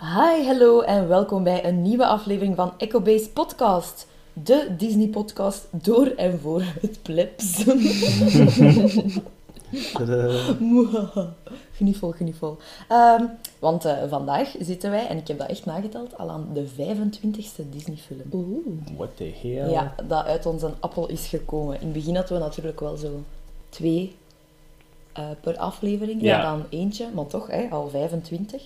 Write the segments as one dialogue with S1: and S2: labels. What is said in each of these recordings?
S1: Hi, hallo en welkom bij een nieuwe aflevering van EcoBase Podcast. De Disney-podcast door en voor het plebs.
S2: Tadaa.
S1: Mwahaha. gniffel, gniffel. Ehm, want eh, vandaag zitten wij, en ik heb dat echt nageteld, al aan de 25e Disney-film.
S2: What the hell?
S1: Ja, dat uit ons een appel is gekomen. In het begin hadden we natuurlijk wel zo twee eh, per aflevering,
S2: Ja.
S1: en dan eentje, maar toch, hè, al 25.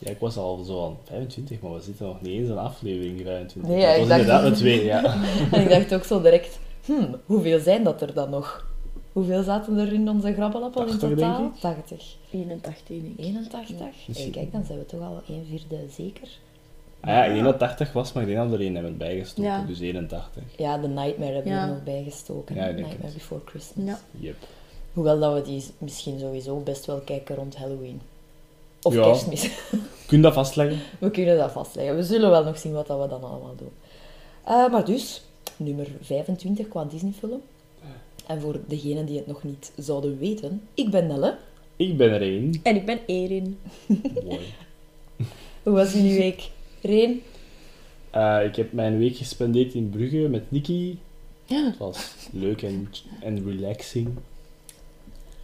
S2: Ja, ik was al zo aan 25, maar we zitten nog niet eens aan aflevering 25.
S1: Nee, ja, ik
S2: dat was
S1: dacht-
S2: inderdaad de tweede, ja.
S1: En ik dacht ook zo direct, hmm, hoeveel zijn dat er dan nog? Hoeveel zaten er in onze grabbelappel in
S2: 80,
S1: totaal?
S2: denk ik. dus
S1: 80.
S3: 81, denk ik.
S1: 81? Hey, kijk, dan zijn we toch al 1 vierde zeker.
S2: Ah ja, 81 was, maar ik denk dat we er één hebben bijgestoken,
S3: Ja.
S2: dus 81.
S1: Ja, de Nightmare hebben we
S3: Ja.
S1: er nog bij gestoken.
S2: Ja, ik denk
S1: Nightmare
S2: het.
S1: Before Christmas.
S3: Ja.
S2: Yep.
S1: Hoewel dat we die misschien sowieso best wel kijken rond Halloween. Of
S2: Ja.
S1: kerstmis.
S2: Kun je dat vastleggen?
S1: We kunnen dat vastleggen. We zullen wel nog zien wat dat we dan allemaal doen. Eh, maar dus, nummer 25 qua Disneyfilm. En voor degenen die het nog niet zouden weten, ik ben Nelle.
S2: Ik ben er één.
S3: En ik ben Erin.
S2: Mooi.
S1: Hoe was jullie week? Reen?
S2: Eh, ik heb mijn week gespendeerd in Brugge met Nicky. Het was leuk en, en relaxing.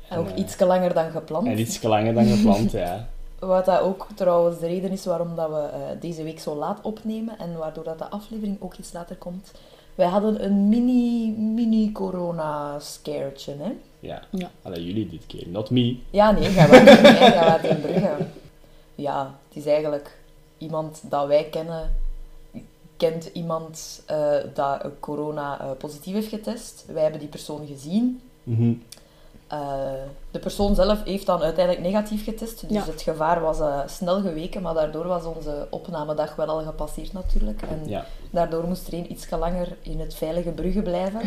S1: En ook
S2: eh,
S1: iets langer dan gepland.
S2: En iets langer dan gepland, ja.
S1: Wat dat ook trouwens de reden is waarom dat we eh, deze week zo laat opnemen en waardoor dat de aflevering ook iets later komt. Wij hadden een mini, mini corona scaretje, hè?
S2: Ja.
S3: Ja.
S2: Allee, jullie dit keer, not me.
S1: Ja, nee, ga maar niet mee, ga maar in Brugge. Ja, het is eigenlijk iemand dat wij kennen, kent iemand eh, dat corona eh, positief heeft getest. Wij hebben die persoon gezien.
S2: Mhm.
S1: Eh, de persoon zelf heeft dan uiteindelijk negatief getest, dus
S3: Ja.
S1: het gevaar was eh, snel geweken, maar daardoor was onze opnamedag wel al gepasseerd natuurlijk. En
S2: Ja.
S1: daardoor moest er een iets langer in het veilige Brugge blijven.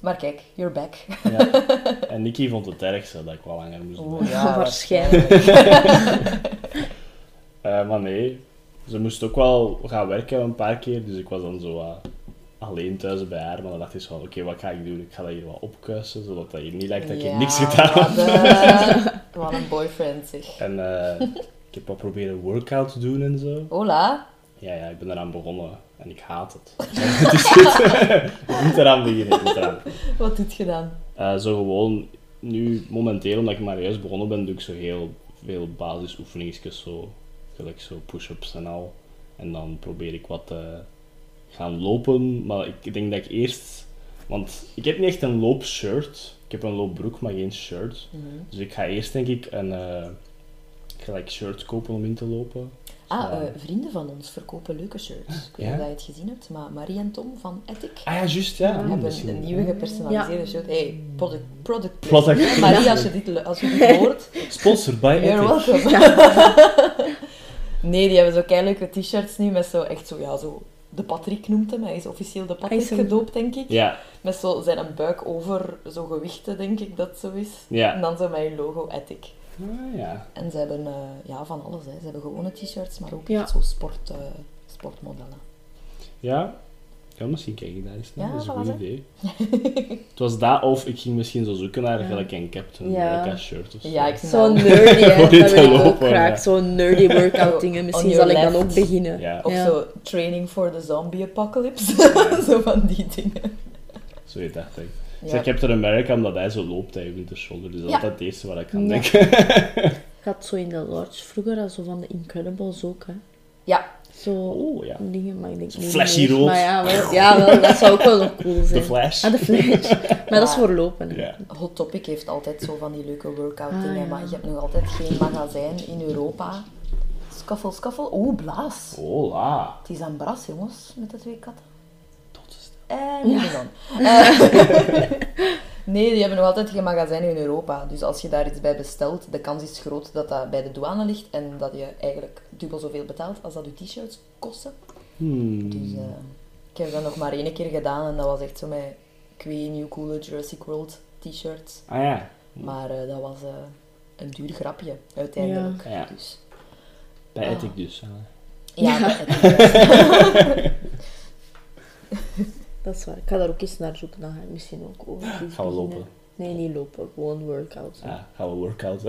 S1: maar kijk, you're back.
S2: ja. En Nicky vond het ergste dat ik wel langer moest
S1: Oh,
S2: blijven.
S3: ja, waarschijnlijk.
S2: Eh, maar nee, ze moest ook wel gaan werken een paar keer, dus ik was dan zo wat alleen thuis bij haar. Maar dan dacht ik zo van, oké, wat ga ik doen? Ik ga dat hier wat opkuisen, zodat dat hier niet lijkt dat ik hier niks gedaan heb.
S1: wat, eh, wat een boyfriend zeg.
S2: En eh, ik heb wat proberen workout te doen en zo.
S1: Hola.
S2: Ja, ja, ik ben eraan begonnen en ik haat het. het is goed. ik moet eraan beginnen, ik moet eraan beginnen.
S1: Wat doet je dan?
S2: Eh, zo gewoon, nu momenteel, omdat ik maar juist begonnen ben, doe ik zo heel veel basisoefeningetjes, zo, gelijk zo push-ups en al. En dan probeer ik wat te gaan lopen, maar ik denk dat ik eerst... Want ik heb niet echt een loopshirt. Ik heb een loopbroek, maar geen shirt.
S1: Mhm.
S2: Dus ik ga eerst, denk ik, een eh, gelijk shirt kopen om in te lopen.
S1: Ah,
S2: Zo.
S1: eh, vrienden van ons verkopen leuke shirts. Ik weet niet
S2: Ja?
S1: of dat je het gezien hebt, maar Marie en Tom van Ethic
S2: Ah ja, juist, ja. Hmm,
S1: hebben
S2: misschien.
S1: een nieuwe gepersonaliseerde shirt. Hey, product, product placement.
S2: Product
S1: Marie, als je dit, lu- als je dit hoort,
S2: Sponsored by
S1: you're
S2: Ethic.
S1: welcome. nee, die hebben zo keileuke t-shirts nu met zo echt zo, ja, zo... De Patrick noemt hem, hij is officieel de Patrick
S3: is een-
S1: gedoopt, denk ik.
S2: Ja,
S1: Met zo zijn een buik over zo'n gewichten, denk ik dat zo is.
S2: Ja.
S1: En dan zo met je logo Ethic.
S2: ah, ja.
S1: En ze hebben eh, ja, van alles. Hè. Ze hebben gewone t-shirts, maar ook
S3: Ja.
S1: echt zo sport, eh, sportmodellen.
S2: Ja. Ja, misschien kijk ik daar eens naar.
S1: Ja,
S2: dat is een
S1: voilà,
S2: goed
S1: hè.
S2: idee. het was dat of ik ging misschien zo zoeken naar gelijk een Captain
S3: Ja.
S2: America shirt of zo.
S1: Ja, ik
S3: Zo'n nerdy, hè.
S2: Voor
S3: Dat
S2: dit
S3: wil
S2: te
S3: ik ook
S2: lopen,
S3: graag.
S2: ja.
S3: Zo'n nerdy workout dingen. Misschien
S1: On your
S3: zal ik dan
S1: left.
S3: ook beginnen.
S2: Ja,
S1: Of
S3: Ja.
S1: zo training for the zombie apocalypse. zo van die dingen.
S2: zo je dacht ik. Ik
S1: Ja.
S2: zei Captain America omdat hij zo loopt, hij heeft de shoulder. Dus dat is
S1: Ja.
S2: altijd het eerste waar ik aan
S3: Ja.
S2: denk.
S3: Ik had zo in de lodge vroeger, al zo van de Incredibles ook, hè.
S1: Ja,
S3: Zo
S2: Oh, ja.
S3: dingen, maar ik denk
S2: Zo
S3: niet
S2: flashy
S3: meer.
S2: rood.
S3: Maar ja, wel, ja wel, dat zou ook wel nog cool zijn.
S2: De Flash.
S3: Ah, de flash. Maar dat is voor lopen, hè.
S2: Ja.
S1: Hot Topic heeft altijd zo van die leuke workout dingen,
S3: Ah, ja.
S1: maar je hebt nog altijd geen magazijn in Europa. Scuffle, scuffle. Oeh, blaas.
S2: Oh, Hola.
S1: Het is aan bras, jongens, met de twee katten.
S2: Tot de stem.
S1: En dan. Eh, nee, die hebben nog altijd geen magazijn in Europa. Dus als je daar iets bij bestelt, de kans is groot dat dat bij de douane ligt en dat je eigenlijk dubbel zoveel betaalt als dat je t-shirts kosten.
S2: Hmm.
S1: Dus eh, ik heb dat nog maar één keer gedaan en dat was echt zo met, ik weet niet hoe coole Jurassic World t-shirts.
S2: Ah ja.
S1: Maar eh, dat was eh, een duur grapje, uiteindelijk.
S2: Ah, Ja. Ja.
S1: Dus,
S2: Bij
S1: Ah.
S2: Ethic dus. ah.
S1: ja,
S3: Ja.
S1: dat- dat-
S3: Dat is waar. Ik ga daar ook eens naar zoeken. Dan ga ik misschien ook over
S2: Gaan we lopen. Ah.
S3: Nee, niet lopen. Gewoon workouts.
S2: Ja, gaan we workout.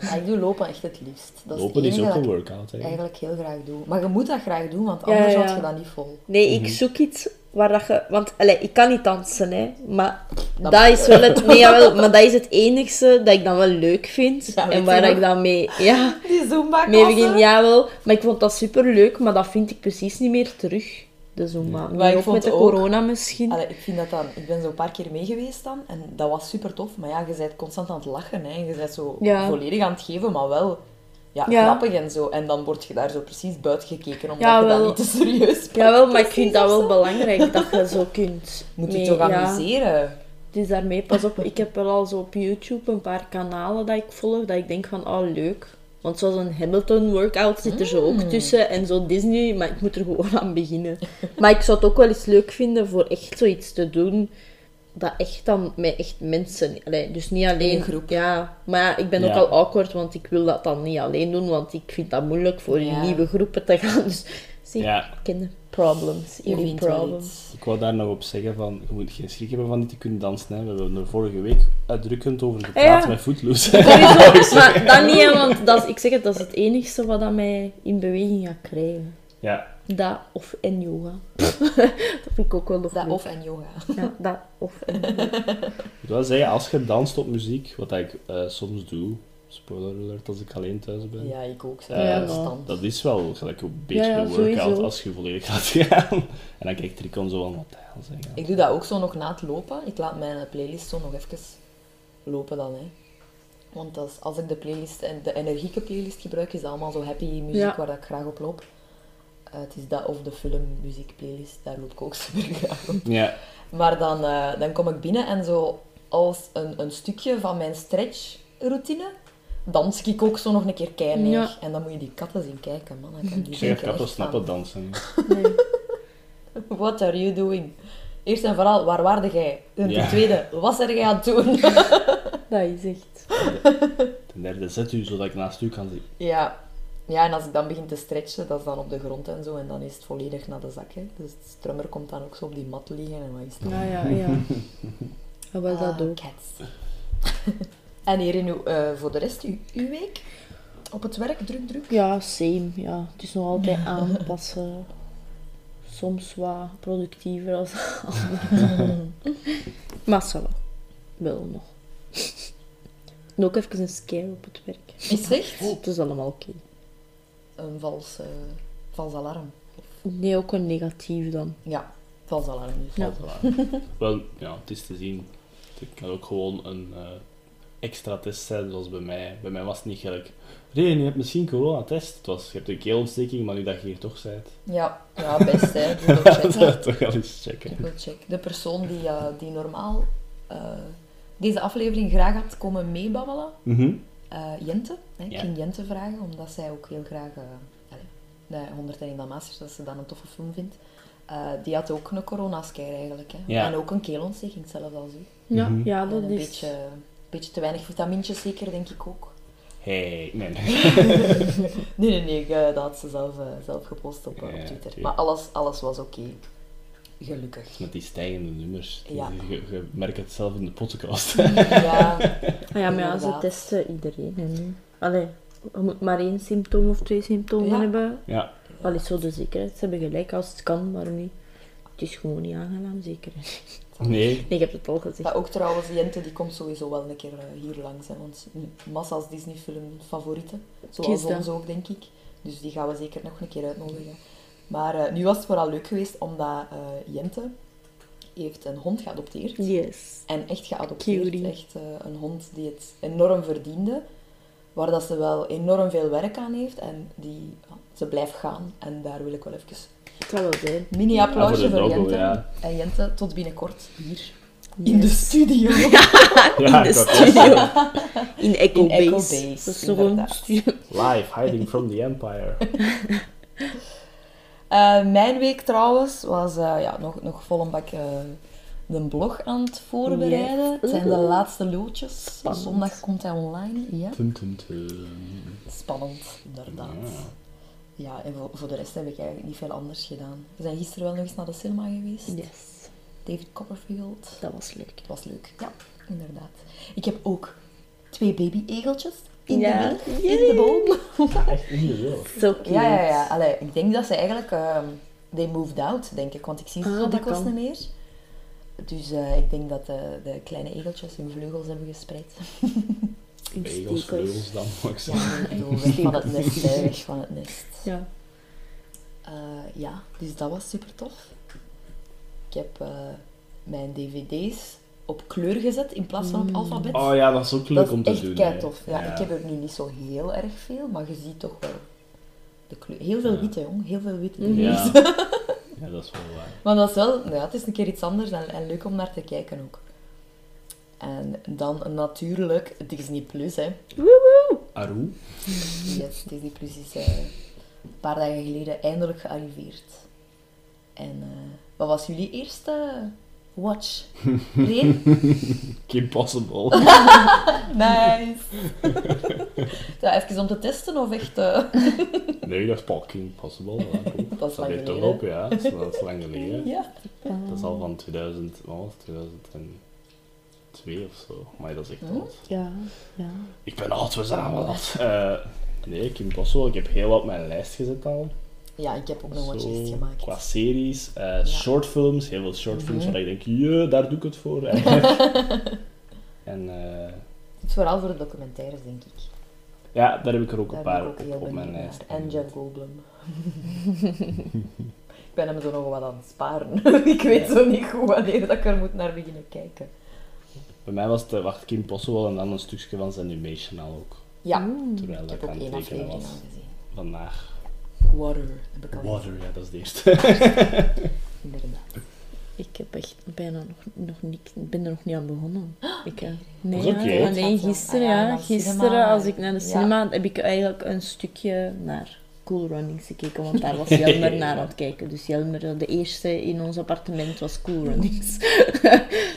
S1: Ja, ik doe lopen echt het liefst. Dat
S2: Lopen
S1: is
S2: is
S1: het enige
S2: ook
S1: dat
S2: een
S1: ik
S2: workout. Hè.
S1: eigenlijk heel graag doe. Maar je moet dat graag doen, want
S3: Ja,
S1: anders
S3: ja,
S1: had
S3: ja.
S1: je dat niet vol.
S3: Nee, ik zoek iets waar dat je... Want, allee, ik kan niet dansen, hè. Maar
S1: Dat
S3: dat, is wel het... Nee, jawel, maar dat is het enigste dat ik dan wel leuk vind.
S1: Ja, weet
S3: en
S1: je
S3: waar
S1: nog?
S3: ik dan mee... Ja,
S1: Die zumba
S3: mee begin. Jawel. Maar ik vond dat superleuk, maar dat vind ik precies niet meer terug. De Zumba.
S1: Maar
S3: Maar
S1: ik
S3: ook
S1: vond
S3: met de
S1: ook-
S3: corona misschien.
S1: Allee, ik, vind dat dan, ik ben zo een paar keer mee geweest dan en dat was super tof. Maar ja, je bent constant aan het lachen hè. en je bent zo
S3: Ja.
S1: volledig aan het geven, maar wel ja,
S3: Ja.
S1: grappig en zo. En dan word je daar zo precies buiten gekeken omdat
S3: Ja,
S1: je dat
S3: wel.
S1: niet te serieus pakt.
S3: Jawel, maar ik vind dat
S1: Precies,
S3: wel belangrijk dat je zo kunt.
S1: Moet je
S3: mee-
S1: toch
S3: ja.
S1: amuseren?
S3: Het is Dus daarmee, pas op, ik heb wel al zo op YouTube een paar kanalen dat ik volg, dat ik denk van, oh leuk. Want zoals een Hamilton workout zit er zo ook
S1: Hmm.
S3: tussen en zo Disney, maar ik moet er gewoon aan beginnen. Maar ik zou het ook wel eens leuk vinden voor echt zoiets te doen, dat echt dan met echt mensen, allee, dus niet alleen...
S1: een groep.
S3: Ja, maar ja, ik ben ook
S2: Ja.
S3: al awkward, want ik wil dat dan niet alleen doen, want ik vind dat moeilijk voor in
S1: Ja.
S3: nieuwe groepen te gaan. Dus zie,
S2: Ja.
S3: ik ken de problems,
S1: Je
S3: jullie
S1: vindt wel
S3: problems.
S1: iets.
S2: Ik wou daar nog op zeggen van, je moet geen schrik hebben van niet te kunnen dansen. Hè. We hebben er vorige week uitdrukkend over gepraat
S3: Ja.
S2: met Footloose.
S3: Dat is zo, maar dat niet, hè, want dat is, ik zeg het, dat is het enigste wat dat mij in beweging gaat krijgen.
S2: ja,
S3: Dat of en yoga. dat vind ik ook wel nog
S1: Dat
S3: leuk.
S1: of en yoga.
S3: Ja, dat of en
S2: ik moet wel zeggen, als je danst op muziek, wat ik eh, soms doe, spoiler alert als ik alleen thuis ben,
S1: Ja, ik ook. Zo.
S2: Eh,
S1: Ja,
S3: ja.
S1: stand.
S2: dat is wel gelijk een beetje
S3: Ja, ja,
S2: een workout
S3: sowieso.
S2: als je volledig gaat gaan. En dan kijkt Tricon zo van, wat de hel zeggen.
S1: Ik doe dat ook zo nog na het lopen. Ik laat mijn playlist zo nog even lopen dan. Hè. Want als, als ik de playlist, en de energieke playlist gebruik, is dat allemaal zo happy muziek
S3: Ja.
S1: waar dat ik graag op loop. Eh, het is dat of de filmmuziek playlist, daar loop ik ook super graag op.
S2: Ja,
S1: Maar dan, eh, dan kom ik binnen en zo als een, een stukje van mijn stretchroutine, dans ik ook zo nog een keer kei mee.
S3: Ja.
S1: En dan moet je die katten zien kijken, man. Ik, kan die
S2: ik zeg het,
S1: denken
S2: katten
S1: echt
S2: snappen
S1: van,
S2: dansen.
S3: nee.
S1: What are you doing? Eerst en vooral, waar waarde jij? En ten
S2: Ja.
S1: tweede, wat er jij aan het doen?
S3: Dat is echt...
S2: Ten derde, zet u zodat ik naast u kan zitten.
S1: ja. ja, en als ik dan begin te stretchen, dat is dan op de grond en zo, en dan is het volledig naar de zak. Hè. Dus de strummer komt dan ook zo op die mat liggen en wat is dat?
S3: Ja, ja, ja. Dat was
S1: Ah,
S3: dat ook.
S1: Cats. en hier in uw, eh, voor de rest, uw, uw week? Op het werk, druk, druk?
S3: Ja, same. Ja. Het is nog altijd aanpassen. Soms wat productiever als anderen. maar ça va. Wel nog. En ook even een scare op het werk.
S1: Is echt
S3: Het is allemaal oké.
S1: een vals, eh, vals alarm.
S3: Nee, ook een negatief dan.
S1: Ja, vals alarm. dus.
S3: Ja.
S2: Wel, ja, het is te zien. Het kan ook gewoon een eh, extra test zijn, zoals bij mij. Bij mij was het niet gelijk. Nee, je hebt misschien corona-test. Het was, je hebt een keelontsteking, maar nu dat je hier toch bent,
S1: Ja, ja best hè. Doe dat check.
S2: zou je toch wel eens checken.
S1: Double check. De persoon die, eh, die normaal eh, deze aflevering graag had komen meebabbelen,
S2: Mhm.
S1: eh, Jente. Hè, Ik
S2: Ja.
S1: ging Jente vragen, omdat zij ook heel graag eh allee, de 101 Dalmatiërs, dat ze dan een toffe film vindt. Eh, die had ook een coronascare eigenlijk. Hè.
S2: Ja.
S1: En ook een keelontsteking zelfs als u.
S3: Ja,
S2: Mhm.
S3: ja
S1: En
S3: Ah, dat
S1: een
S3: is.
S1: beetje, een beetje te weinig vitamintjes zeker, denk ik ook.
S2: Hey, nee, nee.
S1: Nee, nee, nee, ik, eh, dat had ze zelf, eh, zelf gepost op, eh,
S2: Ja,
S1: op Twitter.
S2: oké.
S1: Maar alles, alles was oké. Gelukkig.
S2: Met die stijgende nummers.
S1: Ja.
S2: Je, je merkt het zelf in de podcast.
S1: Ja,
S3: Ah ja, maar ja, ze
S1: Inderdaad.
S3: testen iedereen. En, allee, je moet maar één symptoom of twee symptomen
S1: Ja.
S3: hebben.
S2: ja.
S3: Al is zo de zekerheid. Ze hebben gelijk als het kan, waarom niet? Het is gewoon niet aangenaam, zeker.
S2: Nee.
S3: Nee, ik heb het al gezegd.
S1: Ja, ook trouwens, Jente die komt sowieso wel een keer eh, hier langs. Hè, want massa's Disney-film favorieten. Zoals
S3: Kies dat.
S1: ons ook, denk ik. Dus die gaan we zeker nog een keer uitnodigen. Maar eh, nu was het vooral leuk geweest, omdat eh, Jente heeft een hond geadopteerd.
S3: Yes.
S1: En echt geadopteerd.
S3: Cutie.
S1: Echt eh, een hond die het enorm verdiende. Waar dat ze wel enorm veel werk aan heeft. En die, ja, ze blijft gaan. En daar wil ik wel even
S3: Het zal wel zijn.
S1: een mini-applausje
S2: Ja, voor de
S1: voor,
S2: doggo,
S1: Jente.
S2: ja.
S1: En Jente, tot binnenkort hier in
S3: Yes.
S1: de studio.
S2: Ja,
S3: In de
S2: ik wou-
S3: studio. In Echo
S1: In Echo
S3: Base.
S1: Base,
S3: Dat is gewoon een
S1: inderdaad.
S3: studio.
S2: Live, hiding from the empire.
S1: Eh, mijn week trouwens was eh, ja, nog, nog vol een bak eh, de blog aan het voorbereiden.
S3: Yes.
S1: Het zijn de laatste loodjes.
S3: Spannend.
S1: Zondag komt hij online. Ja.
S2: Tum, tum, tum.
S1: Spannend, inderdaad.
S2: Ja.
S1: Ja, en voor, voor de rest heb ik eigenlijk niet veel anders gedaan. We zijn gisteren wel nog eens naar de cinema geweest.
S3: Yes.
S1: David Copperfield.
S3: Dat was leuk.
S1: Het was leuk. Ja, inderdaad. Ik heb ook twee baby-egeltjes in
S3: Ja.
S1: de wilg, in de boom.
S2: Echt in de wil.
S3: Zo cute.
S1: Ja, ja, ja. Allee, ik denk dat ze eigenlijk... ehm they moved out, denk ik. Want ik zie ze
S3: Ah,
S1: zo
S3: dat
S1: dikwijls
S3: kan.
S1: niet meer. Dus eh, ik denk dat de, de kleine egeltjes hun vleugels hebben gespreid.
S3: In
S2: Egels,
S3: stekels.
S2: vleugels dan. mag ik zeggen.
S1: Ja, ik bedoel, weg van het nest, hè, weg van het nest.
S3: Ja.
S1: Eh, ja, dus dat was super tof. Ik heb eh, mijn dvd's op kleur gezet in plaats van op alfabet.
S2: Oh ja, dat is ook leuk
S1: dat
S2: om
S1: is
S2: te
S1: echt
S2: doen. hè.
S1: keitof. Ja, Ik heb er nu niet zo heel erg veel, maar je ziet toch wel de kleur. Heel veel
S2: Ja.
S1: wit, hè, jong. Heel veel wit.
S2: Mhm. Ja. ja, dat is wel waar.
S1: Maar dat is wel, ja, het is een keer iets anders en, en leuk om naar te kijken ook. En dan natuurlijk Disney Plus, hè.
S3: Woehoe.
S2: Aru?
S1: Yes, Disney Plus is eh, een paar dagen geleden eindelijk gearriveerd. En eh, wat was jullie eerste watch? Nee?
S2: Kim Possible.
S1: Nice! ja, even om te testen of echt... eh,
S2: Nee, dat is Paul Kim Possible. ja, cool.
S1: Dat is lang
S2: heeft toch
S1: geleden.
S2: op, ja. Dat is, dat is lang geleden.
S1: ja.
S2: Dat is al van 2000, wat was het? 2002 of zo. Maar dat is echt
S1: Hm?
S2: oud.
S3: Ja, ja.
S2: Ik ben oud, we zijn allemaal oud. Eh, nee, Kim Possible. Ik heb heel wat op mijn lijst gezet al.
S1: ja, ik heb ook een watchlist
S2: Zo,
S1: gemaakt. Mhm.
S2: Qua series, eh, shortfilms, heel veel shortfilms waar ik denk, je, daar doe ik het voor. En, en, eh,
S1: Het is vooral voor de documentaires, denk ik.
S2: ja, daar heb ik er ook
S1: Daar
S2: een
S1: ben ik
S2: paar
S1: ook
S2: op,
S1: heel
S2: op mijn
S1: benieuwd
S2: lijst.
S1: naar. En Jeff Goldblum. ik ben hem zo nog wat aan het sparen. ik weet zo niet goed wanneer dat ik er moet naar beginnen kijken.
S2: Bij mij was het, eh, wacht, Kim Possible en dan een stukje van zijn animation al ook.
S1: Ja,
S3: Mm.
S2: Terwijl
S1: ik
S2: dat
S1: heb
S2: ik
S1: ook
S2: aan het
S1: één
S2: tekenen
S1: aflevering al
S2: was.
S1: gezien.
S2: Vandaag.
S1: Water heb ik al gezien,
S2: Water, ja, dat is de eerste.
S1: inderdaad.
S3: Ik heb echt bijna nog, nog niet, ik ben er nog niet aan begonnen. Ik, eh,
S2: Dat
S3: nee,
S2: is oké.
S3: ja, nee, gisteren,
S1: Ah ja,
S3: ja,
S1: naar de cinema,
S3: gisteren als
S1: maar-
S3: ik naar de
S1: ja.
S3: cinema, heb ik eigenlijk een stukje naar Cool Runnings gekeken, want daar was Jelmer naar aan het kijken. Dus Jelmer, de eerste in ons appartement was Cool Runnings.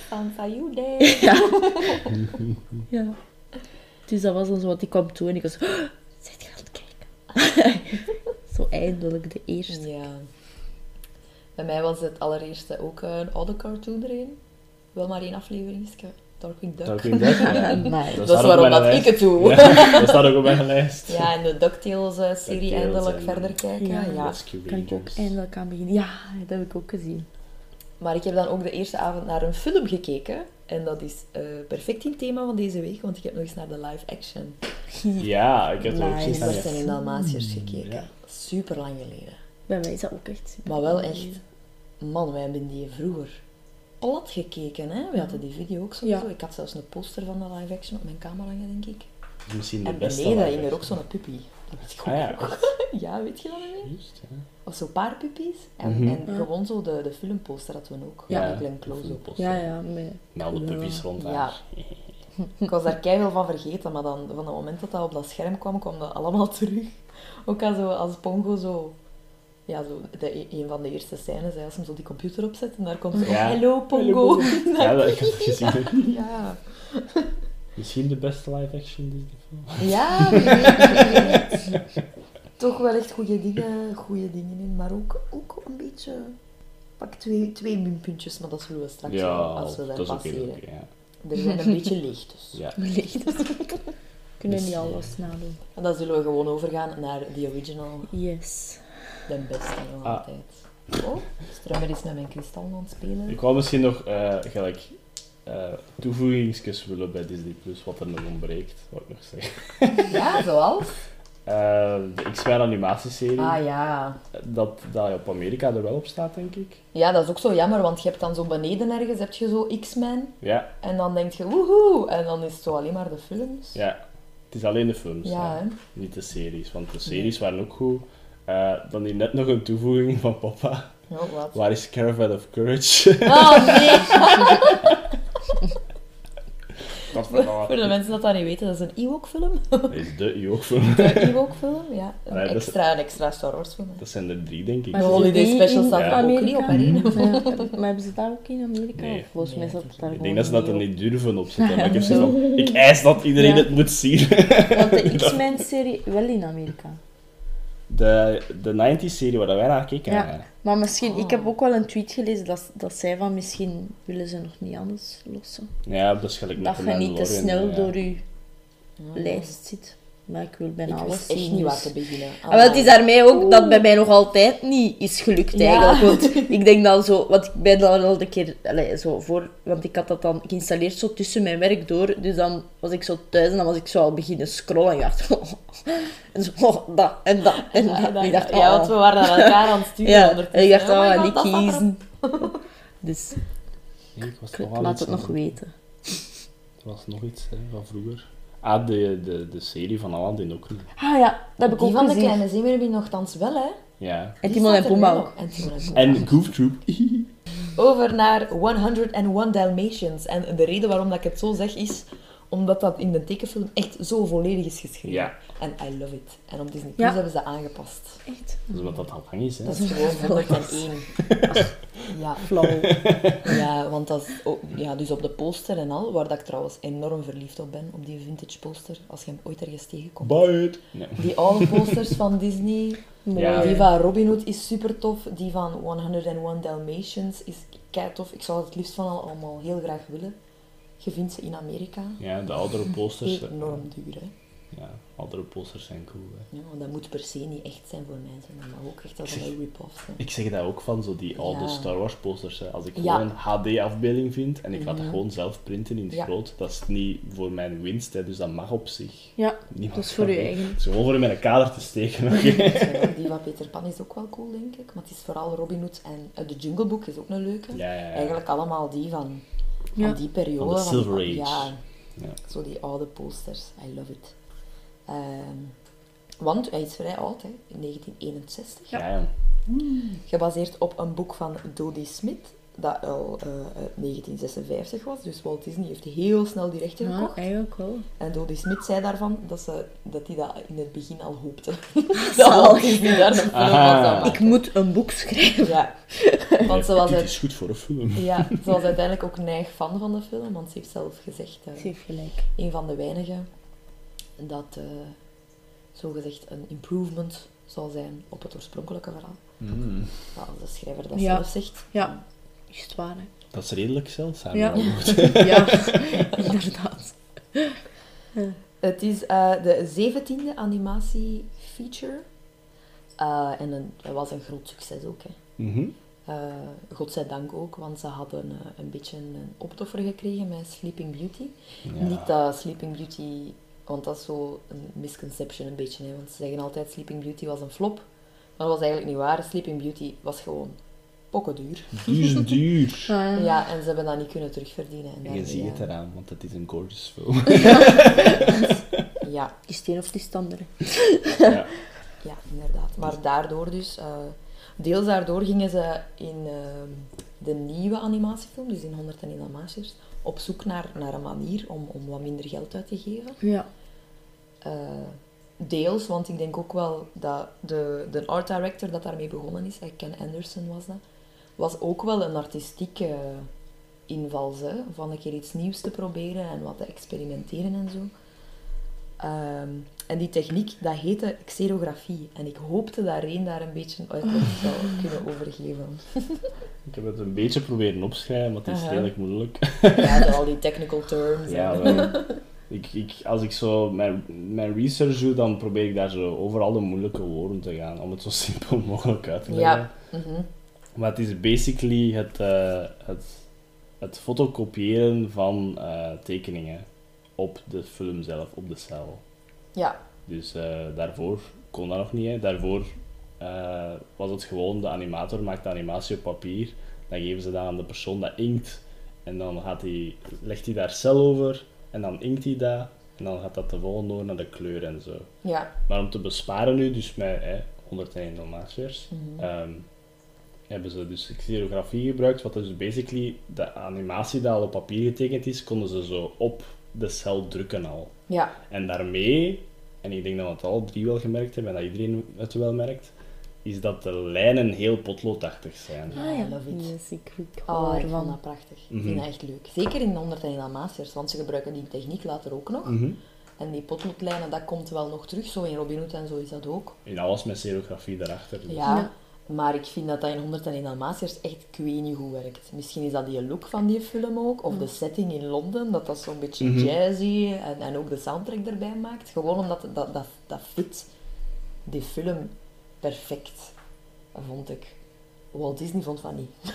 S1: Sansa Jude.
S3: Ja. Dus dat was dan zo wat ik kwam toe en ik was, oh, zit je aan het kijken? zo eindelijk de eerste.
S1: Ja. Bij mij was het allereerste ook een oude cartoon erin. Wel maar één aflevering, Darkwing Duck.
S2: Darkwing Duck, ja.
S3: Maar
S1: Dat is
S2: staat ook op
S1: waarom
S2: mijn
S1: dat ik
S2: lijst.
S1: het doe.
S2: Ja, dat staat ook op mijn lijst.
S1: Ja, en de DuckTales-serie
S2: DuckTales
S1: eindelijk
S2: en-
S1: verder kijken.
S3: Ja.
S1: ja.
S2: Rescue
S3: kan ik ook
S2: Rangers.
S3: eindelijk aan beginnen. Ja, dat heb ik ook gezien.
S1: Maar ik heb dan ook de eerste avond naar een film gekeken. En dat is eh, perfect in het thema van deze week, want ik heb nog eens naar de live action
S2: Ah, Ja, ik heb het ook
S3: Nice.
S2: gezien.
S1: Westen in Dalmatiërs gekeken.
S2: Ja.
S1: Super lang geleden.
S3: Bij mij is dat ook echt super
S1: Maar wel
S3: leuk.
S1: echt, man, wij hebben die vroeger plat gekeken. Hè? We hadden die video ook sowieso.
S3: Ja.
S1: Ik had zelfs een poster van de live action op mijn kamer hangen, denk ik.
S2: Dat is Misschien de
S1: En
S2: beste
S1: beneden
S2: live
S1: hing er ook
S2: action.
S1: zo'n puppy. Dat weet ik ook
S2: Ah ja,
S1: nog. Ja, weet je dat niet meer?
S2: juist, ja.
S1: Of zo'n paar puppies. En,
S2: Mhm.
S1: en gewoon zo de, de filmposter hadden we ook.
S3: Ja.
S1: Ja, een close-up.
S3: Ja, ja, met-
S2: Met alle puppies rond
S1: Ja.
S2: haar.
S1: Ik was daar keihard van vergeten, maar dan, van het moment dat dat op dat scherm kwam, kwam dat allemaal terug. Ook als, zo, als Pongo zo... Ja, zo de, een van de eerste scènes, hè, als hem zo die computer opzet en daar komt zo...
S2: Ja.
S1: Hello, Pongo!
S2: Ja, dat ik heb het gezien.
S1: ja.
S2: Misschien de beste live action Disney film.
S1: Ja, wie weet, wie weet. Toch wel echt goede dingen, goede dingen in, maar ook, ook een beetje... Pak twee, twee minpuntjes, maar dat zullen we straks wel, als we daar
S2: dat is ook heel
S1: passeren.
S2: leuk, ja.
S1: Er zijn een beetje leeg dus.
S2: ja.
S3: Wellicht. Kunnen
S2: Dus-
S3: niet alles nadoen.
S1: En dan zullen we gewoon overgaan naar The Original,
S3: Yes.
S1: de beste nog
S2: Ah.
S1: altijd. Oh, Strummer is met mijn kristallen aan het spelen.
S2: Ik wou misschien nog eh, gelijk eh toevoegingsjes willen bij Disney Plus, wat er nog ontbreekt, wat ik nog zeg.
S1: Ja, zoals?
S2: Eh, de X-Men animatieserie,
S1: Ah ja.
S2: dat, dat op Amerika er wel op staat, denk ik.
S1: Ja, dat is ook zo jammer, want je hebt dan zo beneden ergens, heb je zo X-Men.
S2: Ja,
S1: En dan denk je, woehoe. En dan is het zo alleen maar de films.
S2: ja. Het is alleen de films.
S1: Ja, hè.
S2: Niet de series, want de series waren ook goed. Eh, dan hier net nog een toevoeging van papa.
S1: Oh, wat?
S2: Waar is Caravan of Courage?
S1: Oh nee!
S2: dat
S1: Voor de mensen dat dat niet weten, dat is een Ewok-film.
S2: is de Ewok-film.
S1: Een Ewok-film, ja. Een
S2: Allee, dat is-
S1: extra, een extra Star Wars-film. hè.
S2: Dat zijn er drie, denk ik.
S1: Maar- Holiday Special staat
S2: er
S1: ook niet op, hè, Irene?
S3: Maar hebben ze dat ook in Amerika?
S2: Nee.
S3: Of volgens mij
S1: Nee,
S3: zat het daar
S2: Ik
S3: gewoon
S2: denk dat ze dat er
S3: niet
S2: niet durven opzetten. Maar ik heb zoiets van, ik eis dat iedereen
S3: Ja.
S2: het moet zien.
S3: op. Want de X-Men-serie wel in Amerika.
S2: De, de 90s serie waar wij naar keken.
S3: Ja.
S2: waren.
S3: Maar misschien, ik heb ook wel een tweet gelezen dat, dat zij van misschien willen ze nog niet anders lossen.
S2: ja dat is gelijk met
S3: Dat
S2: de
S3: je niet te
S2: Mandalorian,
S3: snel
S2: ja.
S3: door je lijst zit. Maar ik wil bijna
S1: Ik
S3: alles
S1: wist
S3: zien.
S1: echt niet
S3: dus-
S1: waar te beginnen.
S3: Ah, wel, het is daarmee ook dat bij mij nog altijd niet is gelukt
S1: Ja.
S3: eigenlijk. Want ik denk dan zo, want ik ben dan al een keer allee, zo voor, want ik had dat dan geïnstalleerd zo tussen mijn werk door. Dus dan was ik zo thuis en dan was ik zo al beginnen scrollen. En ik dacht, oh. en zo, oh, dat en dat en dat. En ik dacht,
S1: Ah, ja,
S3: oh.
S1: want we waren aan elkaar aan het sturen
S3: Ja, en
S1: ondertussen.
S3: ik dacht,
S1: Oh my
S3: oh,
S1: god,
S3: niet
S1: dat staat erop.
S3: kiezen. Dus
S2: Nee, ik was
S3: ik
S2: nog aan
S3: laat
S2: iets
S3: het
S2: aan
S3: nog weten.
S2: Er was nog iets hè, van vroeger. Ah, de, de, de serie van Aladdin ook. nog.
S3: Ah ja, dat heb ik
S1: Die
S3: ook
S1: van de
S3: gezien.
S1: kleine zeemeermin heb nogthans wel, hè?
S2: Ja.
S3: En
S1: Die
S3: Timon
S1: staat er
S3: en Pumba
S1: wel.
S3: ook.
S1: En Timon en Pumba.
S2: En Goof Troop.
S1: Over naar 101 Dalmatians. En de reden waarom dat ik het zo zeg is omdat dat in de tekenfilm echt zo volledig is geschreven.
S2: Ja.
S1: En I love it. En op Disney
S3: Ja.
S1: Plus hebben ze dat aangepast.
S3: Echt
S2: Dat is wat dat al lang is, hè.
S1: Dat is gewoon 101. Ja,
S3: flauw.
S1: ja, want dat is ook- ja, dus op de poster en al, waar dat ik trouwens enorm verliefd op ben, op die vintage poster, als je hem ooit ergens tegenkomt.
S2: Buy it. Nee.
S1: Die oude posters van Disney,
S3: Mooi.
S2: Ja.
S1: Die van Robin Hood is super tof. Die van 101 Dalmatians is kei tof. Ik zou het liefst van al allemaal heel graag willen. Je vindt ze in Amerika.
S2: Ja, de oudere posters.
S1: Enorm duur, hè.
S2: Ja, oudere posters zijn cool, hè.
S1: Ja, want dat moet per se niet echt zijn voor mensen. Dat mag ook echt als
S2: Ik zeg-
S1: een rip-off zijn.
S2: Ik zeg dat ook van zo die oude
S1: Ja.
S2: Star Wars posters. Hè. Als ik
S1: Ja.
S2: gewoon een HD-afbeelding vind en ik laat
S3: Mhm.
S2: dat gewoon zelf printen in het
S1: Ja.
S2: groot, dat is niet voor mijn winst, hè, dus dat mag op zich.
S3: Ja,
S2: Niemand
S3: dat is voor
S2: kan-
S3: je eigen.
S2: Het is gewoon voor in mijn kader te steken. oké.
S1: Ja, Die van Peter Pan is ook wel cool, denk ik. Maar het is vooral Robin Hood en eh, de Jungle Book is ook een leuke.
S2: Ja, ja, ja.
S1: Eigenlijk allemaal die van, van
S3: Ja.
S1: die periode.
S2: Van de Silver Age.
S1: Ja,
S2: Ja.
S1: zo die oude posters. I love it. Ehm, want hij is vrij oud, hè. In 1961.
S2: Ja, ja.
S1: gebaseerd op een boek van Dodie Smith, dat al eh, uit 1956 was. Dus Walt Disney heeft heel snel die rechten
S3: Ja,
S1: gekocht.
S3: eigenlijk wel.
S1: En Dodie Smith zei daarvan dat hij dat, die dat in het begin al hoopte. dat
S3: Zalig.
S1: Walt Disney daar een film van
S2: Aha.
S1: zou maken.
S3: Ik moet een boek schrijven.
S1: Ja, want ze was,
S2: Dit
S1: uit-
S2: is goed voor een film.
S1: ja, ze was uiteindelijk ook neig fan van de film, want ze heeft zelf gezegd... eh,
S3: Ze heeft gelijk.
S1: een van de weinigen dat eh zogezegd een improvement zal zijn op het oorspronkelijke verhaal.
S2: Mm.
S1: Nou, als de schrijver dat
S3: Ja.
S1: zelf zegt.
S3: Ja. Is het waar, hè?
S2: Dat is redelijk zeldzaam.
S3: Ja.
S2: wel.
S3: Ja, inderdaad.
S1: Het is eh, de zeventiende animatiefeature. Eh, en een, dat was een groot succes ook. Hè.
S2: Mhm.
S1: Eh, godzijdank ook, want ze hadden eh, een beetje een optoffer gekregen met Sleeping Beauty.
S2: Ja.
S1: Niet dat Sleeping Beauty, want dat is zo een misconception een beetje. Hè? Want ze zeggen altijd Sleeping Beauty was een flop. Maar dat was eigenlijk niet waar. Sleeping Beauty was gewoon pokken duur.
S2: Duizend Dus duur.
S3: Ah,
S1: Ja, en ze hebben dat niet kunnen terugverdienen. En
S2: En Mm. je
S1: daarmee,
S2: ziet
S1: ja.
S2: het eraan, want het is een gorgeous film.
S1: Ja,
S3: Die steen of die standeren.
S2: ja.
S1: ja, inderdaad. Maar daardoor dus... eh, deels daardoor gingen ze in ehm, de nieuwe animatiefilm, dus in 101 Dalmatiërs, op zoek naar, naar een manier om, om wat minder geld uit te geven.
S3: Ja.
S1: Eh, deels, want ik denk ook wel dat de, de art director dat daarmee begonnen is, eh, Ken Anderson was dat, was ook wel een artistieke invals, hè, van een keer iets nieuws te proberen en wat te experimenteren en zo. Ehm, en die techniek, dat heette xerografie. En ik hoopte dat Reen daar een beetje uitleg zou kunnen overgeven.
S2: Ik heb het een beetje proberen opschrijven, maar het is
S1: Aha.
S2: redelijk moeilijk.
S1: Ja, zo al die technical terms. en-
S2: Ja, wel. Ik, ik, als ik zo mijn, mijn research doe, dan probeer ik daar zo overal de moeilijke woorden te gaan, om het zo simpel mogelijk uit te leggen.
S1: Ja. Mhm.
S2: Maar het is basically het, eh, het, het fotocopiëren van eh, tekeningen op de film zelf, op de cel.
S1: ja.
S2: Dus eh, daarvoor kon dat nog niet. Hè. Daarvoor eh, was het gewoon de animator maakt de animatie op papier. Dan geven ze dat aan de persoon dat inkt. En dan gaat die, legt hij daar cel over. En dan inkt hij dat. En dan gaat dat de volgende door naar de kleur en zo.
S1: ja.
S2: Maar om te besparen nu, dus met hè, 101 Dalmatiërs,
S1: Mhm.
S2: ehm, hebben ze dus xerografie gebruikt. Wat dus basically de animatie die al op papier getekend is, konden ze zo op de cel drukken al.
S1: ja.
S2: En daarmee, en ik denk dat we het al drie wel gemerkt hebben, en dat iedereen het wel merkt, is dat de lijnen heel potloodachtig zijn.
S1: Ah, ja. love it.
S3: Yes, ik, ik hou
S1: Oh, ik vond
S3: ervan.
S1: dat prachtig. Ik vind dat echt leuk. Zeker in 100 en Dalmatiërs, want ze gebruiken die techniek later ook nog.
S2: Mhm.
S1: En die potloodlijnen, dat komt wel nog terug. Zo in Robin Hood en zo is dat ook.
S2: En dat was met serografie daarachter. dus-
S1: Ja,
S3: Ja.
S1: maar ik vind dat dat in 101 Dalmatiërs echt, ik weet niet hoe werkt. Misschien is dat die look van die film ook, of de setting in Londen, dat dat zo'n beetje
S2: Mhm.
S1: jazzy en, en ook de soundtrack erbij maakt. Gewoon omdat dat, dat, dat fit die film perfect, vond ik. Walt Disney vond van niet.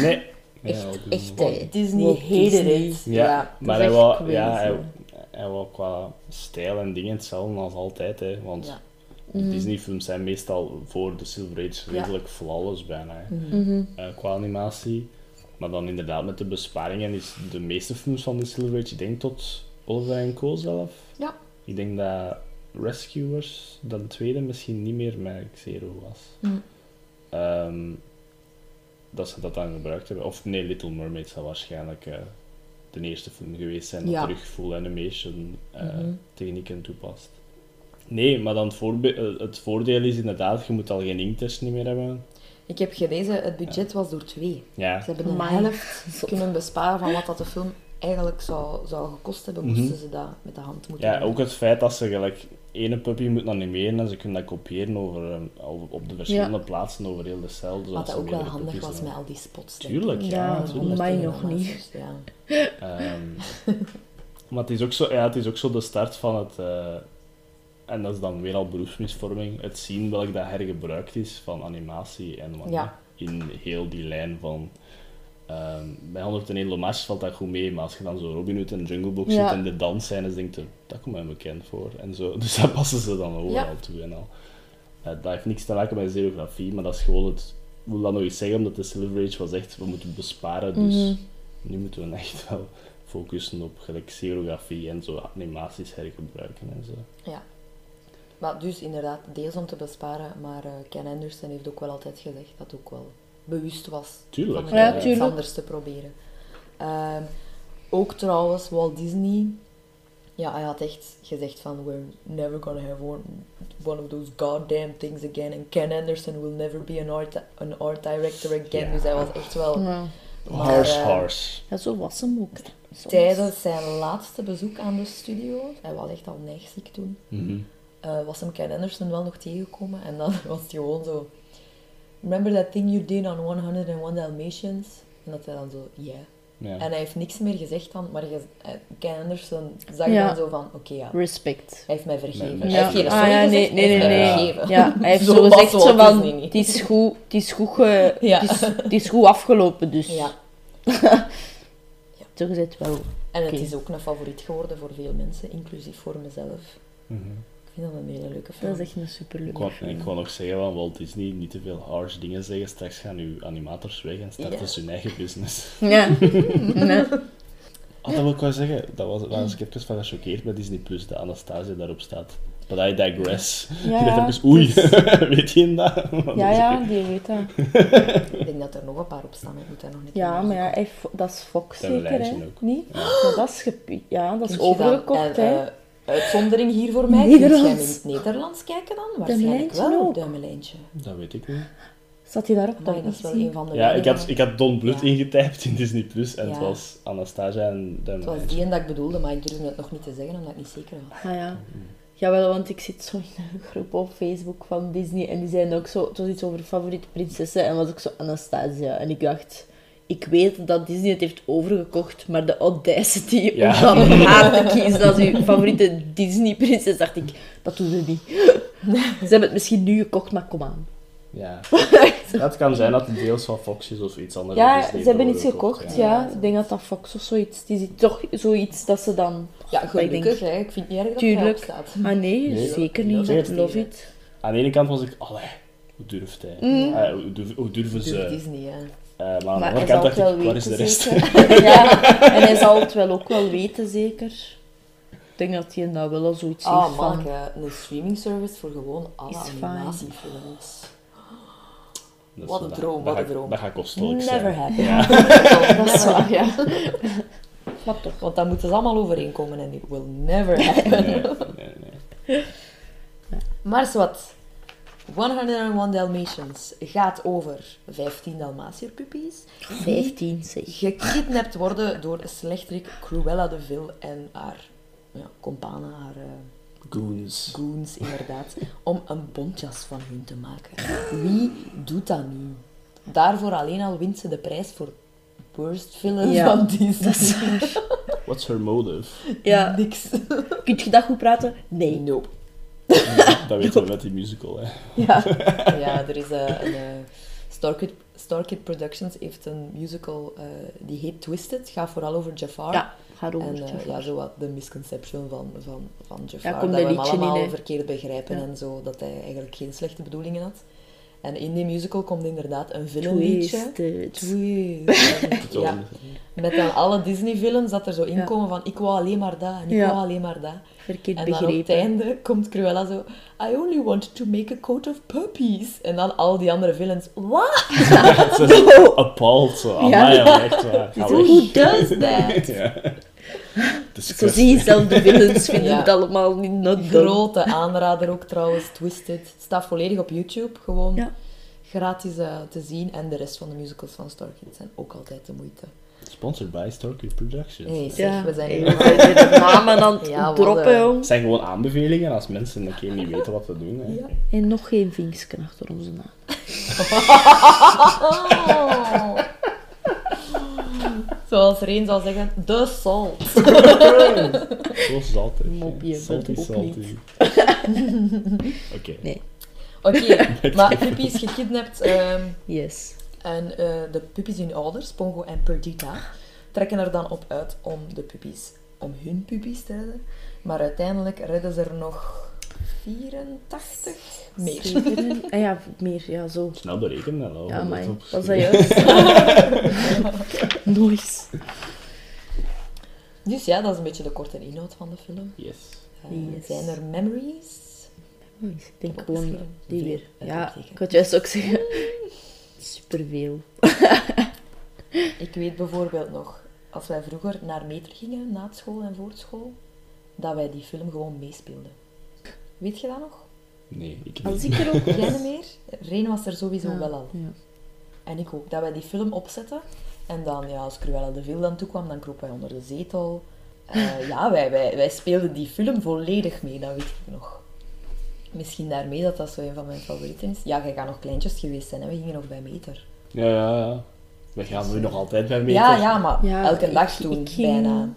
S2: Nee. Ja,
S3: Echt,
S2: ook
S3: echt,
S2: wel.
S3: hè.
S1: Walt Disney
S3: Walt
S1: hated
S3: Disney.
S1: it.
S2: Ja,
S1: Ja.
S2: maar
S3: is
S2: hij
S3: echt
S2: wou,
S3: crazy.
S2: ja, hij, hij wou qua stijl en dingen hetzelfde als altijd. Hè, want
S1: Ja.
S2: de
S3: Mm. Mm-hmm.
S2: Disney-films zijn meestal voor de Silver Age redelijk flawless bijna. Hè,
S1: Mhm.
S3: Mm-hmm.
S2: eh, qua animatie. Maar dan inderdaad met de besparingen is de meeste films van de Silver Age, ik denk tot Oliver en Co zelf.
S1: Ja.
S2: Ik denk dat Rescuers, dat tweede, misschien niet meer met Xero was.
S1: Mm.
S2: Ehm, dat ze dat dan gebruikt hebben. Of nee, Little Mermaid zou waarschijnlijk eh, de eerste film geweest zijn dat
S1: Ja.
S2: terug full animation eh,
S1: Mhm.
S2: technieken toepast. Nee, maar dan het, voorbe- eh, het voordeel is inderdaad, je moet al geen inktest niet meer hebben.
S1: Ik heb gelezen, het budget was door twee.
S2: Ja,
S1: Ze hebben een
S3: Amai.
S1: helft kunnen besparen van wat dat de film eigenlijk zou, zou gekost hebben, moesten
S2: Mhm.
S1: ze dat met de hand moeten
S2: Ja,
S1: doen.
S2: ook het feit dat ze gelijk ene puppy moet animeren en ze kunnen dat kopiëren over, ehm, over- op de verschillende plaatsen over heel de cel. zodat
S1: Wat
S2: ze
S1: dat ook wel
S2: meerdere
S1: handig
S2: puppies
S1: was
S2: hebben.
S1: met al die spots. denk ik. Eh,
S2: Tuurlijk, ja.
S3: Ja,
S2: natuurlijk.
S3: mij
S1: Ondertussen
S3: nog
S1: dan
S3: niet.
S1: was het, dus, Ja.
S2: Ehm, maar het is, ook zo, ja, het is ook zo de start van het... eh, en dat is dan weer al beroepsmisvorming. Het zien welk dat hergebruikt is van animatie en wat
S1: Ja.
S2: niet. In heel die lijn van... ehm, bij 101 Lomages valt dat goed mee, maar als je dan zo Robin Hood en Jungle Book
S3: Ja.
S2: ziet en de dansscènes, denk je, dat komt mij bekend voor. En zo. Dus daar passen ze dan overal
S1: Ja.
S2: toe en al. Eh, dat heeft niks te maken met serografie, maar dat is gewoon het... Ik wil dat nog eens zeggen, omdat de Silver Age was echt, we moeten besparen, dus...
S3: Mhm.
S2: Nu moeten we echt wel focussen op gelijk serografie en zo animaties hergebruiken en zo.
S1: Maar dus inderdaad, deels om te besparen, maar eh, Ken Anderson heeft ook wel altijd gezegd dat ook wel bewust was
S2: Tuurlijk,
S1: om
S3: ja,
S1: iets
S3: tuurlijk.
S1: anders te proberen. Ehm, ook trouwens Walt Disney, ja, hij had echt gezegd van we're never gonna have one, one of those goddamn things again and Ken Anderson will never be an art, an art director again.
S2: Ja.
S1: Dus hij was echt wel...
S3: Ja.
S1: Maar,
S2: Harsh,
S1: eh,
S2: harsh.
S3: ja, zo was hem ook. hè, soms.
S1: Tijdens zijn laatste bezoek aan de studio, hij was echt al neigziek toen,
S2: Mhm.
S1: eh, was hem Ken Anderson wel nog tegengekomen. En dan was het gewoon zo... Remember that thing you did on 101 Dalmatians? En dat hij dan zo, ja.
S2: Ja.
S1: En hij heeft niks meer gezegd dan, maar je, eh, Ken Anderson zag
S3: Ja.
S1: dan zo van, oké ja, hij
S3: Respect.
S1: heeft mij vergeven.
S2: Nee, nee.
S1: Hij heeft
S2: Ja.
S1: geen
S2: Ah,
S1: sorry gezegd,
S3: nee, nee,
S1: hij
S3: nee,
S1: heeft mij
S3: nee.
S1: vergeven.
S3: Ja, hij heeft
S1: Zo
S3: zo,
S1: was
S3: gezegd,
S1: Walt
S3: zo van,
S1: Disney niet.
S3: het is goed, het is goed, ge-
S1: Ja.
S3: het is, het is goed afgelopen, dus.
S1: Ja.
S3: Toch is het wel.
S1: En het
S3: Oké.
S1: is ook een favoriet geworden voor veel mensen, inclusief voor mezelf.
S2: Mhm.
S1: Ik vind dat een hele leuke film.
S3: Dat is echt een
S2: Ik, wou,
S3: superleuke
S2: ik wou nog zeggen van Walt Disney, niet te veel harsh dingen zeggen. Straks gaan uw animators weg en starten
S1: Ja.
S2: ze hun eigen business.
S3: Ja. Nee.
S2: Ah, dat wil ik wel zeggen. Dat was, daar was ik even van gechoqueerd bij Disney+, Plus, de Anastasia daarop staat. But I digress.
S3: Ja,
S2: ik
S3: ja,
S2: dacht even, dus oei,
S3: het
S2: weet je dat?
S3: Ja, ja, die weet dat.
S1: Ik denk dat er nog een paar op staan, maar ik moet daar nog niet
S3: Ja,
S1: in
S3: maar ja, hij fo- dat is Fox
S2: Dat hebben we
S3: zeker, hè?
S2: lijntje ook.
S3: Niet? Maar dat is, gepu- ja, dat is
S1: Kunt je dan
S3: overgekocht,
S1: een,
S3: hè?
S1: eh, uitzondering hier voor mij. Nederlands. Kun jij hem in het Nederlands kijken dan? Waarschijnlijk
S3: Duimelijntje
S1: wel,
S3: ook.
S1: duimelijntje.
S2: Dat weet ik niet.
S3: Zat hij daarop?
S1: Maar
S3: Dat
S1: dat
S3: is
S1: is wel een van de
S2: Ja, ik
S1: weinige-
S2: had, ik had Don Bluth
S1: Ja.
S2: ingetypt in Disney+, Plus en het
S1: Ja.
S2: was Anastasia en
S1: Het
S2: Duimelijntje.
S1: was die en dat ik bedoelde, maar ik durfde het nog niet te zeggen omdat ik niet zeker was.
S3: Ah ja. Jawel, want ik zit zo in een groep op Facebook van Disney en die zijn ook zo, het was iets over favoriete prinsessen en was ook zo Anastasia. En ik dacht, ik weet dat Disney het heeft overgekocht, maar de audacity
S2: Ja.
S3: om dan haar te kiezen als uw favoriete Disney prinses, dacht ik, dat doen we niet. Ze hebben het misschien nu gekocht, maar kom aan.
S2: Ja. Ja, het kan zijn dat het deels van Fox is of iets anders.
S3: Ja,
S2: Dat is
S3: ze hebben
S2: niet
S3: iets
S2: doorgekocht,
S3: gekocht,
S1: ja.
S3: ja. Ik denk dat dat Fox of zoiets, die ziet toch zoiets dat ze dan...
S1: Ja,
S3: denk-
S1: gelukkig. Hè. Ik vind het niet erg dat
S3: Tuurlijk.
S1: hij erop staat.
S3: Maar nee,
S2: Nee. Ah,
S3: zeker
S1: Dat is
S3: niet.
S1: echt
S3: Love
S1: niet,
S3: it.
S2: Aan de ene kant was ik, allee, hoe durft hij? Eh, hoe, durf- hoe durven ze?
S1: Durf Disney, hè.
S2: Eh, maar aan de
S3: Mm. Maar
S2: andere
S3: hij
S2: kant
S3: zal het
S2: dacht
S3: wel
S2: ik, waar
S3: weten,
S2: is de rest?
S3: zeker. ja, en hij zal het wel ook wel weten, zeker. Ik denk dat hij nou wel al zoiets heeft
S1: Ah,
S3: van...
S1: man, een streaming service voor gewoon alle
S3: Is fijn.
S1: animatiefilms.
S2: Dat is
S1: Wat een
S2: wel-
S1: droom,
S2: dat
S1: wat een
S2: ga-
S1: droom.
S2: Dat gaat kostelijk
S3: Never
S2: zijn.
S3: happen.
S1: Dat is waar, ja.
S3: Maar toch.
S1: Want dan moeten ze allemaal overeenkomen en it will never happen.
S2: Nee, nee, nee.
S1: Maar wat. 101 Dalmatians gaat over 15 Dalmatierpuppies
S3: 15, zeg.
S1: gekidnapt worden door slechterik Cruella de Vil en haar ja, companen, haar eh,
S4: Goons.
S1: goons inderdaad, om een bontjas van hun te maken. Wie doet dat nu? Daarvoor alleen al wint ze de prijs voor worst film
S3: Ja,
S1: van Disney.
S3: dat is
S2: What's her motive?
S3: Ja.
S1: Niks.
S3: Kun je dat goed praten? Nee.
S1: Nope.
S2: Dat weten we met die musical, hè.
S3: Ja.
S1: Ja, er is eh, een... eh, Starkid, Starkid Productions heeft een musical eh, die heet Twisted. Het gaat vooral over Jafar.
S3: Ja, gaat
S1: En
S3: over.
S1: eh,
S3: Jafar.
S1: ja, zo wat de misconception van, van, van Jafar.
S3: komt
S1: dat
S3: dat
S1: we hem
S3: liedje in,
S1: allemaal
S3: hè?
S1: verkeerd begrijpen
S3: Ja.
S1: en zo. Dat hij eigenlijk geen slechte bedoelingen had. En in die musical komt inderdaad een filmliedje.
S3: Twisted.
S1: Twisted.
S2: Zo.
S1: ja, met dan alle Disney films dat er zo in
S3: Ja.
S1: komen van ik wou alleen maar dat en ik
S3: Ja.
S1: wou alleen maar dat.
S3: Verkeerd
S1: En dan op het
S3: begrepen.
S1: einde komt Cruella zo... I only want to make a coat of puppies. En dan al die andere villains... What?
S2: Ze is appalled, zo. Amai,
S3: Ja.
S2: maar echt waar. Ga weg.
S1: Who does that?
S2: Ja.
S3: Zo zie je zelf de villains vinden
S1: Ja.
S3: het allemaal niet not done.
S1: Grote aanrader ook trouwens, Twisted. Het staat volledig op YouTube, gewoon
S3: Ja.
S1: gratis eh, te zien. En de rest van de musicals van Starkid zijn ook altijd de moeite.
S2: Sponsored by Starkid Productions.
S1: Nee, zeg,
S3: Ja,
S1: we zijn
S3: Hey,
S1: helemaal-
S3: we zijn de namen aan het
S1: Ja, wat,
S3: droppen,
S1: eh,
S2: Het
S3: jong.
S2: zijn gewoon aanbevelingen als mensen een keer niet weten wat we doen. Hè.
S3: En nog geen vinksken achter onze naam.
S1: Oh. Zoals Reen zou zeggen, de salt.
S2: Zoals het altijd. hè.
S3: Mopje, dat
S2: Salty,
S3: ook
S2: salty.
S3: niet.
S2: Oké.
S3: Nee.
S1: Oké, maar Puppy is gekidnapt. ehm,
S3: Yes.
S1: En eh, de puppies hun ouders, Pongo en Perdita, trekken er dan op uit om de puppies, om hun puppies te redden. Maar uiteindelijk redden ze er nog 84 meer.
S3: Zeven- Ah ja, meer, ja, zo.
S2: Snel berekenen al.
S3: Ja, maar
S2: Dat is
S3: was
S2: op-
S3: Oh, dat juist? Nice.
S1: Dus ja, dat is een beetje de korte inhoud van de film.
S2: Yes.
S1: Eh,
S3: Yes.
S1: Zijn er memories?
S3: Ik denk
S1: Ook
S3: gewoon
S1: misschien
S3: die
S1: veel
S3: weer. Ja,
S1: uitroepteken.
S3: ik had juist ook zeggen. Superveel.
S1: Ik weet bijvoorbeeld nog, als wij vroeger naar meter gingen, na het school en voor het school, dat wij die film gewoon meespeelden. Weet je dat nog?
S2: Nee, ik
S3: Als
S2: niet.
S3: ik er ook
S1: Jij niet meer? Reen was er sowieso wel al.
S3: Ja.
S1: En ik ook. Dat wij die film opzetten. En dan, ja, als Cruella de Vil dan toekwam, dan kroop wij onder de zetel. Eh, ja, wij, wij, wij speelden die film volledig mee, dat weet ik nog. Misschien daarmee dat dat zo een van mijn favorieten is. Ja, jij gaat nog kleintjes geweest zijn, hè? we gingen nog bij meter.
S2: Ja, ja, ja. We gaan nu nog altijd bij meter.
S1: Ja, ja, maar
S3: Ja,
S1: elke
S3: ik-
S1: dag toen,
S3: ik ging-
S1: bijna.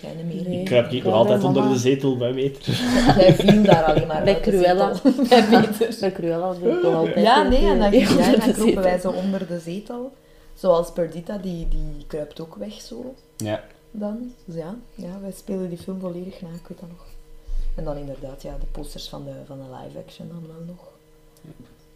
S1: Jij niet meer.
S3: Nee.
S2: Ik kruip hier nog
S3: Ja,
S2: altijd
S3: bij
S2: onder
S3: mama.
S2: de zetel bij meter.
S1: Jij viel daar alleen maar
S3: Bij
S1: uit dus de
S3: Cruella.
S1: zetel. bij meter.
S3: Bij Cruella wil ik nog altijd. eh,
S1: Ja, nee, en dan,
S3: Ja,
S1: ja,
S3: dat
S1: dan
S3: is
S1: kropen wij
S3: het.
S1: zo onder de zetel. Zoals Perdita, die, die kruipt ook weg zo.
S2: Ja.
S1: dan. Dus ja, ja, wij spelen die film volledig na, ik weet dat nog. En dan inderdaad, ja, de posters van de, van de live action dan wel nog.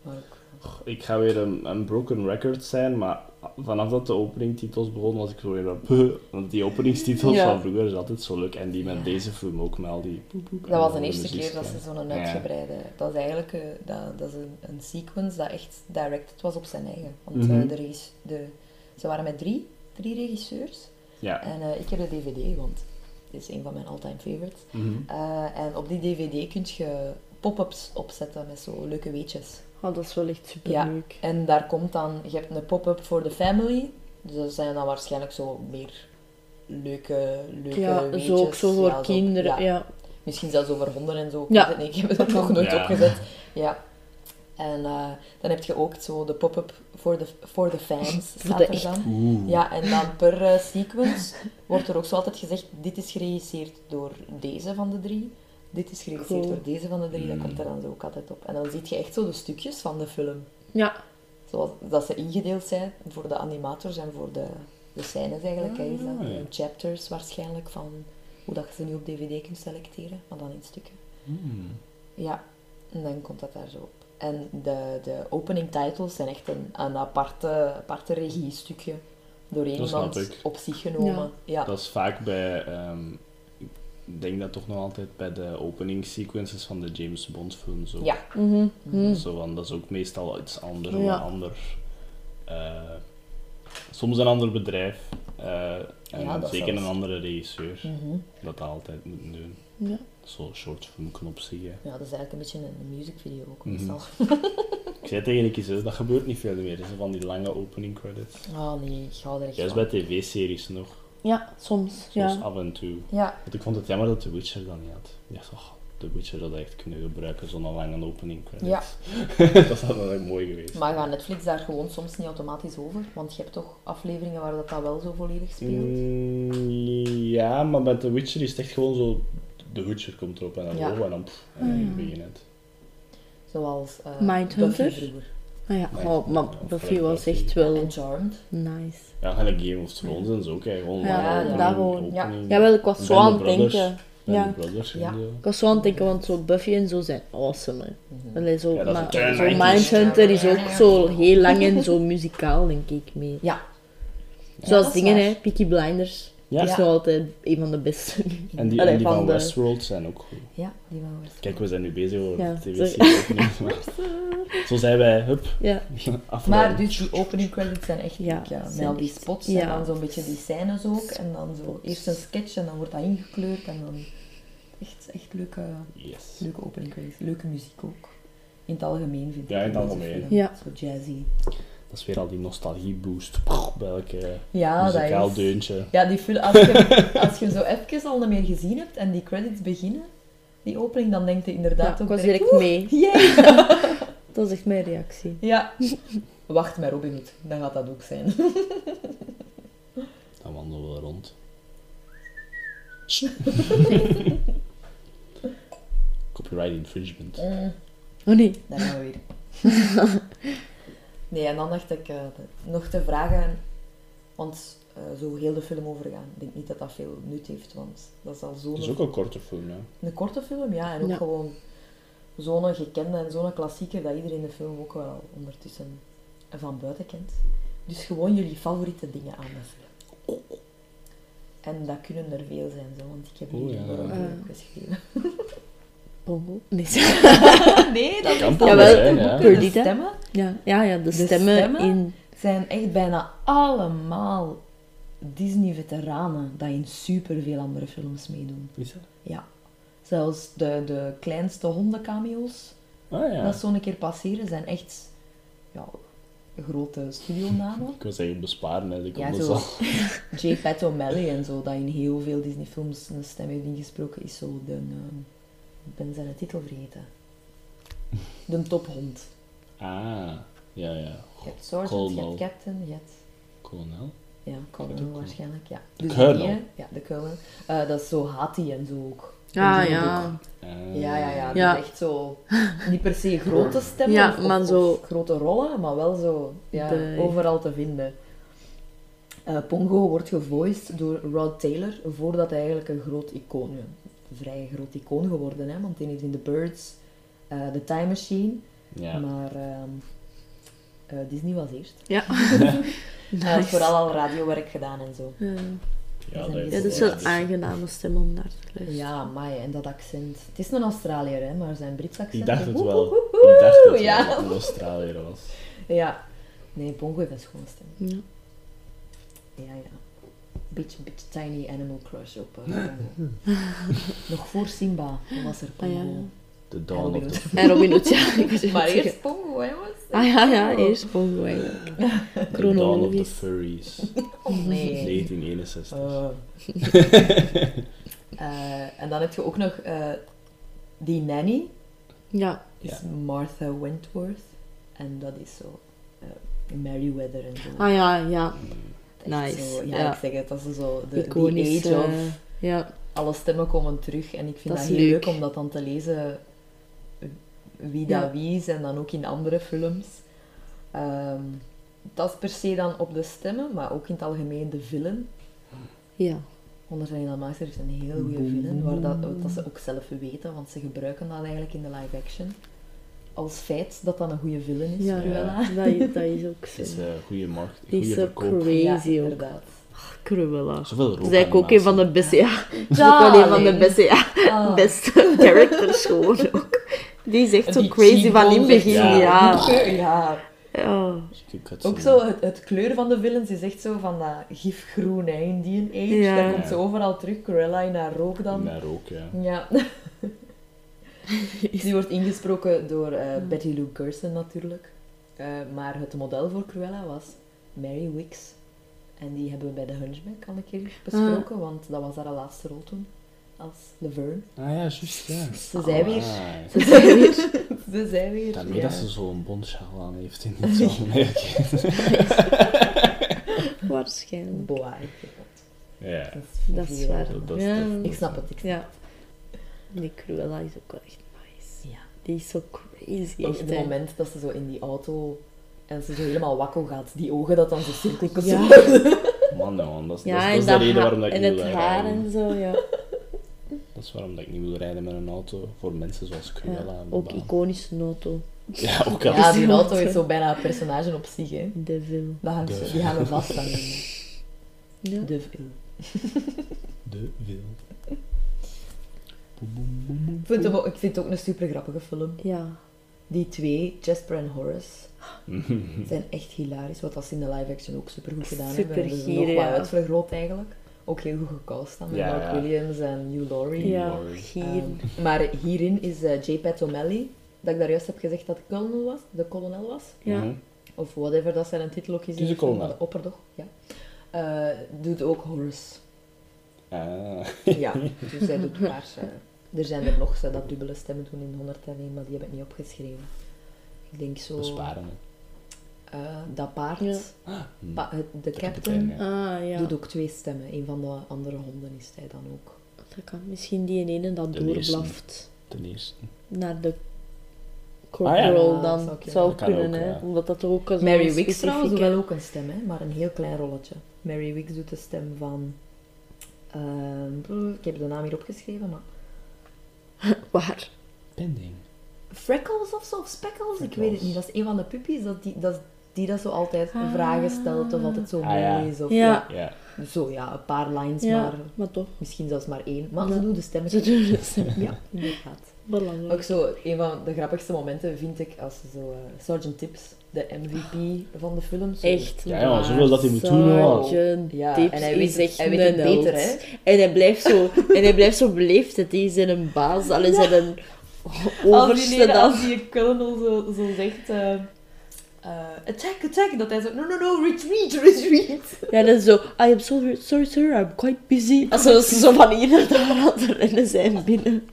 S1: Maar ook,
S2: Ik ga weer een, een broken record zijn, maar vanaf dat de openingtitels begonnen was ik zo weer op. Want die openingstitels
S3: Ja.
S2: van vroeger is altijd zo leuk. En die met deze film ook met al die. poep, poep en
S1: dat was
S2: alle
S1: de eerste
S2: muziek.
S1: keer dat ze zo'n
S2: Oh, Ja.
S1: uitgebreide... Dat is eigenlijk eh, dat, dat is een, een sequence dat echt directed was op zijn eigen. Want eh,
S2: Mhm.
S1: de regis- de, ze waren met drie, drie regisseurs.
S2: Ja.
S1: En eh, ik heb de dvd, want dit is een van mijn all-time favorites.
S2: Mhm.
S1: Eh, en op die dvd kun je pop-ups opzetten met zo leuke weetjes.
S3: Oh, dat is wel echt
S1: Ja.
S3: superleuk.
S1: En daar komt dan, je hebt een pop-up voor de family. Dus dat zijn dan waarschijnlijk zo meer leuke, leuke
S3: Ja,
S1: weetjes.
S3: zo ook zo voor
S1: Ja,
S3: kinderen.
S1: ja.
S3: Ja.
S1: Misschien zelfs over honden en zo. Ik,
S3: Ja.
S1: weet het niet, ik heb dat nog nooit
S2: Ja.
S1: opgezet. Ja. En eh, dan heb je ook zo de pop-up voor de, voor de fans, staat
S3: de
S1: er
S3: echt-
S1: dan.
S2: Oeh.
S1: Ja, en dan per eh, sequence wordt er ook zo altijd gezegd, dit is geregisseerd door deze van de drie. Dit is geregisseerd
S3: Cool.
S1: door deze van de drie.
S2: Hmm.
S1: Dat komt er dan zo ook altijd op. En dan zie je echt zo de stukjes van de film.
S3: Ja.
S1: Zoals dat ze ingedeeld zijn voor de animators en voor de, de scènes eigenlijk. hè, is dat.
S2: Ah, ja.
S1: En Chapters waarschijnlijk van hoe dat je ze nu op dvd kunt selecteren, maar dan in stukken.
S2: Hmm.
S1: Ja, en dan komt dat daar zo op. En de, de opening titles zijn echt een, een aparte, aparte regiestukje door één
S2: Dat snap
S1: iemand
S2: ik.
S1: op zich genomen. Ja, ja.
S2: Dat is vaak bij, ehm, ik denk dat toch nog altijd bij de opening sequences van de James Bond films ook.
S1: Ja.
S3: Mhm. Mhm.
S2: Zo, van, dat is ook meestal iets anders, of
S3: Ja.
S2: een ander, eh, soms een ander bedrijf eh, en
S1: Ja, dat
S2: zeker
S1: zelfs.
S2: een andere regisseur
S1: Mhm.
S2: dat dat altijd moeten doen.
S3: Ja.
S2: Zo'n short filmknop zie je.
S1: Ja, dat is eigenlijk een beetje een music video ook
S2: Mhm.
S1: meestal.
S2: Ik zei tegen een keer zus, dat gebeurt niet veel meer, zo van die lange opening credits.
S1: Oh nee, ik hou er echt
S2: Juist
S1: van.
S2: bij tv-series nog.
S3: Ja, soms.
S2: Soms
S3: ja.
S2: af en toe.
S1: Ja,
S2: Want ik vond het jammer dat The Witcher dat niet had. Ik dacht, oh, The Witcher had echt kunnen gebruiken zonder lange opening credits.
S1: Ja.
S2: dat had wel echt mooi geweest.
S1: maar gaat Netflix daar gewoon soms niet automatisch over? Want je hebt toch afleveringen waar dat, dat wel zo volledig speelt?
S2: Mm, ja, maar met The Witcher is het echt gewoon zo... The Witcher komt erop en dan
S1: Ja. Mm.
S2: wow, en dan... Pff, en
S3: Ah, ja.
S2: dan begin je het.
S1: Zoals eh
S3: Mindhunter?
S1: Buffy vroeger.
S3: Ah ja,
S2: Nee.
S3: oh, maar
S2: Ja, of
S3: Buffy
S2: gelijk
S3: was
S2: Buffy.
S3: echt wel
S1: En Charmed.
S3: nice.
S2: Ja, en Game of Thrones en zo, kijk. Gewoon
S3: Ja,
S2: lange opening,
S3: daarom.
S1: Ja.
S2: opening.
S3: Jawel, ik was zo
S2: Band of
S3: aan het
S2: Brothers.
S3: denken.
S2: Band
S3: ja.
S2: of Brothers en
S1: Ja.
S2: zo.
S3: Ik was zo aan het denken, want zo Buffy en zo zijn awesome. Hè.
S1: Mhm.
S3: Allee, zo,
S2: Ja, dat is
S3: maar
S2: een turn
S3: zo
S2: right.
S3: Mindhunter is ook zo heel lang en zo muzikaal, denk ik, mee.
S1: Ja.
S3: Zoals
S1: dat is
S3: dingen,
S1: waar.
S3: hè, Peaky Blinders.
S2: Ja.
S3: Dat is nog altijd een van de beste.
S2: En die,
S3: Allee,
S2: en die
S3: van
S2: van,
S3: de-
S2: Westworld zijn ook goed.
S1: Ja, die wou ik.
S2: Kijk, we zijn nu bezig over
S3: Ja,
S2: de
S3: sorry.
S2: tv-serie. opnieuw, maar Zo zijn wij, hup,
S3: Ja.
S1: Maar
S2: afgelopen.
S1: dus die opening credits zijn echt
S3: Ja,
S1: ja, met
S3: zijn
S1: al die
S3: echt-
S1: spots
S3: ja.
S1: en dan zo'n beetje die scènes ook. En dan zo eerst een sketch en dan wordt dat ingekleurd en dan echt, echt leuke,
S2: Yes.
S1: leuke opening credits. Leuke muziek ook. In het algemeen vind ik.
S2: Ja, in het
S1: deze
S2: algemeen.
S1: film.
S3: Ja.
S1: Zo jazzy.
S2: Dat is weer al die nostalgie-boost bij elke
S1: Ja,
S2: muzikaal
S1: Ah, dat is...
S2: deuntje.
S1: Ja, die film, als je, als je zo even al niet meer gezien hebt en die credits beginnen, die opening, dan denk je inderdaad
S3: Ja, ik
S1: ook
S3: was
S1: direct,
S3: direct mee.
S1: "Oeh, yay."
S3: Dat is echt mijn reactie.
S1: Ja. Wacht met Robin Hood, dan gaat dat ook zijn.
S2: Dan wandelen we rond. Copyright infringement.
S3: Oh nee.
S1: Daar gaan we weer. nee, en dan dacht ik eh, nog te vragen, want eh, zo heel de film overgaan. Ik denk niet dat dat veel nut heeft, want dat is al
S2: Dat
S1: zo'n
S2: is ook een korte film, ja.
S1: een korte film, ja, en ook
S3: Ja.
S1: gewoon zo'n gekende en zo'n klassieker dat iedereen de film ook wel ondertussen van buiten kent. Dus gewoon jullie favoriete dingen aan de film. En dat kunnen er veel zijn, zo, want ik heb
S2: Oeh,
S1: hier
S2: Oh, ja.
S1: gewoon
S3: Eh.
S1: een geschreven.
S3: Pongo. Nee.
S1: nee, dat
S2: Kan
S1: is
S2: Pongo
S3: Jawel,
S2: zijn, ja.
S1: De
S3: Perdita.
S1: stemmen
S3: Ja, ja, ja de, stemmen,
S1: stemmen?
S3: in...
S1: zijn echt bijna allemaal Disney-veteranen dat in superveel andere films meedoen.
S2: Is dat?
S1: Ja. Zelfs de, de kleinste hondencameo's
S2: Ah ja.
S1: dat zo een keer passeren zijn echt ja, grote studionamen.
S2: Ik was eigenlijk besparen, hè. Ik
S1: Ja,
S2: kon dat
S1: zo.
S2: al.
S1: J. Pat O'Malley en zo, dat in heel veel Disney-films een stem heeft ingesproken, is zo de. ehm, ik ben zijn titel vergeten. De tophond.
S2: Ah, ja, ja.
S1: Je hebt Sergeant, je hebt
S2: Colonel.
S1: Captain, je hebt
S2: Kolonel?
S1: Ja, Colonel waarschijnlijk, ja.
S2: De Colonel.
S1: die, hè? ja, de Colonel. Eh, dat is zo Hati en zo ook.
S3: Ah
S1: Die ook.
S3: ja.
S2: Ah.
S1: Ja, ja, ja.
S3: Ja.
S1: Dat is echt zo... Niet per se grote stemmen
S3: Ja,
S1: of- of,
S3: maar zo-
S1: of grote rollen, maar wel zo ja,
S3: De-
S1: overal te vinden. Eh, Pongo wordt gevoiced door Rod Taylor, voordat hij eigenlijk een groot icoon... ja, een vrij groot icoon geworden, hè. Want hij heeft in The Birds, eh, The Time Machine...
S2: Ja.
S1: Maar ehm, eh, Disney was eerst.
S3: Ja.
S1: Hij had
S3: Nice.
S1: vooral al radiowerk gedaan en zo.
S3: Ja,
S2: Ja,
S1: Ja,
S2: dat
S3: dat is
S2: wel
S3: wel een aangename stem om naar te
S2: Dus-
S3: luisteren.
S1: Ja, amai, en dat accent. Het is een Australiër, hè, maar zijn Brits accent...
S2: Ik dacht het
S1: woe,
S2: wel.
S1: woe, woe,
S2: Ik dacht het
S1: woe, ja.
S2: wel dat het een Australiër was.
S1: Ja. Nee, Pongo heeft een schone stem.
S3: Ja.
S1: Ja, ja. Beetje, beetje tiny animal crush op eh, Pongo. Nog voor Simba was er
S3: Ah, ja.
S1: Pongo.
S2: The Dawn of the...
S3: En Robin Hood, ja. ik was
S1: Maar
S3: het
S1: eerst
S3: zeggen.
S1: Pongo, hè, jongens. Oh.
S3: Ah ja, ja, eerst Pongo eigenlijk.
S2: The Dawn of the
S3: Chronologisch.
S2: Furries.
S1: Oh, nee.
S2: 1961.
S3: Oh.
S1: Eh. Eh, en dan heb je ook nog eh, die nanny.
S3: Ja.
S1: is Martha Wentworth. En dat is zo eh Merryweather en zo.
S3: Ah ja, ja.
S1: Dat is echt
S3: nice,
S1: Zo, ja,
S3: ja.
S1: ik zeg het, dat is zo de the
S3: Iconisch.
S1: age of.
S3: eh, ja.
S1: Alle stemmen komen terug en ik vind
S3: Dat
S1: dat,
S3: is
S1: heel
S3: leuk.
S1: leuk. om dat dan te lezen eh, wie
S3: Ja.
S1: dat wie is en dan ook in andere films. Ehm, dat is per se dan op de stemmen, maar ook in het algemeen de villain.
S3: Ja.
S1: Onder zijn Dalmatiërs heeft een heel goede villain, waar dat, dat ze ook zelf weten, want ze gebruiken dat eigenlijk in de live action. Als feit dat dat een goede villain is,
S3: Ja,
S1: Cruella.
S3: Dat, is- dat is ook
S2: Het is
S3: zo.
S2: een goede markt,
S3: Die
S2: goede
S3: is zo
S2: verkoop.
S3: crazy
S1: ja,
S3: ook.
S1: inderdaad.
S3: Cruella.
S2: Zoveel rook
S3: Dat is eigenlijk ook een van de beste, ja. Dat is ook
S1: Ja,
S3: wel een van de
S1: alleen.
S3: beste, ja.
S1: Ah.
S3: Beste characters gewoon ook. Die is echt zo
S1: Die
S3: crazy van in het
S1: cheekbones,
S3: begin,
S2: ja.
S3: ja.
S1: eh,
S3: Oh,
S1: Ja.
S3: Ja.
S1: Ook zo,
S3: eh,
S1: het, het kleur van de villains is echt zo van dat gifgroen, hè, in die age.
S3: Ja.
S1: Daar komt ze overal terug. Cruella in haar rook dan.
S2: Naar rook, ja.
S1: Ja. Die wordt ingesproken door eh, Betty Lou Gerson natuurlijk. Eh, maar het model voor Cruella was Mary Wicks. En die hebben we bij de Hunchback al een
S3: Ah.
S1: keer besproken, want dat was haar laatste rol toen. Als Laverne.
S2: Ah ja, juist, ja.
S1: Ze zijn weer.
S2: Ah,
S1: Ze zijn weer. Ze zijn weer.
S2: Daarmee
S1: ja.
S2: dat ze zo'n bonsjaal aan heeft in dit zo'n merk.
S3: Waarschijnlijk.
S1: Boa, ik weet het.
S2: Ja,
S1: Dat is
S3: Dat is
S1: vervelend.
S3: waar.
S2: dat- dat is-
S3: ja.
S2: dat-
S1: Ik snap het. Ik snap
S3: ja. Die Cruella is ook wel echt nice.
S1: het. Ja.
S3: Die is zo crazy.
S1: Ook
S3: Echt,
S1: het
S3: hè.
S1: moment dat ze zo in die auto en ze zo helemaal wakkel gaat, die ogen dat dan zo cirkeltjes
S3: Ja.
S1: worden.
S2: Man, nou, man, dat is,
S3: Ja,
S2: dat is,
S3: en
S2: dat is de
S3: dat
S2: reden
S3: haar-
S2: waarom dat ik
S3: en
S2: niet
S3: het
S2: wil
S3: haar
S2: rijden.
S3: en zo, ja.
S2: Dat is waarom dat ik niet wil rijden met een auto voor mensen zoals
S3: Ja,
S2: Cruella. en
S3: Ook
S2: Baan.
S3: iconische noto.
S2: Ja, ook al.
S1: Ja, die auto is zo bijna een personage op zich, hè.
S3: Devil.
S1: Dat hangt zo-
S2: De-
S1: die hangen vast aan de
S3: Ja.
S1: de
S2: De wil. Boem, boem, boem, boem.
S1: Ik vind, hem ook- ik vind het ook een super grappige film.
S3: ja.
S1: Die twee, Jasper en Horace, zijn echt hilarisch. Wat dat ze in de live-action ook super goed gedaan hebben.
S3: Supergier,
S1: hebben. ze nog
S3: ja.
S1: wat uitvergroot eigenlijk. Ook heel goed gecast dan met
S2: Ja,
S1: Mark
S2: ja.
S1: Williams en Hugh Laurie.
S3: Ja,
S2: Laurie.
S3: hier.
S1: Ehm, maar hierin is eh, J. Pat O'Malley, dat ik daar juist heb gezegd dat de kolonel was, de kolonel was.
S3: ja.
S2: Mhm.
S1: Of whatever dat zijn titel ook is. dus
S2: Het is een kolonel.
S1: De opperdocht, ja. Eh, doet ook Horace.
S2: Ah,
S1: Ja, dus zij doet haar. eh, er zijn er nog, zij dat dubbele stemmen doen in 101, maar die heb ik niet opgeschreven. Ik denk zo...
S2: besparen. hè.
S1: eh, dat paard,
S3: Ja.
S2: Hm.
S1: pa- het- de
S2: De
S1: captain,
S2: ja.
S3: Ah, ja.
S1: doet ook twee stemmen. Een van de andere honden is hij dan ook.
S3: Dat kan. Misschien die ene dat
S2: De Ah, eerste.
S3: doorblaft
S2: Ten eerste.
S3: naar de corporal
S1: Ah, ja.
S3: dan.
S1: Ja, dat zou
S3: zou
S2: kunnen.
S3: kunnen,
S2: Dat kan
S3: hè.
S2: ook, ja.
S3: Omdat dat ook een
S1: Mary
S3: zo'n
S1: Wicks trouwens doet
S3: specifieke-
S1: wel ook een stem, hè, maar een heel klein rolletje. Mary Wicks doet de stem van... ehm, brr, ik heb de naam hier opgeschreven, maar...
S3: Waar?
S2: Pending.
S1: Freckles of zo, of Speckles? Ik
S2: Freckles.
S1: weet het niet. Dat is een van de puppies dat die, dat, die dat zo altijd
S3: Ah.
S1: vragen stelt of altijd zo
S2: Ah,
S1: mooi
S2: ja.
S1: is. Of,
S3: Ja.
S2: Ja.
S1: ja. Zo ja, een paar lines,
S3: Ja,
S1: maar
S3: maar toch.
S1: misschien zelfs maar één. Maar
S3: Ja.
S1: ze doet de stem.
S3: Ze doen het zo.
S1: Ja, inderdaad.
S3: Belangrijk.
S1: Ook zo, een van de grappigste momenten vind ik als ze zo eh, Sergeant Tips, de MVP van de film. Zo.
S3: Echt
S2: Ja, ja,
S3: waar.
S2: zoveel dat hij moet doen, ja.
S3: Sergeant
S1: Ja,
S3: Tips
S1: en hij
S3: is
S1: weet,
S3: echt
S1: hij weet het
S3: een held.
S1: beter, hè?
S3: En hij blijft zo, en hij blijft zo beleefd. Het is in een baas, al is het een
S1: Als
S3: overste
S1: die,
S3: dan.
S1: als die colonel zo, zo zegt, eh, eh, attack, attack, dat hij zo, no, no, no, retreat, retreat.
S3: Ja, dat is zo, I am so sorry sir, I'm quite busy. Als ze zo van hier naar daar aan het rennen zijn binnen.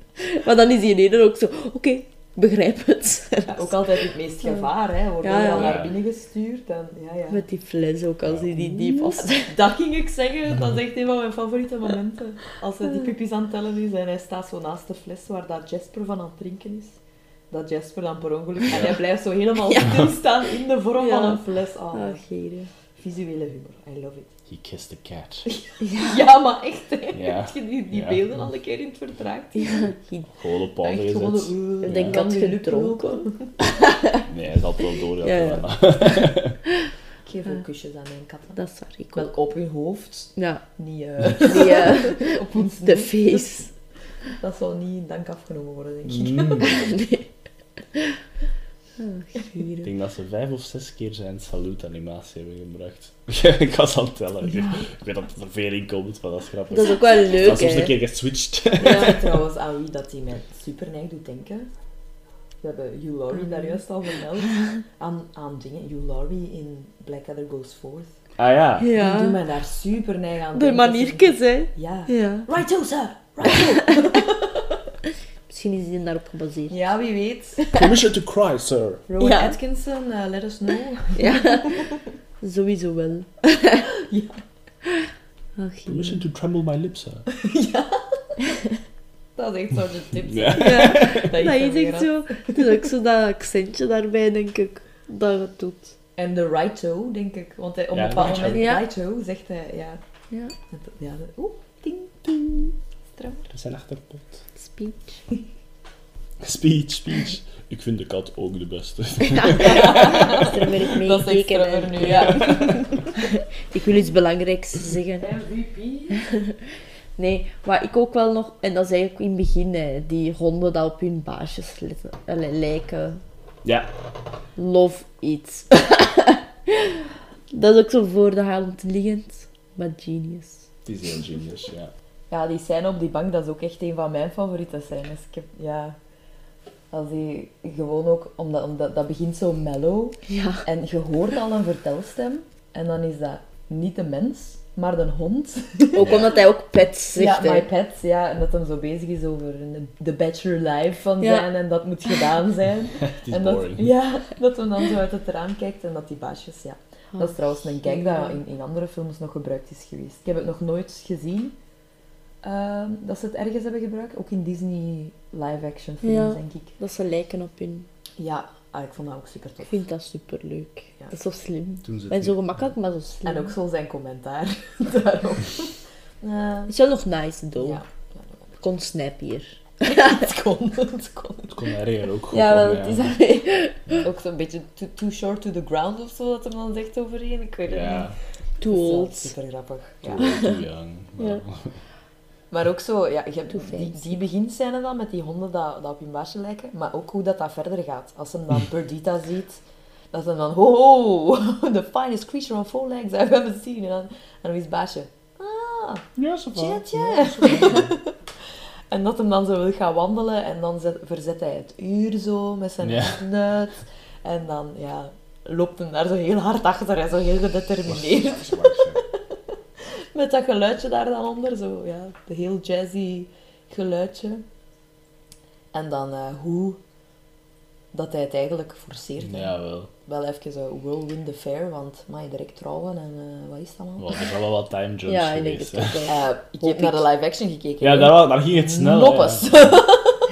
S3: Maar dan is die ene ook zo, oké, ik begrijp het.
S1: Ja, ook altijd het meest gevaar, hè. Wordt
S3: Ja, ja.
S1: dan naar
S2: Ja.
S1: binnen gestuurd en, ja, ja.
S3: Met die fles ook, als hij die diep vast...
S1: Dat ging ik zeggen, dat is echt een van mijn favoriete momenten. Als hij die puppies aan het tellen is en hij staat zo naast de fles waar dat Jasper van aan het drinken is. Dat Jasper dan per ongeluk... En hij blijft zo helemaal stilstaan in de vorm
S3: Ja.
S1: van een fles. Ah,
S3: Ach, hier. hè.
S1: Visuele humor, I love it.
S2: He kissed the cat.
S1: Ja, maar echt, hè.
S2: Ja.
S1: Heb je die, die
S2: Ja.
S1: beelden al een keer in het vertraagd?
S3: Ja, die-
S2: Gewoon op pauze
S1: Echt gewoon
S2: gezet.
S1: de...
S3: Ik
S1: eh,
S3: denk
S1: dan
S3: dat
S1: die
S3: je
S1: lup
S3: dronken.
S1: lopen.
S2: Nee, hij zal het wel door.
S3: Ja,
S2: Ja,
S3: ja.
S1: Ik geef ook kusjes aan mijn katten.
S3: Dat is waar, ik
S1: Wel
S3: ook.
S1: op hun hoofd,
S3: Ja,
S1: niet eh,
S3: die, eh,
S1: op hun
S3: de
S1: snoet.
S3: face.
S1: Dat zal niet in dank afgenomen worden, denk ik.
S2: Mm.
S3: Nee. Ah, Ach, hier.
S2: Ik
S3: hè.
S2: denk dat ze vijf of zes keer zijn salutanimatie hebben gebruikt. ik was aan het tellen. Ik weet dat het er veel in komt, maar dat is grappig.
S3: Dat is ook wel
S2: Dat is
S3: leuk,
S2: soms een
S3: hè.
S2: keer geswitcht.
S1: Ja. trouwens aan wie dat die mij super neig doet denken. We hebben Hugh Laurie daar juist al vermeld. Aan, aan dingen. Hugh Laurie in Blackadder Goes Forth.
S2: ah ja.
S1: Die doen
S3: Ja,
S1: mij daar super neig aan
S3: de
S1: denken.
S3: maniertjes, hè.
S1: Ja.
S3: Ja.
S1: Righto, sir! Righto!
S3: Misschien is die daarop gebaseerd.
S1: ja, wie weet.
S2: Permission to cry, sir.
S1: Rowan
S3: Ja.
S1: Atkinson, eh, let us know.
S3: Ja, sowieso wel.
S1: Ja.
S3: Ach, hier.
S2: Permission to tremble my lips, sir.
S1: Dat is echt zo'n tip.
S2: Ja.
S3: Ja,
S1: Dat
S3: dat
S1: hem
S3: is
S1: weer
S3: echt
S1: af.
S3: zo. Het is ook zo dat accentje daarbij, denk ik, dat het doet.
S1: En de righto, denk ik. Want hij, op
S2: Ja,
S1: een bepaald
S2: righto.
S1: moment,
S3: Ja.
S1: righto, zegt hij, ja.
S3: Ja,
S1: Het- ja dat- Oeh, ting.
S2: Er zijn achterpot.
S3: speech.
S2: Speech, speech. Ik vind de kat ook de beste.
S3: Als er weer mee
S1: Dat is
S3: gekeken
S1: extra
S3: en-
S1: voor nu, ja.
S3: Ik wil iets belangrijks zeggen.
S1: MVP.
S3: Nee, maar ik ook wel nog... En dat is eigenlijk in het begin, hè, die honden dat op hun baasjes letten- eh, lijken.
S2: Ja.
S3: Love it. dat is ook zo voor de hand liggend. Maar genius.
S2: Het is heel genius, ja.
S5: Ja, die scène op die bank, dat is ook echt een van mijn favoriete scènes. Ik heb, ja... Als die gewoon ook... Omdat, omdat, dat begint zo mellow.
S3: Ja.
S5: En je hoort al een vertelstem. En dan is dat
S1: niet de mens, maar de hond.
S3: Ook omdat hij ook pet
S1: ja,
S3: zegt. hè.
S1: my pet, ja. En dat hem zo bezig is over een- de bachelor life van
S3: Ja.
S1: zijn en dat moet gedaan zijn.
S2: Het is
S1: en dat,
S2: boring.
S1: ja, dat hem dan zo uit het raam kijkt en dat die baasjes, ja.
S3: Ah,
S1: Dat is trouwens een gag
S3: ja.
S1: dat in, in andere films nog gebruikt is geweest. Ik heb het nog nooit gezien ehm, dat ze het ergens hebben gebruikt. Ook in Disney live-action films,
S3: Ja.
S1: denk ik.
S3: Dat ze lijken op hun.
S1: Ja, ah, ik vond dat ook super
S3: Ik
S1: tof.
S3: vind dat superleuk.
S1: Ja.
S3: Dat is zo slim.
S2: Toen ze
S3: En
S2: het
S3: zo gemakkelijk, maar zo slim.
S1: En ook zo zijn commentaar daarop. Eh,
S3: Het is wel nog nice, though.
S1: ja,
S3: Het kon snap hier.
S1: het kon, het kon.
S2: het kon erger ook goed.
S4: Ja,
S2: van,
S4: wel, het is daarmee.
S1: Ook zo'n beetje too, too short to the ground of zo, dat hem dan zegt over één. Ik weet het niet.
S2: Ja,
S3: Too old.
S1: Super grappig.
S2: too
S1: Ja.
S2: old, too young.
S3: Ja.
S1: Maar ook zo, ja, je hebt
S3: Too
S1: die,
S3: fancy.
S1: die beginscène dan met die honden dat, dat op hun baasje lijken, maar ook hoe dat, dat verder gaat. Als hem dan Perdita ziet, dat ze dan ho ho, the finest creature on four legs I've ever seen. En dan, en hoe is het baasje? Ah,
S2: Ja, zo
S1: tja
S2: van.
S1: tja. En dat hem dan zo wil gaan wandelen en dan zet- verzet hij het uur zo met zijn
S2: Ja.
S1: snuit. En dan ja, loopt hem daar zo heel hard achter en zo heel gedetermineerd. Met dat geluidje daar dan onder, zo, ja, de heel jazzy geluidje. En dan eh, hoe dat hij het eigenlijk forceert. hè.
S2: Ja, wel.
S1: Wel even eh, een whirlwind affair, want mag je direct trouwen en eh, wat is dat man?
S2: Wel, Er zijn wel wat time jumps
S3: Ja, ik denk
S2: geweest. hè.
S3: het ook wel.
S1: Eh, ik
S3: Hoop
S1: heb naar de
S3: ik.
S1: live action gekeken.
S2: Ja, daar, wa- daar ging het snel. hè.
S1: Noppes.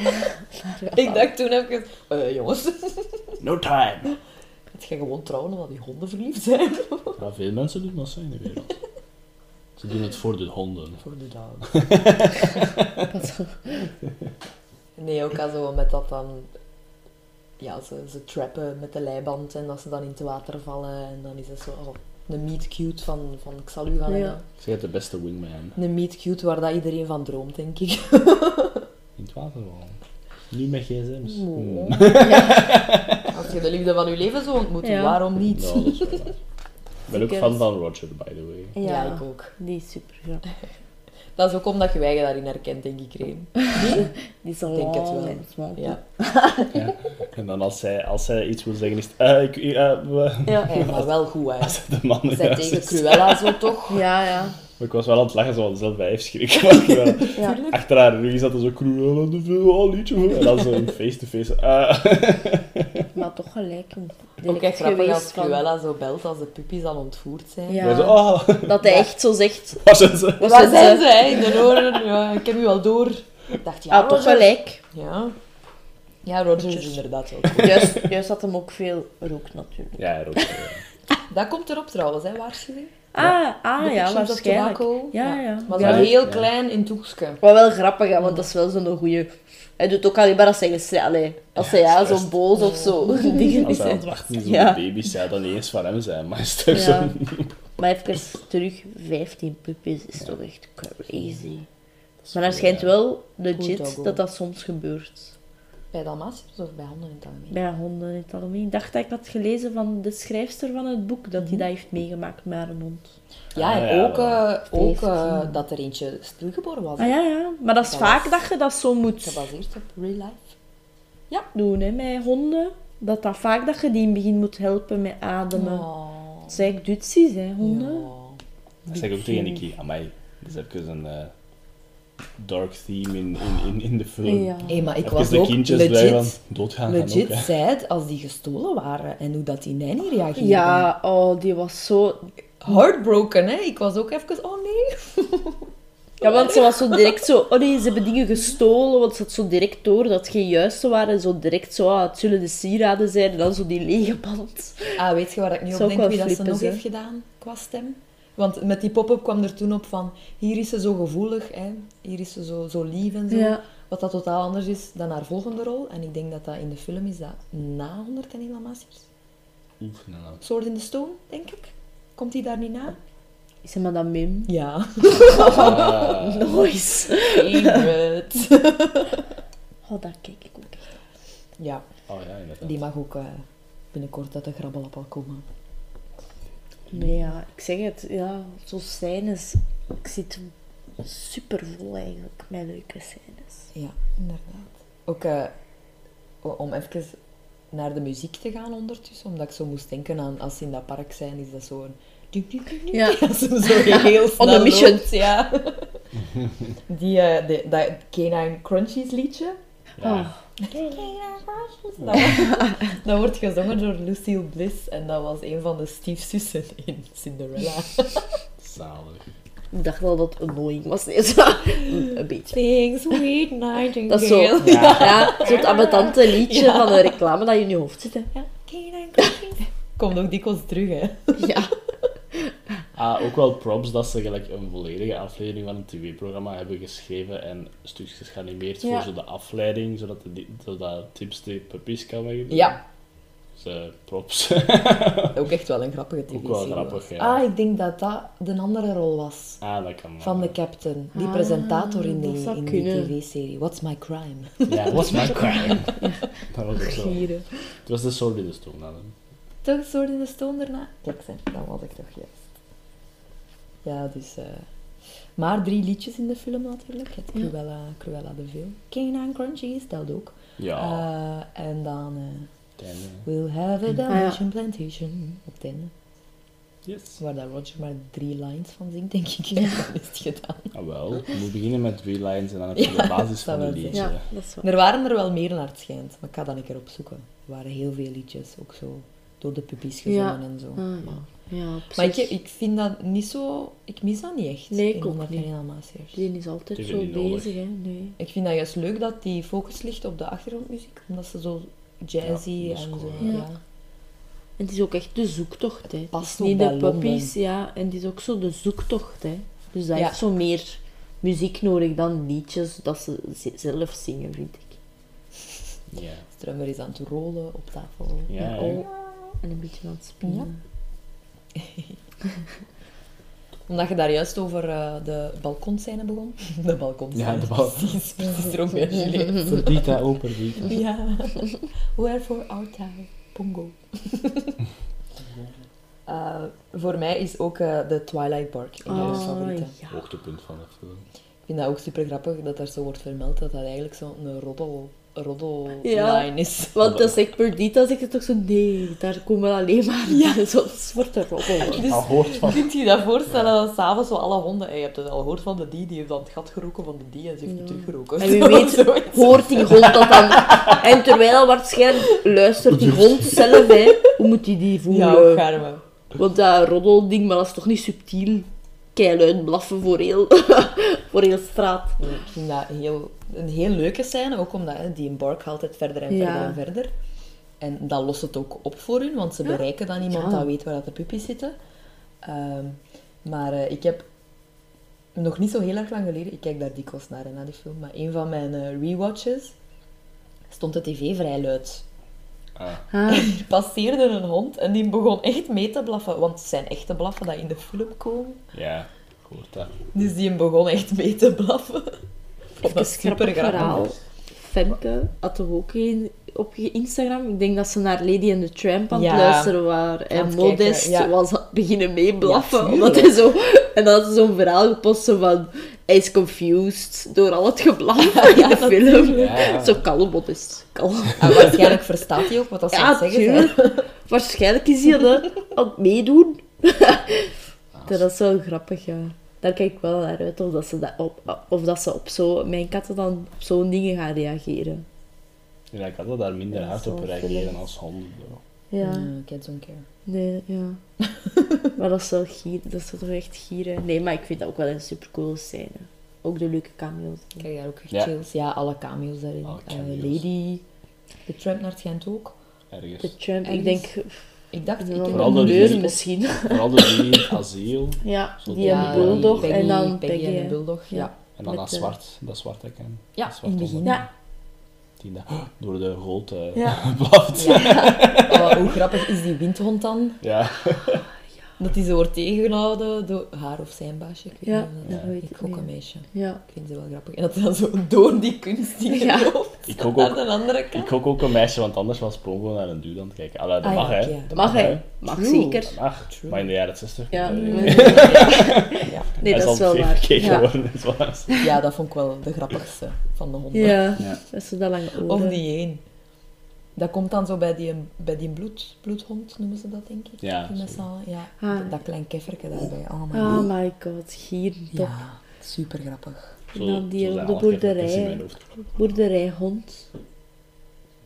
S1: ik dacht toen even, eh jongens,
S2: No time.
S1: het gaat gewoon trouwen omdat die honden verliefd zijn.
S2: Ja, veel mensen doen dat zo in de wereld. Ze doen het voor de honden.
S1: Voor de dag.
S3: Dat is-
S1: Nee, ook al zo met dat dan... Ja, ze, ze trappen met de leiband en dat ze dan in het water vallen. En dan is het zo oh, een meet cute van, van ik zal u gaan
S3: Ja.
S1: leggen.
S2: Ze zijn de beste wingman.
S1: Een meet cute waar dat iedereen van droomt, denk ik.
S2: In het water wel. Nu met gsm's.
S1: Mooi.
S2: Hmm.
S1: Als je de liefde van je leven zou ontmoeten,
S3: Ja.
S1: waarom niet?
S2: Ja, Nou, dat is wel waar. Ik ben ook
S3: Zeker.
S2: fan van Roger, by the way.
S3: Ja,
S1: Ja, ik ook.
S3: die is super grappig.
S1: Dat is ook omdat je je eigen daarin herkent, denk ik, Reen.
S3: Die is al
S1: Denk het
S3: lang
S1: wel.
S3: en smal.
S1: Ja.
S2: Ja. En dan als zij, als zij iets wil zeggen, is het... eh, ik, eh, we-
S3: Ja.
S1: Hey, maar wel goed, hè.
S2: de man in
S1: Zij
S2: huis
S1: tegen
S2: is.
S1: Cruella zo toch?
S3: Ja, ja.
S2: Maar ik was wel aan het lachen, zo van zelf bij schrik. Maar ik wel-
S3: Ja.
S2: achter haar rug zat er zo Cruella de veel al liedje. En dan zo in face-to-face. eh.
S3: Maar toch gelijk. een
S1: Ook
S3: direct
S1: echt grappig
S3: geweest
S1: als
S3: van-
S1: Cruella zo belt als de puppies al ontvoerd zijn.
S3: Ja.
S2: Wij zo, ah,
S3: Dat hij echt zo zegt.
S2: waar zijn ze?
S3: Waar
S1: Waar
S3: zijn
S1: zijn
S3: ze?
S1: ze, hè? In de oren. Ja, ik heb u al door. Ik dacht, ja,
S3: Ah, toch
S1: Roger.
S3: gelijk.
S1: Ja. Ja, Roger is
S3: Rogers.
S1: inderdaad wel.
S3: Juist, juist had hem ook veel rook natuurlijk.
S2: Ja, Rob. eh,
S1: Dat komt erop trouwens, hè, waarschuwing.
S3: Ah,
S1: The
S3: ah ja,
S1: Pictures of
S3: waarschijnlijk.
S1: Tobacco.
S3: Ja, ja.
S1: Maar
S2: Ja.
S1: zo heel
S2: Ja.
S1: klein in toekske.
S3: Wat wel grappig, hè, want dat is wel zo'n goeie. Hij doet ook alleen maar als hij gestri- allee, als hij ja, zo
S2: juist.
S3: boos of zo. Dingen
S2: Als hij aan
S3: is hij.
S2: het wachten is op
S3: Ja.
S2: de baby's, zou dat niet eens van hem zijn. Maar is toch zo...
S3: Ja. Maar even terug, 15 puppies is toch echt crazy. Maar daar schijnt wel legit
S1: Boondoggle.
S3: dat dat soms gebeurt.
S1: Bij Dalmatiërs of bij honden in het algemeen?
S3: Bij honden in het algemeen. Ik dacht dat ik had gelezen van de schrijfster van het boek, dat hij dat heeft meegemaakt met haar hond.
S1: Ja, en
S2: Ah, ja,
S1: ook, eh, ook eh,
S3: 15.
S1: dat er eentje stilgeboren was. hè.
S3: Ah ja, ja. Maar dat is
S1: Dat
S3: vaak
S1: was-
S3: dat je dat zo moet
S1: Gebaseerd op real life.
S3: doen hè, met honden. Dat dat vaak dat je die in het begin moet helpen met ademen.
S1: Oh.
S3: Dat zijn dutsies, hè, honden.
S1: Ja.
S2: Dat zeg ik ook tegen Nicky. Amai, dat is even een eh, dark theme in, in, in, in de film.
S3: Ja.
S1: Hé, maar ik
S2: Even
S1: was
S2: de
S1: ook
S2: kindjes blijven
S1: legit,
S2: doodgaan gaan ook,
S1: legit
S2: hè.
S1: sad als die gestolen waren en hoe dat die nanny reageerde.
S3: Ja, oh, die was zo...
S1: Heartbroken, hè? Ik was ook even, oh nee.
S3: Ja, want ze was zo direct zo... Oh nee, ze hebben dingen gestolen, want ze had zo direct door dat het geen juiste waren. Zo direct zo, ah, het zullen de sieraden zijn. En dan zo die lege band.
S1: Ah, weet je waar ik nu
S3: Zou
S1: op
S3: ook
S1: denk
S3: wel
S1: wie dat ze
S3: flippen,
S1: nog
S3: hè?
S1: heeft gedaan qua stem? Want met die pop-up kwam er toen op van, hier is ze zo gevoelig, hè? hier is ze zo, zo lief en zo.
S3: Ja.
S1: Wat dat totaal anders is dan haar volgende rol. En ik denk dat dat in de film is dat na 101 Dalmatiërs.
S2: Oef, nou, nou.
S1: Sword in the Stone, denk ik. Komt die daar niet na?
S3: Is maar dat mim?
S1: Ja.
S2: Ah,
S3: Nice.
S1: Favorite.
S3: Oh, dat kijk ik ook echt.
S1: ja,
S2: oh ja, inderdaad.
S1: die mag ook eh, binnenkort uit de grabbelappel komen.
S3: Nee, ja, ik zeg het. Ja, zo scènes. Ik zit supervol eigenlijk met leuke scènes.
S1: Ja, inderdaad. Ook eh, o- om even naar de muziek te gaan ondertussen, omdat ik zo moest denken aan als ze in dat park zijn, is dat zo'n ding, ding, ding, ding.
S3: Ja.
S6: Dat ze zo heel snel
S3: On a mission.
S6: loopt, ja.
S1: Die, eh, de, dat Canine Crunchies liedje,
S2: Ja.
S1: Oh.
S3: Oh,
S1: dat, wordt- dat wordt gezongen door Lucille Bliss en dat was een van de stiefzussen in Cinderella.
S2: Zalig.
S3: Ik dacht wel dat het annoying was. Nee, zo. Een beetje.
S1: Things we nightingale.
S3: Dat is zo. Ja,
S2: Ja.
S3: zo'n abatante liedje van een reclame dat je in je hoofd zit. Hè. Ja.
S1: Komt ook dikwijls terug, hè.
S3: ja.
S2: Ah, ook wel props dat ze gelijk een volledige aflevering van een tv-programma hebben geschreven en stukjes geanimeerd
S3: Ja.
S2: voor zo de afleiding, zodat, de, di- zodat tips de puppies kan wegdoen.
S6: Ja,
S2: Dus eh, props.
S6: ook echt wel een grappige tv
S2: ook wel grappig, ja.
S1: Ah, ik denk dat dat de andere rol was.
S2: Ah, dat kan wel.
S1: Van de captain, die
S3: Ah,
S1: presentator in die,
S3: dat zou
S1: in die
S3: kunnen.
S1: tv-serie. What's my crime?
S2: Ja, what's my crime? dat was ook zo.
S3: Gieren.
S2: Het was de Sword in the Stone, hè.
S1: Toch Sword in the Stone daarna? Kijk, zeg, dat was ik toch juist. Ja, dus... eh, maar drie liedjes in de film natuurlijk. Het Cruella, Cruella de Vil. Canaan Crunchies, dat ook.
S2: Ja,
S1: Eh, en dan... eh,
S2: het einde.
S1: we'll have a
S3: ja.
S1: Dalmatian plantation. Op het einde.
S2: Yes.
S1: Waar dat Roger maar drie lines van zingt, denk ik. Ja. Dat is het gedaan.
S2: Ah, wel. Je moet beginnen met drie lines en dan heb je de basis
S1: dat
S2: van een
S1: wil ik
S2: liedje.
S3: Ja, dat is waar.
S1: Er waren er wel meer naar het schijnt. Maar ik ga dat een keer opzoeken. Er waren heel veel liedjes. Ook zo door de puppies gezongen
S3: Ja.
S1: en zo.
S3: Ah,
S1: Maar-
S3: ja. ja, precies.
S1: Maar ik, ik vind dat niet zo... Ik mis dat niet echt.
S3: Nee, ik
S1: in
S3: ook
S1: Honderd
S3: niet.
S1: en een Dalmatiërs.
S3: Die is altijd
S2: Die
S3: zo
S2: vind ik niet
S3: bezig, hè. Nee.
S1: Ik vind dat juist leuk dat die focus ligt op de achtergrondmuziek. Omdat ze zo jazzy
S2: Ja, dat is
S1: en
S2: cool,
S1: zo...
S3: ja.
S1: Ja.
S3: En het is ook echt de zoektocht, hè. Het
S1: past
S3: is
S1: ook
S3: niet
S1: bij
S3: de
S1: Londen.
S3: puppies, ja. En het is ook zo de zoektocht, hè. Dus dat
S1: Ja.
S3: heeft zo meer muziek nodig dan liedjes dat ze z- zelf zingen, vind ik.
S2: Ja.
S1: Strummer is aan het rollen op tafel.
S2: Ja,
S3: En, oh, en een beetje aan het spelen.
S1: Omdat je daar juist over eh, de balkonscène begon. De balkonscène.
S2: Ja, de bal-
S1: Precies, precies. Erom weer Juliet.
S2: Verdita, ook verdita.
S1: Ja. Wherefore art thou, Pongo? Eh, voor mij is ook eh, de Twilight Park een van mijn favorieten.
S3: Ah, ja.
S2: Hoogtepunt van de film.
S1: Ik vind dat ook super grappig dat er zo wordt vermeld dat dat eigenlijk zo'n roddel, roddel
S3: Ja.
S1: line is.
S3: Want als ik Perdita zeg, het toch zo, nee, daar komen alleen maar ja. zo'n soort roddel.
S1: Dus
S2: Ah, hoort van.
S1: kunt je je dat voorstellen dat s'avonds zo alle honden... en Je hebt het al gehoord van de die, die heeft dan het gat geroken van de die en ze heeft het teruggeroken.
S3: En wie weet
S1: Zoiets.
S3: hoort die hond dat dan. En terwijl waarschijnlijk luistert die hond zelf, hè. Hoe eh, moet die die
S1: Ja,
S3: voelen?
S1: garme.
S3: Want dat roddelding, maar dat is toch niet subtiel? Keiluid blaffen voor heel, voor heel straat.
S1: Ik vind dat heel, een heel leuke scène, ook omdat hè, die embark altijd verder en
S3: Ja.
S1: verder en verder. En dat lost het ook op voor hun, want ze bereiken dan iemand
S3: Ja.
S1: dat weet waar dat de puppies zitten. Ehm, maar eh, ik heb nog niet zo heel erg lang geleden, ik kijk daar dikwijls naar, hè, naar die film, maar een van mijn eh, rewatches stond de tv vrij luid.
S2: Ah,
S1: Er passeerde een hond en die begon echt mee te blaffen, want het zijn echte blaffen dat in de film komen.
S2: Ja, ik hoort dat.
S1: Dus die begon echt mee te blaffen.
S3: Even
S1: Dat is super
S3: verhaal. Femke had toch ook een op je Instagram. Ik denk dat ze naar Lady and the Tramp aan het
S1: Ja.
S3: luisteren waren. En
S1: Aan het
S3: Modest
S1: kijken, ja.
S3: was aan het beginnen meeblaffen.
S1: Ja,
S3: omdat
S1: tuurlijk.
S3: hij zo, en dan had ze zo'n verhaal gepost zo van... Hij is confused door al het geblaf in de film.
S2: Ja, ja.
S3: Zo kalm, Modest. Kalm.
S1: En Ah, waarschijnlijk verstaat hij ook wat dat ze aan
S3: Ja,
S1: het zeggen zijn.
S3: tuurlijk. Waarschijnlijk is hij dat aan het meedoen.
S1: Ah,
S3: dat is wel grappig, ja. Daar kijk ik wel naar uit of dat ze, dat op, of dat ze op zo, mijn katten dan op zo'n dingen gaan reageren.
S2: Ja, ik had dat daar minder
S3: Ja,
S2: hard op
S3: zo'n
S2: reageren
S3: film.
S2: als honden. bro.
S3: Ja,
S1: Mm, kids don't care.
S3: nee, ja. maar dat is wel gier, dat is toch echt gieren. Nee, maar ik vind dat ook wel een supercoole scène. Ook de leuke cameo's.
S1: Ik krijg daar ook echt
S2: Ja.
S1: chills. Ja, alle cameo's daarin.
S2: Alle
S1: Eh,
S2: cameo's.
S1: Lady, de tramp naar het Gent ook.
S2: Ergens.
S3: De tramp, ik
S1: En
S3: denk,
S1: Ik dacht, ik
S3: de
S1: heb
S2: Vooral
S1: nog
S2: dat
S1: nooit
S2: die-
S3: deur
S1: gezien.
S3: misschien.
S2: Vooral de drie in het asiel.
S3: Ja,
S2: Zo
S3: die
S2: dat-
S3: een bulldog
S2: Peggy-
S3: en dan
S1: Peggy,
S3: Peggy.
S1: en de bulldog. Ja, ja.
S2: En dan
S3: Met
S2: dat
S3: de-
S2: zwart, dat zwart ik ken. Dat zwart
S1: in het begin.
S2: onderwerp. Die dat door de goot eh, blaft.
S1: Ja. Oh, hoe grappig is die windhond dan?
S2: Ja.
S1: Dat die zo wordt tegengehouden door haar of zijn baasje. Ik weet
S3: Ja,
S1: niet of
S3: dat weet ik
S1: Ik ook
S3: niet.
S1: een meisje.
S3: Ja.
S1: Ik vind ze wel grappig. En dat hij dan zo door die kunst die
S3: Ja.
S1: loopt.
S2: Ik ook
S1: Aan
S2: ook.
S1: de andere
S2: Ik
S1: kant.
S2: gok ook een meisje, want anders was Pongo naar een duw aan het kijken. Allee, dat
S1: Ah,
S2: mag,
S1: ja,
S2: hè.
S1: ja.
S2: Dat
S3: Mag
S2: hè.
S3: hij? Mag
S1: True.
S3: zeker.
S2: Dat mag.
S1: True.
S2: Maar in de jaren 60
S3: Ja.
S1: Mm.
S2: eh,
S1: Ja.
S3: Nee,
S2: hij
S3: dat is
S2: al
S3: wel
S2: twee
S3: waar.
S2: keer
S3: Ja.
S2: geworden. is waar.
S1: ja, dat vond ik wel de grappigste van de honden.
S3: Ja,
S2: Ja.
S3: dat is zo dat lange oren.
S1: Of die één. Dat komt dan zo bij die, bij die bloed, bloedhond, noemen ze dat, denk ik.
S2: Ja,
S1: Die met
S2: zo.
S1: zo'n- ja.
S3: Ah.
S1: Dat, dat klein kefferke daarbij. Oh my god.
S3: Oh my god, hier top.
S1: Ja, super grappig.
S2: Zo,
S3: dan die
S2: zo zijn
S3: op de
S2: alle gedachten in
S3: boerderij.
S2: mijn hoofd.
S3: Boerderijhond.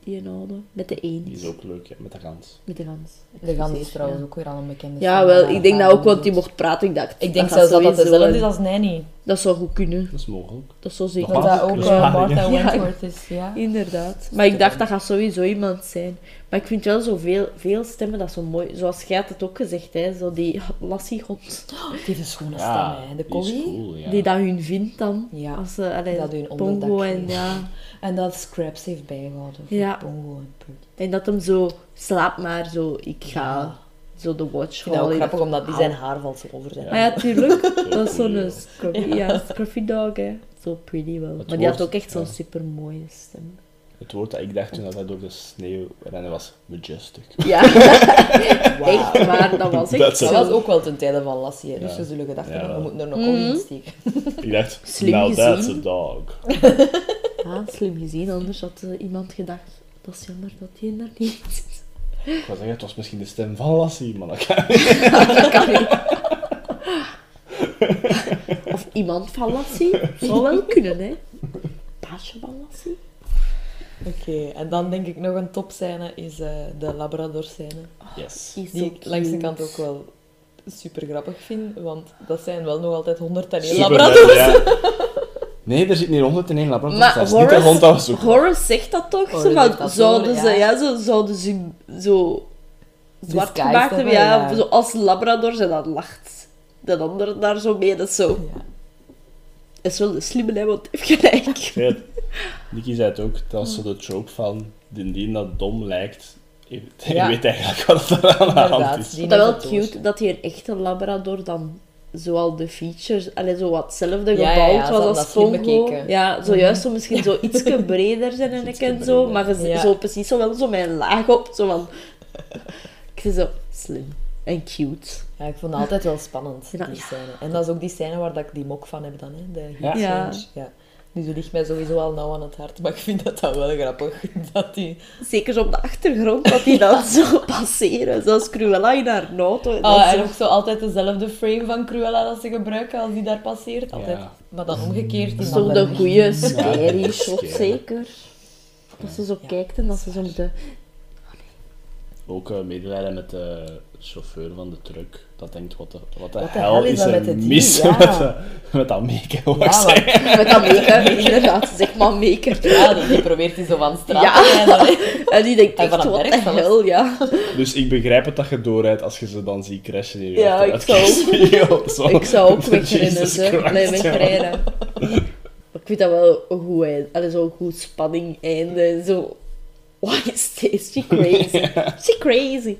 S3: Die een oude. Met de eend.
S2: Die is ook leuk, ja, met de gans.
S3: Met de gans.
S1: De gans is
S3: Excuseer,
S1: trouwens
S3: ja.
S1: ook weer al een bekende.
S3: Ja,
S1: stem,
S3: wel,
S1: maar
S3: ik denk
S1: haar
S3: dat ook, want
S1: doet-
S3: die mocht praten. Ik dacht,
S1: Ik denk
S3: dat gaat
S1: zelfs dat dat
S3: sowieso
S1: dezelfde is
S3: een-
S1: als Nanny.
S3: Dat zou goed kunnen.
S2: Dat is mogelijk.
S3: Dat zou zeker
S1: Dat
S2: Nog
S3: goed
S1: dat
S2: Martha
S1: ook
S3: kunnen.
S2: Chris
S1: eh,
S2: Haring,
S1: Martha
S2: hè?
S3: Ja.
S1: Wentworth is, ja.
S3: Inderdaad. Maar ik dacht, dat gaat sowieso iemand zijn. Maar ik vind wel zo veel, veel stemmen, dat is zo mooi. Zoals jij had het ook gezegd, hè. Zo die lassiehond.
S1: Die heeft een schone
S2: Ja,
S1: stem, hè. De
S2: die is
S1: collie.
S2: cool, ja.
S3: Die dat hun vindt dan.
S1: Ja.
S3: Als ze, allee,
S1: Dat hun
S3: Pongo
S1: onderdak
S3: en
S1: geeft.
S3: ja.
S1: En dat Scraps heeft bijgehouden voor
S3: Ja.
S1: Pongo en Purdy.
S3: En dat hem zo, slaap maar zo, ik ga. Zo de watch
S1: Ik vind dat ook
S3: halen.
S1: grappig, omdat die zijn haar valt zo over zijn
S2: Ja.
S3: Maar ja, tuurlijk. dat
S2: Ja.
S3: is zo'n eh, scruffy, ja. scruffy dog, hè. Zo pretty wel. maar die
S2: woord-
S3: had ook echt zo'n
S2: ja.
S3: supermooie stem.
S2: Het woord dat ik dacht toen dat hij door de sneeuw rende was majestic.
S3: Ja. Echt waar, dat was echt
S2: That's it.
S1: Dat
S3: zo.
S1: was ook wel ten tijde van Lassie, hè. dus
S2: Ja.
S1: ze zullen gedacht hebben,
S2: Ja.
S1: we moeten er nog
S3: Mhm.
S1: koffie in steken.
S2: Ik dacht,
S3: Slim
S2: now that's a
S3: gezien.
S2: dog.
S3: Ja, slim gezien, anders had eh, iemand gedacht, dat is jammer dat die er niet is.
S2: Ik wou zeggen, het was misschien de stem van Lassie, maar dat kan
S3: Dat kan niet. Of iemand van Lassie, zou wel kunnen, hè. Paasje van Lassie.
S1: Oké, en dan denk ik nog een topscène is eh, de Labrador-scène.
S2: Yes.
S3: Is
S1: Die
S3: zo
S1: ik langs de
S3: cute.
S1: kant ook wel super grappig vind, want dat zijn wel nog altijd 101
S2: Super
S1: Labrador.
S2: leuk, ja. Nee, er zit niet 101 labradors.
S3: Maar
S2: dat is niet
S3: Horace-
S2: de hond dat we zoeken.
S3: Horace zegt dat toch?
S1: Horace
S3: zo
S1: heeft
S3: van,
S1: Oh, dat
S3: zouden
S1: door,
S3: ze,
S1: ja.
S3: ja, zo, zouden ze zo zwart
S1: Disguised
S3: gemaakt hebben,
S1: hebben,
S3: ja,
S1: ja.
S3: Zo als Labrador, en dan lacht de ander daar zo mee, dat is zo.
S1: Ja.
S3: Is wel de slimme, hè, want heeft gelijk.
S2: Ja, Nicky zei het ook, dat is zo de trope van, indien dat dom lijkt, je je
S1: Ja.
S2: weet eigenlijk wat er aan de hand
S1: Inderdaad,
S2: is.
S1: die
S3: dat wel
S1: is het doos.
S3: cute dat hij een echte Labrador dan zoal de features, allee, zo wat hetzelfde
S1: Ja, ja,
S3: gebouwd
S1: ja, ze
S3: was
S1: hadden
S3: als
S1: dat slim
S3: Pongo.
S1: bekeken. Mhm.
S3: Ja, zojuist zo misschien zo iets breder zijn en ik
S2: Ietske
S3: en zo, maar
S2: breder.
S3: je zit
S1: Ja.
S3: zo precies zo wel zo mijn laag op, zo van... Ik zie zo slim en cute.
S1: Ja, ik vond het altijd wel spannend,
S3: Ja.
S1: die scène. En dat is ook die scène waar dat ik die mok van heb dan, hè, de heat
S3: Ja.
S1: change. Ja. Dus die ligt mij sowieso al nauw aan het hart, maar ik vind dat dan wel grappig. Dat die...
S3: Zeker zo op de achtergrond, dat die dan zo passeren. Zoals Cruella in haar auto. en dan
S1: Ah,
S3: zo-
S1: en ook zo altijd dezelfde frame van Cruella dat ze gebruiken als die daar passeert. Altijd.
S2: Ja.
S1: Maar dan omgekeerd.
S3: Dat
S1: in
S3: is toch
S1: andere
S3: de goede
S1: richting.
S3: scary
S2: Ja,
S3: shot,
S2: scary.
S3: zeker. Dat ze zo
S1: Ja,
S3: kijkt en dat ze zo op de...
S2: Ook eh, medelijden met de chauffeur van de truck, dat denkt, wat de, wat de
S1: Wat de
S2: hel
S1: hel is
S2: is
S1: dat
S2: er
S1: met het
S2: mis
S1: dier? Ja.
S2: met, de- met dat meken, wou ik
S1: Ja,
S2: zeggen.
S1: want-
S3: Met dat maker, inderdaad. Zeg maar maker.
S1: ja, die, die probeert die zo van straat
S3: Ja.
S1: te rijden. hè.
S3: En die denkt
S1: En van
S3: echt,
S1: een
S3: wat
S1: berg
S3: de
S1: zelfs.
S3: hel, ja.
S2: Dus ik begrijp het dat je doorrijdt als je ze dan ziet crashen in je
S3: Ja, ik zou ook-
S2: zou
S3: Ik zou ook wegrennen,
S2: Jesus
S3: ze.
S2: Christ,
S3: Nee,
S2: ja.
S3: wegrijden. Maar ik vind dat wel een goed eind. Allee, zo'n goed spanning einde. en Zo... Why is this? She crazy. She crazy.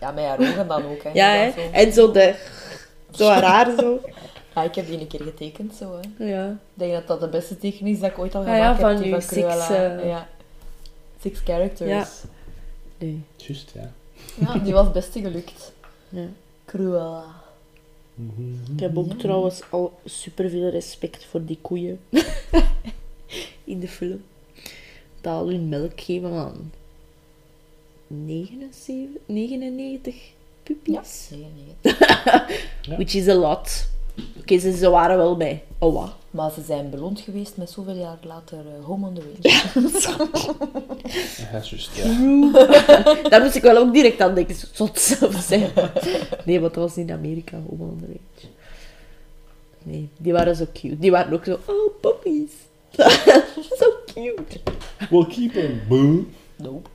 S1: Ja, met haar ogen dan ook. Hè.
S3: Ja,
S1: Dat
S3: hè.
S1: zo.
S3: En zo de... Zo raar, zo.
S1: Ah, ik heb die een keer getekend zo. Hè.
S3: Ja.
S1: Ik denk dat dat de beste tekening is dat ik ooit al
S3: Ah,
S1: gemaakt
S3: ja,
S1: heb.
S3: van
S1: die
S3: uw six,
S1: Cruella.
S3: eh,
S1: Ja. Six characters.
S3: Ja. Nee.
S2: Juist, ja.
S1: Ja, die was het beste gelukt.
S3: Ja.
S1: Cruella.
S3: Ik heb ook trouwens al superveel respect voor die koeien. In de film. Dat al hun melk geven aan 79, 99
S1: Ja.
S3: puppies.
S1: Nee, nee.
S3: Which is a lot. Oké, ze, ze waren wel bij. Oh, wat?
S1: Maar ze zijn beloond geweest met zoveel jaar later eh, Home on the Range.
S2: Ja, juist, ja.
S3: Daar moest ik wel ook direct aan denken. Het zou hetzelfde zijn. Nee, want dat was in Amerika. Home on the Range. Nee, die waren zo cute. Die waren ook zo... Oh, puppies. Zo cute.
S2: We'll keep him, boo.
S1: Nope.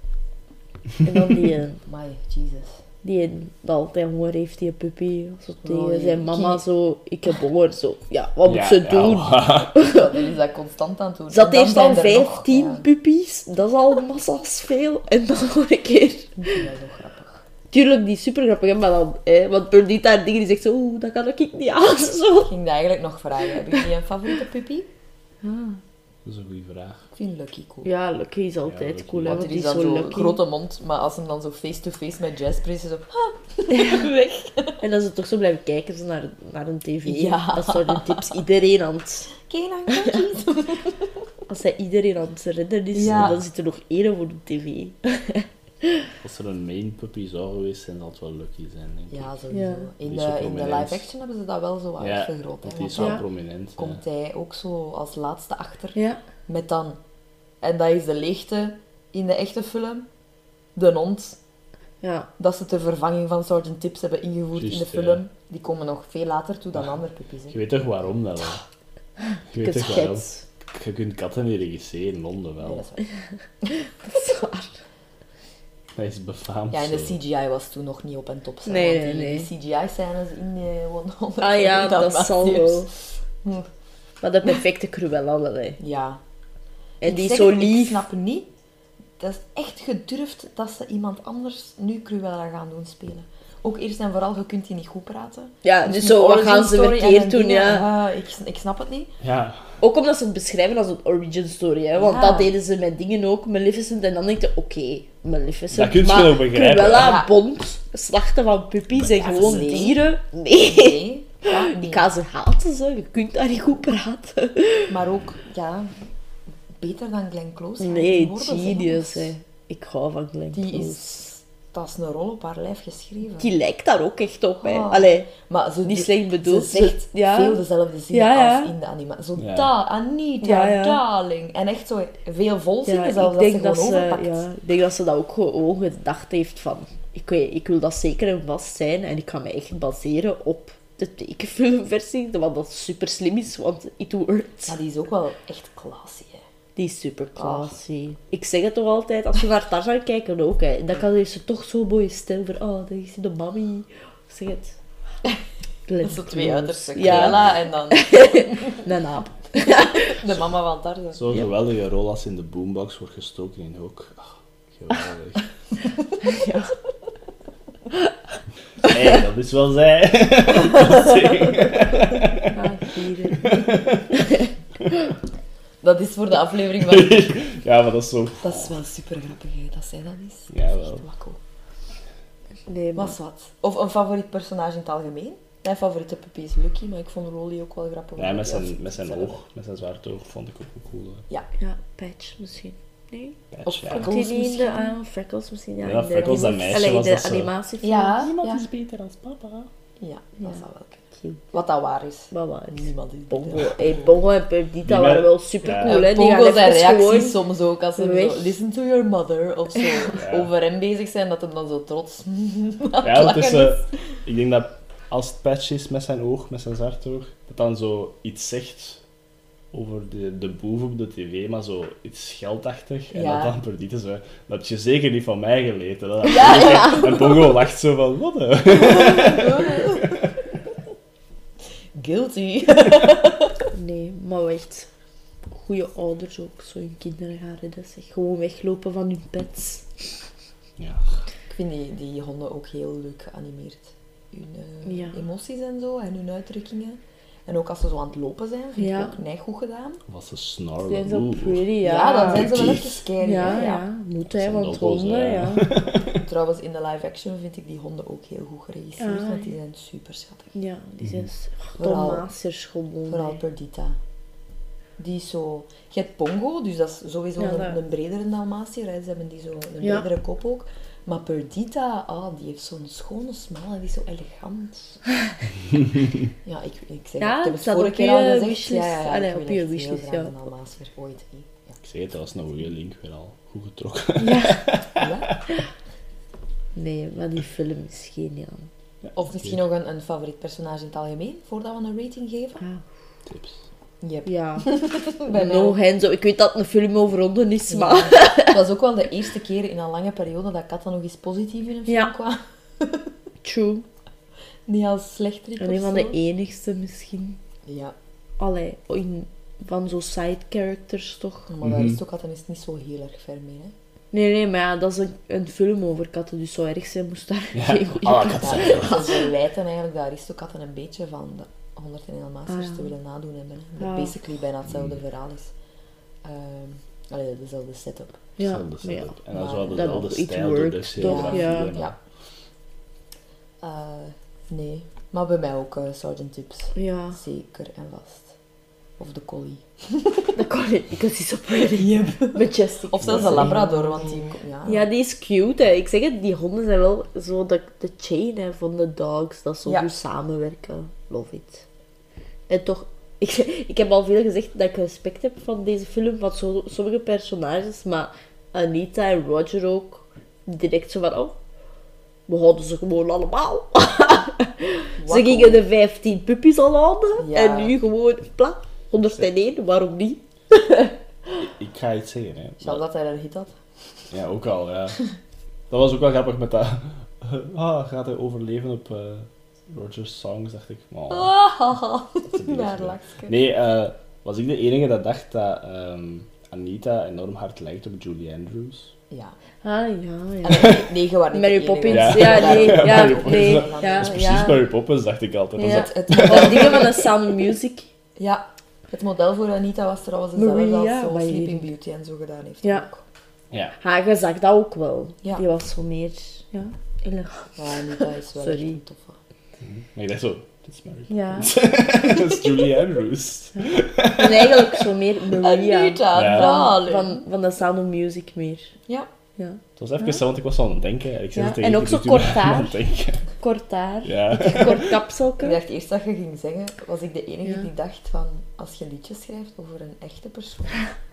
S3: En dan die... eh,
S1: My Jesus.
S3: die een- dat altijd honger heeft, die puppy. Zo tegen
S1: die
S3: zijn mama
S1: kie.
S3: zo, ik heb honger, zo. Ja, wat moet
S2: Ja,
S3: ze
S2: ja, Oh.
S3: doen?
S2: maar-
S1: Dat is dat constant aan het doen. En
S3: Zat
S1: dan
S3: eerst al
S1: zijn er nog-
S3: 15
S1: ja,
S3: puppies, dat is al massa's veel. En dan nog een keer.
S1: ik vind dat zo grappig.
S3: Tuurlijk, die is super grappig, hè, maar dan, hè, want Perdita haar dingen die zegt zo, oeh, dat kan ik niet aan. Zo.
S1: Ik ging dat eigenlijk nog vragen. Hebben jullie een favoriete puppy?
S2: Dat is een goede vraag.
S1: Ik vind Lucky cool.
S3: Ja, Lucky is
S2: Ja,
S3: altijd
S2: Lucky.
S3: cool, hè,
S1: Want
S3: want
S1: die
S3: die
S1: is dan
S3: is zo
S1: zo'n
S3: lucky.
S1: grote mond, maar als hem dan zo face-to-face met Jasper is, is hij zo...
S3: weg. En dan ze toch zo blijven kijken zo naar, naar een tv.
S1: Ja.
S3: Dat is zo de tips iedereen aan het
S1: Oké, dan kan je
S3: Als Als hij iedereen aan het redden is,
S4: Ja.
S3: dan zit er nog één voor de tv.
S2: Als er een main puppy zou geweest zijn, zou het wel lucky zijn, denk ik.
S1: Ja, sowieso.
S3: Ja.
S1: In,
S2: Die is ook
S1: de, in de
S2: prominent.
S1: live-action hebben ze dat wel zo wat
S2: ja,
S1: vergroot. Hè,
S2: want die
S1: want
S2: is wel
S1: dan
S3: Ja.
S2: prominent. hè.
S1: komt hij ook zo als laatste achter
S3: Ja.
S1: met dan... En dat is de leegte in de echte film. De hond,
S3: Ja.
S1: dat ze ter vervanging van Sergeant Tips hebben ingevoerd in de
S2: Juist, Ah.
S1: film. Die komen nog veel later toe dan andere puppies. hè.
S2: Je weet toch waarom dat wel? Je weet
S3: Het
S2: toch waarom?
S3: geit.
S2: Je kunt katten niet regisseren in Londen wel.
S1: Nee, dat is waar.
S3: Dat is waar.
S2: Dat is befaamd
S1: Ja, en de
S2: zo.
S1: CGI was toen nog niet op en top. zeg,
S3: Nee,
S1: want
S3: nee,
S1: die,
S3: nee.
S1: CGI-scènes in eh, Wonder Woman
S3: Ah ja,
S1: zijn
S3: dat, zal
S1: massief.
S3: wel.
S1: Hm.
S3: Maar de perfecte Cruella wel, hè.
S1: Ja.
S3: En
S1: Ik
S3: die is
S1: zeg
S3: zo
S1: het, Ik
S3: lief.
S1: snap niet. Dat is echt gedurfd dat ze iemand anders nu Cruella gaan doen spelen. Ook eerst en vooral, je kunt die niet goed praten.
S3: Ja, dus zo, wat
S1: origin
S3: gaan ze
S1: story en
S3: verkeerd
S1: een
S3: doen,
S1: dingen,
S3: ja.
S1: ah, ik, ik snap het niet.
S2: Ja,
S3: Ook omdat ze het beschrijven als een origin story, hè? want
S1: Ja.
S3: dat deden ze met dingen ook, Maleficent. En dan denk je, oké, Maleficent.
S2: Dat kun je
S3: maar
S2: wel begrijpen.
S3: Cruella,
S1: Ja.
S3: Bond, slachten van puppies en
S1: Ja,
S3: gewoon
S1: nee.
S3: dieren. Nee.
S1: Nee, dat niet.
S3: Ik ga ze haten, ze. je kunt daar niet goed praten.
S1: Maar ook, ja, beter dan Glenn Close. Ja, die
S3: Nee,
S1: woorden zijn
S3: genius,
S1: anders.
S3: hè. Ik hou van Glenn
S1: Die
S3: Close.
S1: is... Dat is een rol op haar lijf geschreven.
S3: Die lijkt daar ook echt op, hè.
S1: Ah.
S3: Allee,
S1: Maar ze
S3: Niet
S1: die-
S3: slecht bedoeld,
S1: Ze zegt
S3: ze- ja.
S1: veel dezelfde zinnen
S3: Ja, ja.
S1: als in de anima. Zo,
S2: Ja.
S1: da, Anita,
S3: Ja, ja.
S1: darling. En echt zo veel volzinnen
S3: ja,
S1: zelfs,
S3: ik
S1: dat ze
S3: denk
S1: gewoon
S3: dat ze,
S1: overpakt.
S3: ja, ik denk dat ze dat ook gewoon gedacht heeft van... Ik, weet- ik wil dat zeker en vast zijn en ik ga me echt baseren op de tekenfilmversie. Wat dat super slim is, want it worked.
S1: Maar die is ook wel echt classy, hè.
S3: Die is super classy. Ik zeg het toch altijd, als we naar Tarzan kijken ook, hè, dan kan heeft ze toch zo'n mooie stem voor... Oh, daar is de mami. Ik zeg het.
S1: Dat zijn twee uiterste.
S3: Ja,
S1: Cruella en dan
S3: een aap.
S1: de mama van Tarzan.
S2: zo'n geweldige rol als in de boombox wordt gestoken in ook. Ah, geweldig.
S3: Ja.
S2: hey, dat is wel zij.
S3: Ah, hier.
S1: Dat is voor de aflevering van...
S2: ja, maar dat is zo.
S1: Dat is wel super grappig, hè, dat zij dat is.
S2: Ja,
S1: Dat is
S2: wel.
S1: echt wakko.
S3: Nee, maar...
S1: Was wat. Of een favoriet personage in het algemeen. Mijn favoriete puppy is Lucky, maar ik vond Rolly ook wel grappig.
S2: Ja, met
S1: Of-
S2: zijn, met zijn oog, met zijn zwarte oog vond ik ook een coole
S3: Ja, patch misschien. Nee?
S2: patch.
S1: Of
S2: Ja.
S1: Freckles.
S3: Freckles misschien.
S1: misschien.
S3: ah, Freckles misschien, ja.
S2: Ja,
S3: in de
S2: Freckles, dat
S3: anima-
S2: meisje
S3: Allee, in
S2: was
S3: de
S2: dat ze-
S3: animatiefilm.
S1: Ja, ja, ja,
S7: is beter als papa.
S1: dat
S3: Ja.
S1: zou wel kunnen. Wat dat waar is.
S3: Maar waar is
S1: Niemand is
S3: Bongo? Hey, Bongo en Perdita
S2: Die
S3: waren
S2: wel-
S3: wel super cool,
S2: Ja.
S3: hè? Die
S1: Pongo
S3: gaan
S1: zijn
S3: even
S1: reacties
S3: gewoon...
S1: soms ook als ze
S3: weg.
S1: zo listen to your mother of zo over hem bezig zijn, dat hem dan zo trots.
S2: Ja, want het is,
S1: lachen
S2: eh, ik denk dat als het patch is met zijn oog, met zijn zwarte oog, dat dan zo iets zegt over de, de boef op de tv, maar zo iets scheldachtig. En
S1: Ja.
S2: dat dan Perdita zo, dat heb je zeker niet van mij geleerd. hè."
S1: Ja, ja.
S2: En Pongo lacht zo van, wat hè?
S1: Guilty.
S3: Nee, maar wel echt. Goede ouders ook, zo hun kinderen gaan redden. Zeg. Gewoon weglopen van hun pets.
S2: Ja.
S1: Ik vind die, die honden ook heel leuk geanimeerd. Hun eh,
S3: Ja.
S1: emoties en zo en hun uitdrukkingen. En ook als ze zo aan het lopen zijn, vind
S3: Ja.
S1: ik ook net goed gedaan.
S2: Was ze
S3: Zijn
S2: snarlen.
S3: zo
S2: Oeh.
S3: pretty, ja.
S1: Ja, dan zijn ze wel even
S3: Ja,
S1: scary.
S3: ja,
S1: hè, ja.
S3: moet
S2: Dat
S3: hij,
S2: zijn
S3: want
S2: dobbels,
S3: honden,
S2: hè.
S3: ja.
S1: Trouwens, in de live action vind ik die honden ook heel goed geregisseerd,
S3: Ah,
S1: want die
S3: ja.
S1: zijn super schattig.
S3: Ja, die zijn
S1: Vooral-
S3: Dalmatiërs gewoon.
S1: Vooral
S3: hè.
S1: Perdita. Die is zo... Je hebt Pongo, dus dat is sowieso
S3: Ja,
S1: een,
S3: dat-
S1: een bredere Dalmatiër. hè. Ze hebben die zo een
S3: Ja.
S1: bredere kop ook. Maar Perdita, ah, die heeft zo'n schone smaal en die is zo elegant. ja, ik, ik, zeg,
S3: Ja,
S1: ik heb
S3: het
S1: het
S3: staat
S1: vorige
S3: op
S1: keer
S3: je
S1: al gezegd.
S3: wishlist.
S1: Ja, ja, ja,
S3: Allee,
S1: ik
S3: op
S1: wil
S3: je
S1: echt heel
S3: wishlist,
S1: graag
S3: ja.
S1: een Dalmatiër ooit. hè.
S2: Ik zeg het, dat was een goede link weer al. Goed getrokken.
S1: Ja. Ja.
S3: Nee, maar die film is geniaal.
S1: Of misschien nog een, een favoriet personage in het algemeen, voordat we een rating geven.
S3: Ah,
S2: Tips.
S1: Je hebt
S3: ja,
S1: bij mij
S3: no hands up. Ik weet dat het een film over honden is,
S1: Ja.
S3: maar...
S1: Het was ook wel de eerste keer in een lange periode dat katten nog eens positief in een film
S3: Ja.
S1: kwamen.
S3: True.
S1: Niet als slecht of
S3: En een van
S1: zo.
S3: de enigste misschien.
S1: Ja,
S3: Allee, in, van zo'n side characters toch?
S1: maar daar is toch altijd niet zo heel erg ver mee. Hè?
S3: Nee, nee, maar ja, dat is een, een film over katten, dus zo erg zijn moest daar geen goede
S2: Ah,
S3: kat-
S2: kat.
S1: Daar, ze verwijten eigenlijk de Aristokatten een beetje van de 101 Dalmatiërs
S3: Ah, ja.
S1: te willen nadoen hebben. Hè.
S3: Ah.
S1: Dat basically bijna hetzelfde verhaal is. Ehm allee, dezelfde setup.
S3: Ja,
S2: Hetzelfde
S3: maar ja.
S2: setup. En dan
S1: Maar
S2: zo hadden
S3: dat
S2: ze al de
S3: ook iets
S2: stijl
S3: worked,
S2: door de
S3: toch?
S2: serie.
S1: Ja.
S3: Ja.
S1: Ja. Eh, nee, maar bij mij ook eh, Sergeant Tips.
S3: Ja,
S1: Zeker en vast. Of de collie.
S3: Dat kon niet, because he's so pretty. Majestic.
S1: Of zelfs de
S3: Sorry.
S1: labrador, want die... Ja,
S3: Ja, die is cute. Hè. Ik zeg het, die honden zijn wel zo de, de chain hè, van de dogs. Dat is zo
S1: Ja.
S3: goed samenwerken. Love it. En toch, ik, ik heb al veel gezegd dat ik respect heb van deze film, van zo, sommige personages, maar Anita en Roger ook, direct zo van, oh, we houden ze gewoon allemaal. ze
S1: Wauw.
S3: gingen de 15 puppies al houden,
S1: Ja.
S3: en nu gewoon, pla, 101, waarom niet?
S2: Ik ga iets zeggen, hè.
S1: Zelfs dat hij een hit had.
S2: Ja, ook al, ja. Dat was ook wel grappig met dat... Ah, gaat hij overleven op eh, Roger's songs, dacht ik. Oh, dat is een
S1: Daar
S2: beetje-
S1: lacht ik.
S2: Nee, eh, was ik de enige dat dacht dat ehm, Anita enorm hard lijkt op Julie Andrews?
S1: Ja.
S3: Ah, ja, ja.
S1: Allee, nee, je waren niet
S3: Mary
S1: de enige.
S3: Poppins, ja,
S2: Ja.
S3: nee, ja,
S2: Mary
S3: nee,
S2: Poppins, dat
S3: Eh, ja,
S2: dat is precies
S3: ja.
S2: Mary Poppins, dacht ik altijd. Dat is
S3: Ja.
S2: dat-
S1: Het,
S3: Van dingen van de Sound Music.
S1: ja, het model voor Anita was trouwens dezelfde
S3: Maria,
S1: als zo
S3: maar je-
S1: Sleeping Beauty en zo gedaan heeft.
S3: Ja.
S1: Ook.
S2: ja.
S3: Haar je zag dat ook wel.
S1: Ja.
S3: Die was zo meer... Ja, elegant.
S1: Maar Anita is wel
S3: Sorry.
S1: echt een toffe.
S2: Maar ik dacht zo, dat is Mary
S3: Ja.
S2: Poppins. dat is Julie Andrews.
S3: En eigenlijk zo meer Maria.
S1: Anita,
S2: Ja.
S1: darling.
S3: Van, van de Sound of Music meer.
S1: Ja.
S3: Ja.
S2: Het was even zo, want ik was aan het denken. Ik zat
S3: Ja,
S2: er tegen
S3: en ook
S2: je,
S3: zo
S2: dus toen ben
S3: kort
S2: ik aan
S3: haar.
S2: het denken.
S3: Kort haar.
S2: Ja.
S3: Kort
S1: Ik
S3: kapselke.
S1: dacht eerst dat je ging zingen, was ik de enige
S3: Ja.
S1: die dacht van, als je liedjes schrijft over een echte persoon,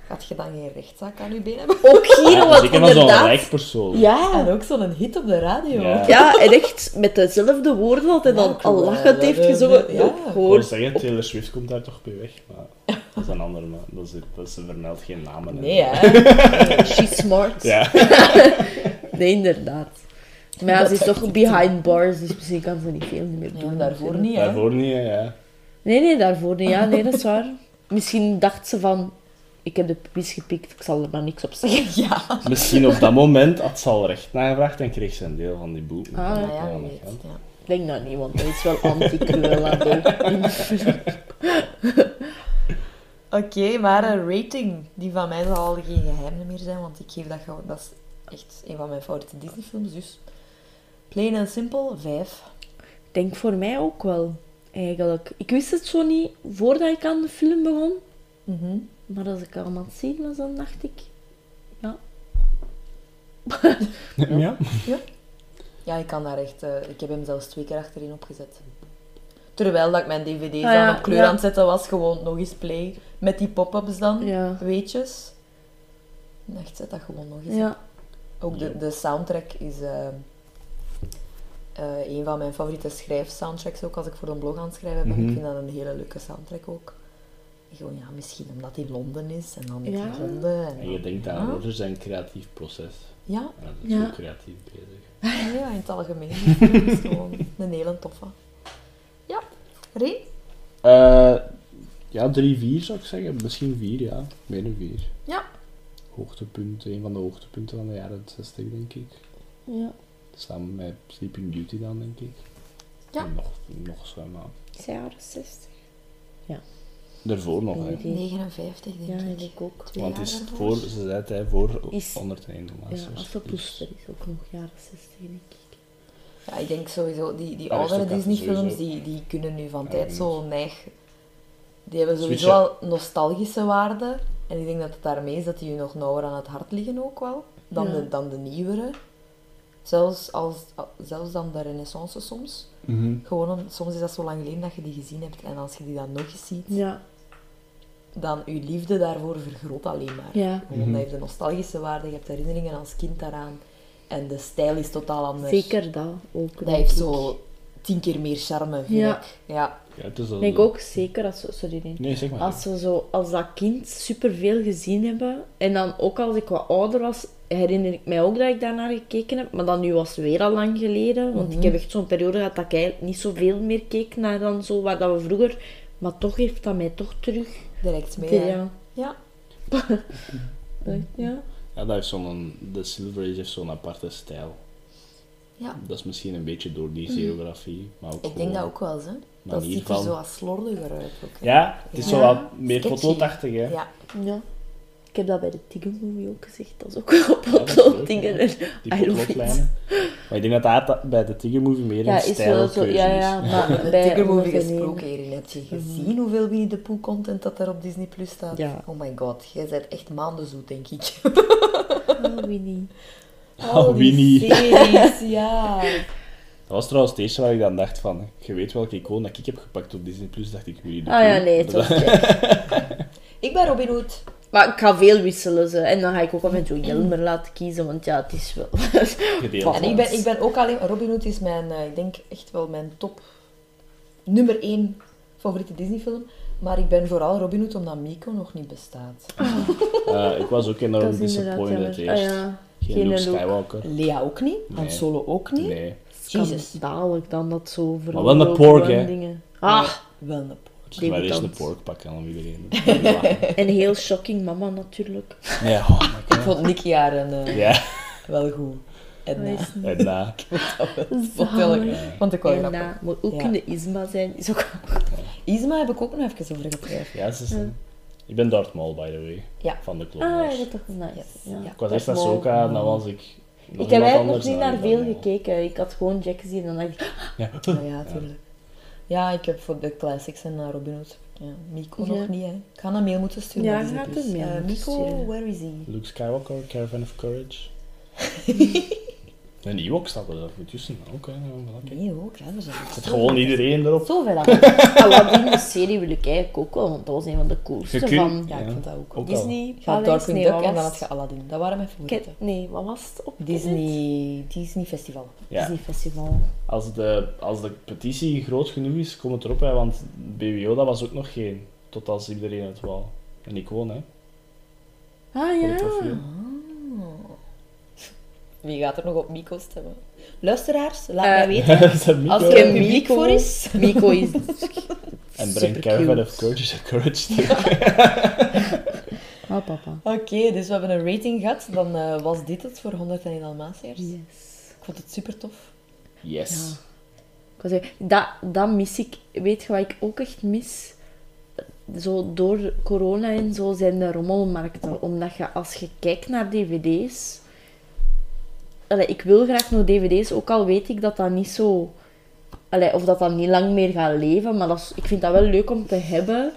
S1: gaat je dan geen rechtszaak aan je been hebben?
S3: Ook hier,
S2: Ja,
S3: wat
S2: zeker van zo'n rijk
S3: inderdaad...
S2: persoon.
S3: Ja.
S4: En ook zo'n hit op de radio.
S2: Ja.
S3: Ja, en echt met dezelfde woorden altijd al, al lachend heeft gezongen.
S4: Ja.
S3: Ook
S2: Ik
S3: gewoon
S2: wou zeggen, Taylor Swift komt daar toch bij weg, maar dat is een ander man. Dat is, dat is- ze vermeldt geen namen. hè.
S1: Nee, hè?
S3: she's smart.
S2: Ja.
S3: Nee, inderdaad. Maar ja,
S1: Dat
S3: ze is
S1: dacht
S3: toch behind bars, dus misschien kan ze niet veel meer
S1: Ja,
S3: doen.
S1: daarvoor niet, hè?
S2: Daarvoor niet, hè, ja.
S3: Nee, nee, daarvoor niet. Ja, nee, dat is waar. Misschien dacht ze van, ik heb de puppies gepikt, ik zal er maar niks op zeggen.
S1: Ja.
S2: Misschien op dat moment had ze al recht nagevraagd en kreeg ze een deel van die boete.
S3: Ah,
S1: Maar ja, je weet, ja.
S3: Ik denk dat niet, want dat is wel anti-cruel aan de- in de film.
S1: Oké, maar een rating. Die van mij zal al geen geheim meer zijn, want ik geef dat gewoon... Dat is echt een van mijn favoriete Disney-films, dus... Plain and simple, 5.
S3: Ik denk voor mij ook wel, eigenlijk. Ik wist het zo niet voordat ik aan de film begon.
S1: Mhm.
S3: Maar als ik allemaal aan het zien was, dan dacht ik... Ja,
S2: Ja.
S1: Ja, ik kan daar echt... eh, ik heb hem zelfs twee keer achterin opgezet. Terwijl dat ik mijn dvd's
S3: Ah, ja,
S1: dan op kleur
S3: ja.
S1: aan het zetten was, gewoon nog eens play. Met die pop-ups dan,
S3: Ja.
S1: weetjes. Echt, zet dat gewoon nog eens.
S3: ja.
S1: Ook de, de soundtrack is eh, eh, een van mijn favoriete schrijfsoundtracks ook. Als ik voor een blog aan het schrijven ben,
S2: Mhm.
S1: ik vind dat een hele leuke soundtrack ook. En Gewoon, ja, misschien omdat hij Londen is en dan met
S3: Ja.
S1: die honden. En,
S2: En je denkt aan
S1: Ja.
S2: Rogers zijn creatief proces.
S1: Ah. Ja,
S2: En dat is
S3: Ja.
S2: zo creatief bezig.
S1: Nee, ja, in het algemeen. Het is gewoon een hele toffe. Ja, Reen?
S2: Eh, ja, drie, vier zou ik zeggen. Misschien vier, ja. Meer dan vier.
S1: Ja.
S2: Hoogtepunt, een van de hoogtepunten van de jaren 60, denk ik.
S3: Ja.
S2: Samen met Sleeping Beauty dan, denk ik.
S1: Ja.
S2: En nog, nog zo, maar...
S3: Is hij jaren 60?
S2: Daarvoor nog, hè.
S3: Nee, die-
S1: 59, denk
S3: Ja,
S1: ik.
S3: ik ook.
S1: Twee
S2: Want het is
S1: jaar ervoor.
S2: voor, ze zei het, hè, voor
S3: Is-
S2: 101
S3: Ja,
S2: luisteraars.
S3: Assepoester is ook nog jaren 60, denk ik.
S1: Ja, ik denk sowieso, die, die
S2: Ja,
S1: oudere
S2: Aristocat
S1: Disney-films,
S2: sowieso.
S1: die, die kunnen nu van
S2: Ja,
S1: tijd zo neig... Die hebben sowieso
S2: Switchen.
S1: al nostalgische waarde. En ik denk dat het daarmee is dat die je nog nauwer aan het hart liggen ook wel. Dan,
S3: Ja.
S1: de, dan de nieuwere. Zelfs, als, al- zelfs dan de renaissance soms.
S2: Mhm.
S1: Gewoon om, soms is dat zo lang geleden dat je die gezien hebt. En als je die dan nog eens ziet,
S3: Ja,
S1: dan je liefde daarvoor vergroot alleen maar.
S3: ja.
S1: Gewoon,
S2: Mhm.
S1: dat heeft een nostalgische waarde, je hebt herinneringen als kind daaraan. En de stijl is totaal anders.
S3: Zeker dat ook.
S1: Dat
S3: denk
S1: heeft
S3: ik.
S1: zo tien keer meer charme, vind
S3: Ja.
S1: ik. Ja.
S2: Ja, het is al-
S3: Ik denk ook zeker als we, sorry, nee.
S2: Nee, zeg maar.
S3: als we zo als dat kind superveel gezien hebben en dan ook als ik wat ouder was, herinner ik mij ook dat ik daarnaar gekeken heb, maar dan nu was het weer al lang geleden, want
S1: Mhm.
S3: ik heb echt zo'n periode gehad dat ik eigenlijk niet zoveel meer keek naar dan zo wat dat we vroeger, maar toch heeft dat mij toch terug.
S1: Direct mee. hè.
S3: Ja.
S1: Ja.
S3: ja.
S2: Ja, dat heeft zo'n... De Silver Age heeft zo'n aparte stijl.
S1: Ja.
S2: Dat is misschien een beetje door
S3: Mhm.
S2: die geografie, maar ook
S1: Ik denk dat
S2: gewoon-
S1: ook wel, hè.
S2: Maar
S1: Dat
S2: in
S1: ziet
S2: ieder
S1: er
S2: geval-
S1: zo wat slordiger uit ook. hè.
S2: Ja, het is
S1: Ja.
S2: zo wat meer
S1: Sketchy.
S2: fototachtig, hè.
S1: Ja.
S3: ja. Ik heb dat bij de Tiggle Movie ook gezegd. Dat is ook wel
S2: dat is leuk,
S3: potloodingen.
S2: ja.
S3: en
S2: Die
S3: I love it.
S2: potloodlijnen. Maar ik denk dat dat bij de Tiger Movie meer een
S3: Ja, is wel zo.
S2: stijlkeuze
S3: Ja, ja,
S2: is.
S3: maar
S1: De
S3: bij
S1: Tiger Movie
S3: Ongeveer
S1: gesproken, Erin. Heb je gezien hoeveel Winnie the Pooh content dat er op Disney Plus staat?
S3: Ja.
S1: Oh my god, jij bent echt maanden zoet, denk ik.
S3: Nederland. Ah, Winnie.
S2: Oh, Winnie.
S4: Series, ja.
S2: Dat was trouwens het eerste waar ik aan dacht van, je weet welke icoon dat ik heb gepakt op Disney+, Plus, dacht ik, jullie
S3: Ah ja, nee, het was
S1: Ik ben Robin Hood.
S3: Maar ik ga veel wisselen ze. En dan ga ik ook af en toe Jelmer laten kiezen, want ja, het is wel.
S2: Gedeeld.
S1: Mm. En ik ben, ik ben ook alleen... Robin Hood is mijn, eh, ik denk echt wel mijn top nummer één favoriete Disney-film. Maar ik ben vooral Robin Hood omdat Miko nog niet bestaat.
S2: Eh, ik was ook
S3: dat
S2: enorm
S3: is inderdaad
S2: disappointed
S3: jammer.
S2: eerst.
S3: Ah, ja.
S2: Geen,
S3: Geen
S2: Luke
S3: Luke.
S2: Skywalker.
S1: Lea ook niet.
S2: Nee.
S1: Han Solo ook niet.
S2: Nee.
S1: Jezus.
S3: Dadelijk dan dat zo voor
S2: Maar wel een
S3: Rogue
S2: pork,
S3: One
S2: hè.
S3: dingen. Ah,
S1: Wel een
S2: Dus maar eerst een
S3: Debutant.
S2: pork pakken om iedereen.
S3: en heel shocking mama natuurlijk.
S2: Nee, oh my
S1: Ik
S2: god.
S1: vond Nicky haar een, eh,
S2: Ja,
S1: wel goed. En
S3: Hij
S1: eh,
S3: is
S2: en na.
S1: vertel
S3: zalig.
S1: ik. Want ik wou
S3: En
S1: grappig.
S3: na, moet ook
S1: Ja.
S3: kunnen Isma zijn. Is ook...
S1: Isma heb ik ook nog even over getwijfeld.
S2: Ja, ze is een- Ik ben Darth Maul, by the way.
S1: Ja.
S2: Van de Clone
S3: Ah,
S2: Wars.
S3: ja, dat is nice.
S1: Yes.
S3: Ja.
S1: Ja.
S2: Ik was eerst
S3: Dat is mooi.
S2: Ahsoka, en dan was ik...
S3: Ik heb eigenlijk nog niet
S2: niet
S3: naar veel gekeken. Ik had gewoon Jack gezien en dan dacht ik, "Ah,
S2: Ja.
S1: Ja, ja, tuurlijk. Ja, ik heb voor de classics en eh, Robin Hood. Ja, Miko
S3: Ja.
S1: nog niet, hè. Ik ga een mail moeten sturen.
S3: Ja,
S1: naar
S3: je
S1: Disney+.
S3: gaat een mail
S1: Eh,
S3: moeten
S1: Miko,
S3: sturen.
S1: where is he?
S2: Luke Skywalker, Caravan of Courage. en Ewok staat er daarvoor tussen. Oké, nou, wel, oké.
S1: Nee, ook. Ja, er zijn
S2: Zet gewoon iedereen erop.
S1: zoveel aan.
S3: Aladdin, Ah, die serie wil ik eigenlijk ook wel, want dat was een van de coolste
S2: Je kunt-
S3: van
S1: Ja, ik
S2: Ja,
S1: vond dat ook.
S2: ook. al.
S3: Disney.
S1: Je had
S3: Paleis,
S1: Darkwing
S3: nee,
S1: Duck
S3: wat
S1: en dan
S3: was
S1: had je Aladdin. Dat waren mijn
S3: het?
S1: favorieten.
S3: Ke- Nee, wat was het op Disney?
S1: Disney, Disney Festival.
S2: Ja.
S3: Disney Festival.
S2: Als de, als de petitie groot genoeg is, kom het erop. Hè, want BWO dat was ook nog geen. Tot als iedereen het wou. En ik woon, hè.
S3: Ah
S2: voor het
S3: ja.
S2: profiel.
S1: Wie gaat er nog op Miko stemmen? Luisteraars, laat
S3: Eh,
S1: mij weten.
S2: Is dat Mico?
S1: Als
S3: Ik
S1: je
S3: ken
S1: een publiek
S3: Miko.
S1: voor is.
S3: Miko is
S2: En breng
S3: supercute.
S2: Caravan of Courage en Courage terug.
S3: Ah, papa.
S1: Oké, dus we hebben een rating gehad. Dan eh, was dit het voor 101 Dalmatiërs.
S3: Yes.
S1: Ik vond het super tof.
S2: Yes.
S3: Ik wou zeggen, dat, dat mis ik. Weet je wat ik ook echt mis? Zo door corona en zo zijn de rommelmarkten. Omdat je als je kijkt naar dvd's... Allee, ik wil graag nog dvd's, ook al weet ik dat dat niet zo... Allee, of dat dat niet lang meer gaat leven, maar dat is- ik vind dat wel leuk om te hebben.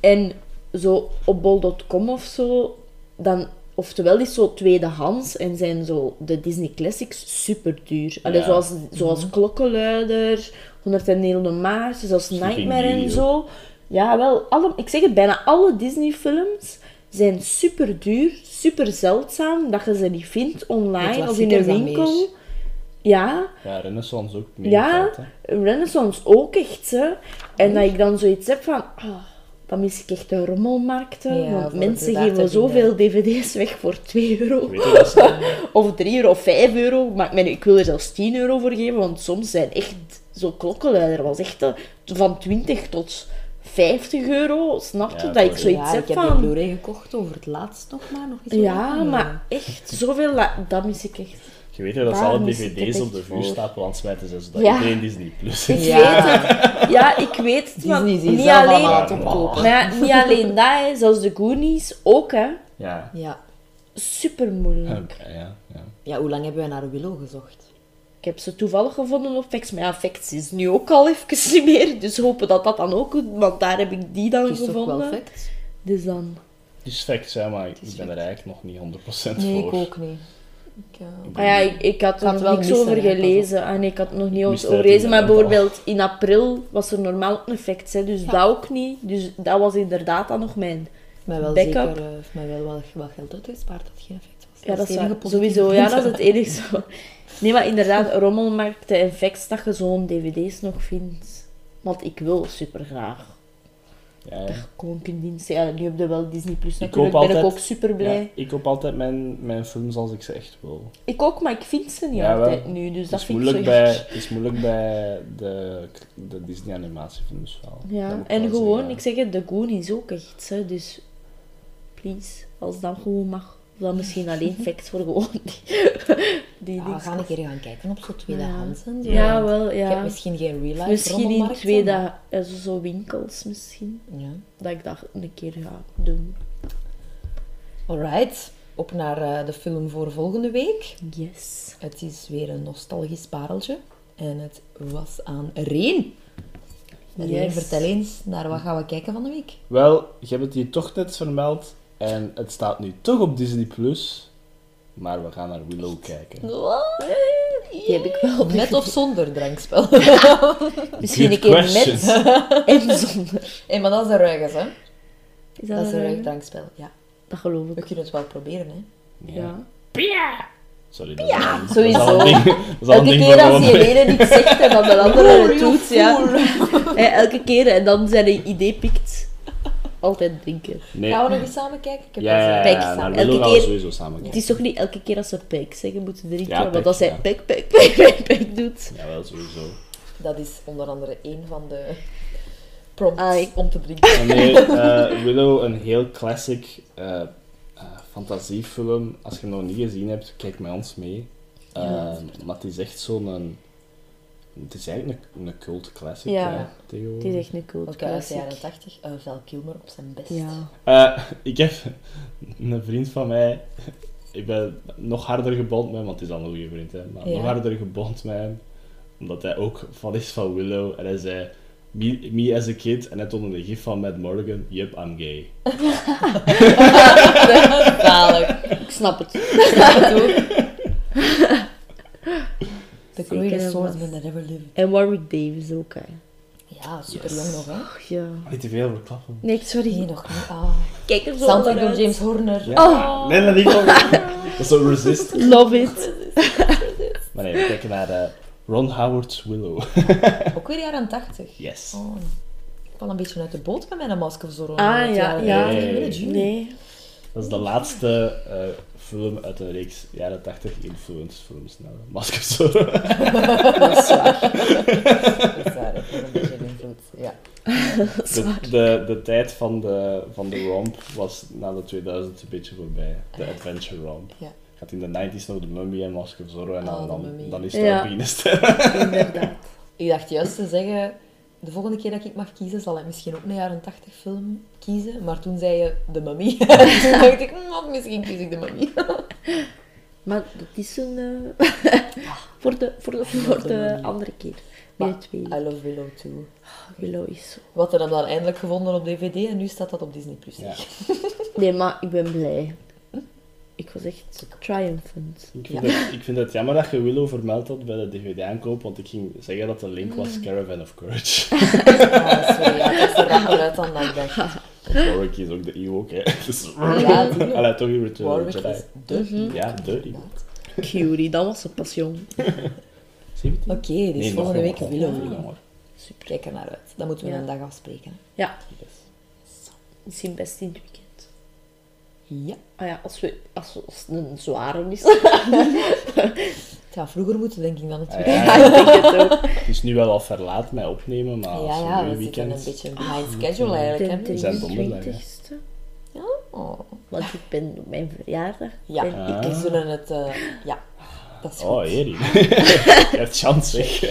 S3: En zo op bol.com of zo, dan... Oftewel is zo tweedehands en zijn zo de Disney Classics super duur. Allee,
S2: Ja.
S3: zoals, zoals Klokkenluider, 101 Maart, zoals
S2: Sleeping
S3: Nightmare en
S2: Beauty
S3: zo. Ja, wel, alle, ik zeg het, bijna alle Disney-films zijn super duur, super zeldzaam, dat je ze niet vindt online of in een
S1: klassiekers dan meer.
S3: winkel. Ja,
S2: Ja, Renaissance ook meer.
S3: ja,
S2: geld, hè.
S3: Renaissance ook echt, hè. En dat ik dan zoiets heb van, ah, dan mis ik echt de rommelmarkten,
S1: Ja,
S3: want
S1: voor
S3: mensen
S1: het daar
S3: geven
S1: te vinden.
S3: zoveel dvd's weg voor 2 euro.
S2: Weet je dat ze-
S3: Of 3 euro of 5 euro. Maar ik, meen, ik wil er zelfs 10 euro voor geven, want soms zijn echt zo klokkenluider. was echt eh, van 20 tot 50 euro. Snap je
S2: Ja,
S3: dat ik
S2: voor-
S3: zoiets
S1: ja,
S3: heb
S1: ik heb die
S3: van.
S1: Blu-ray gekocht over het laatst nog maar. Nog niet zo lang
S3: ja,
S1: geleden.
S3: maar echt zoveel, dat, dat mis ik echt.
S2: Je weet wel dat ze
S3: Daar
S2: alle
S3: moest ik het
S2: dvd's op
S3: echt
S2: de
S3: voor.
S2: vuurstapel aan het smijten zijn, zodat
S3: Ja.
S2: dus iedereen Disney Plus
S3: Ik
S2: heeft.
S1: Ja.
S3: weet het. Ja, ik weet het. Maar
S1: Disney is hier
S3: niet
S1: zelf
S3: alleen,
S1: allemaal aan het opkopen.
S3: maar ja, niet alleen dat, hè, zelfs de Goonies ook. Hè.
S2: Ja.
S1: Ja.
S3: Super moeilijk.
S2: Oké, ja, ja.
S1: ja, hoe lang hebben wij naar Willow gezocht?
S3: Ik heb ze toevallig gevonden op Vex, maar ja, Vex is nu ook al even niet meer. Dus hopen dat dat dan ook goed, want daar heb ik die dan
S1: Het is toch
S3: gevonden.
S1: wel fact?
S3: Dus dan.
S2: Dus fact, hè, maar ik
S1: is
S2: ben er eigenlijk nog niet 100%
S1: Nee,
S2: voor.
S1: ik ook niet. Ik, eh,
S2: Ik
S3: Ah
S2: ben-
S3: ja, ik, ik had
S1: Gaat
S3: er
S1: wel
S3: niks
S1: missen,
S3: over
S1: hè,
S3: gelezen. Ah nee, ik had het nog niet
S2: Mist uit
S3: over over gelezen. Maar
S2: inderdaad al.
S3: bijvoorbeeld in april was er normaal ook een fact, hè, dus dat ook niet. Dus dat was inderdaad dan nog mijn.
S1: heeft mij wel
S3: Backup.
S1: zeker eh, heeft mij wel wat, wat geld uitgespaard dat het geen effect was.
S3: Ja, dat is
S1: het enige
S3: waar.
S1: positieve
S3: sowieso.
S1: punt.
S3: Ja, dat is het enige. Nee, maar inderdaad, rommelmarkten en facts dat je zo'n dvd's nog vindt. Want ik wil super graag.
S2: Ja, ja.
S3: Gewoon in dienst. Ja, nu heb je wel Disney Plus
S2: Ik
S3: natuurlijk.
S2: koop
S3: ben ik
S2: altijd-
S3: ook super blij.
S2: Ja, ik koop altijd mijn, mijn films als ik ze echt wil.
S3: Ik ook, maar ik vind ze niet
S2: Ja, wel.
S3: altijd nu. Dus
S2: Het
S3: dat
S2: is,
S3: vind ik zo
S2: moeilijk bij,
S3: gek.
S2: het is moeilijk bij de, de Disney animatiefilms wel. Dat
S3: Ja,
S2: moet
S3: en
S2: wel
S3: gewoon,
S2: zeggen.
S3: ik zeg het, de Goonies ook echt. Hè, dus please, als dat gewoon mag. Of dan misschien alleen facts voor gewoon die, die
S1: Ja, we
S3: dingen.
S1: gaan een keer gaan kijken op zo'n tweedehands en zo.
S3: Ja, wel,
S1: Ik heb
S3: ja.
S1: misschien geen real-life
S3: Misschien in
S1: rommelmarkten, maar-
S3: tweede, eh, zo, zo winkels misschien.
S1: Ja.
S3: Dat ik dat een keer ga doen.
S1: Alright, op naar eh, de film voor volgende week.
S3: Yes.
S1: Het is weer een nostalgisch pareltje. En het was aan Reen. Reen,
S3: Yes.
S1: vertel eens, naar wat gaan we kijken van de week?
S2: Wel, je hebt het hier toch net vermeld. En het staat nu toch op Disney+. Plus, Maar we gaan naar Willow kijken.
S3: Die heb ik wel.
S1: Met of zonder drankspel?
S3: Misschien
S2: Good
S3: een keer
S2: questions.
S3: met en zonder.
S1: Hé, maar dat is de ruigers, hè?
S3: Is
S1: Dat is een ruig
S3: een-
S1: drankspel, ja.
S3: Dat geloof
S1: We
S3: ik.
S1: kunnen het wel proberen, hè.
S2: Ja.
S3: Ja.
S2: Sorry, dat is al een-
S1: sowieso.
S2: Dat is al een ding, dat is al een ding
S3: Elke keer
S2: van
S3: als
S2: Willem.
S3: die ene niet zegt en dan de andere het doet, Oh, ja. Hè, elke keer en dan zijn idee pikt. Altijd drinken.
S2: Nee.
S1: Gaan we nog eens samen kijken? Ik heb
S2: Ja,
S1: al
S2: ja, ja,
S1: zin.
S3: Pijk
S2: ja,
S3: samen.
S2: naar
S3: Elke
S2: Willow gaan we
S3: keer-
S2: sowieso samen
S3: Het
S2: kijken.
S3: is toch niet elke keer als ze pijk zeggen moeten drinken,
S2: Ja,
S3: want
S2: pijk,
S3: als zij
S2: ja.
S3: pijk, pijk, pijk, pijk, pijk doet.
S2: Jawel, sowieso.
S1: Dat is onder andere één van de prompts
S3: Ai.
S1: om te drinken.
S2: Maar Nee, eh, Willow, een heel classic eh, eh, fantasiefilm. Als je hem nog niet gezien hebt, kijk met ons mee. Eh, maar het is echt zo'n... een- Het is eigenlijk een, een cult classic
S3: Ja.
S2: hè, tegenwoordig.
S3: Het is echt een cool
S1: Ook uit de
S3: classic.
S1: jaren 80, eh, Val Kilmer op zijn best.
S3: Ja.
S2: Eh, ik heb een vriend van mij. Ik ben nog harder gebond met hem, want het is al een goede vriend, hè, maar
S1: Ja.
S2: nog harder gebond met hem. Omdat hij ook van is van Willow. En hij zei, me, me as a kid. En hij toonde een gif van Matt Morgan. Yup, I'm gay.
S1: Zalig.
S3: Ik snap het.
S1: The
S3: Zeker en
S1: greatest swordsman
S3: vast.
S1: that ever lived.
S3: En Warwick Davis ook, hè.
S1: Ja, super jong nog, hè?
S3: Ach, ja.
S2: Niet te veel verklappen.
S3: Nee,
S1: Nee,
S3: sorry.
S1: nog niet. Ah.
S3: Kijk eh, er zo
S1: Sound
S3: naar
S1: door
S3: uit.
S1: James Horner.
S2: Ja.
S1: Oh.
S2: Nee, dat niet. Dat is zo resist.
S3: Love it.
S2: Maar nee, we kijken naar eh, Ron Howard's Willow.
S1: Ook weer jaren 80.
S2: Yes.
S1: Oh. Ik val een beetje uit de boot met mijn masker zo rond.
S3: Ah, ja, ja.
S2: Nee.
S3: Nee.
S2: Dat is de laatste eh, film uit een reeks jaren 80 influenced films. Nou, masker zo.
S1: Dat is waar. Dat is waar, dat heeft een beetje invloed. Ja.
S2: De, de, de tijd van de, van de romp was na de 2000 een beetje voorbij. De adventure romp.
S1: Ja.
S2: Gaat in de 90s nog de Mummy en Mask of Zorro en dan,
S1: Oh, de
S2: dan,
S1: Mummy.
S2: dan is
S3: Ja.
S2: het ja. Ster.
S3: Inderdaad.
S1: Ik dacht juist te zeggen, de volgende keer dat ik mag kiezen, zal ik misschien ook een jaren 80 film kiezen. Maar toen zei je de mummy. toen dacht ik, hm, of misschien kies ik de mummy.
S3: Maar dat is een... eh, voor, de, voor, de, voor de andere keer. Bij de
S1: Maar
S3: twee.
S1: I Love Willow too.
S3: Willow is zo...
S1: Wat hadden hem dan eindelijk gevonden op DVD en nu staat dat op Disney+. Plus.
S2: Ja.
S3: Nee, maar ik ben blij. Hm? Ik was echt triumphant.
S2: Ik, vind het, ik vind het jammer dat je Willow vermeld had bij de DVD-aankoop, want ik ging zeggen dat de link
S1: Mm.
S2: was Caravan of Courage.
S1: Ah, sorry, ja, dat is er rapper uit dan dat ik dacht.
S2: Want Warwick is ook de Ewok, hè. Dus...
S1: Ja, tuurlijk.
S2: Allee, toch in Return of
S1: Warwick
S2: the Jedi.
S1: is de
S2: Ja, de Ewok.
S3: Curie, dat was een passion.
S2: Zie je het?
S1: Oké, dus
S2: Nee, nog
S1: volgende
S2: wel,
S1: week
S2: nog
S1: Willow.
S2: wel,
S1: Willow.
S2: hoor.
S1: Super, kijk er naar uit. Dan moeten we
S3: Ja.
S1: een dag afspreken. hè.
S3: Ja. Misschien best in het weekend.
S1: Ja.
S3: Ah ja, als, we, als, we- als het een zware is.
S1: Het gaat vroeger moeten, denk ik, dan het
S2: Ah,
S1: weekend.
S2: ja, ja. Het is nu wel al verlaat mij opnemen, maar
S1: Ja,
S2: als
S1: ja,
S2: we
S1: we
S2: nu een
S1: zitten een
S2: ah, weekend... Ah,
S1: beetje behind schedule eigenlijk.
S3: De
S1: Hè?
S2: zijn donderdag, hè.
S3: 23ste.
S1: Oh.
S3: Want ik ben op mijn verjaardag.
S1: Ja,
S3: Ben ik-
S2: Ah.
S1: we zullen het... eh, ja, dat is goed.
S2: Oh, Erie. Je hebt chance, zeg.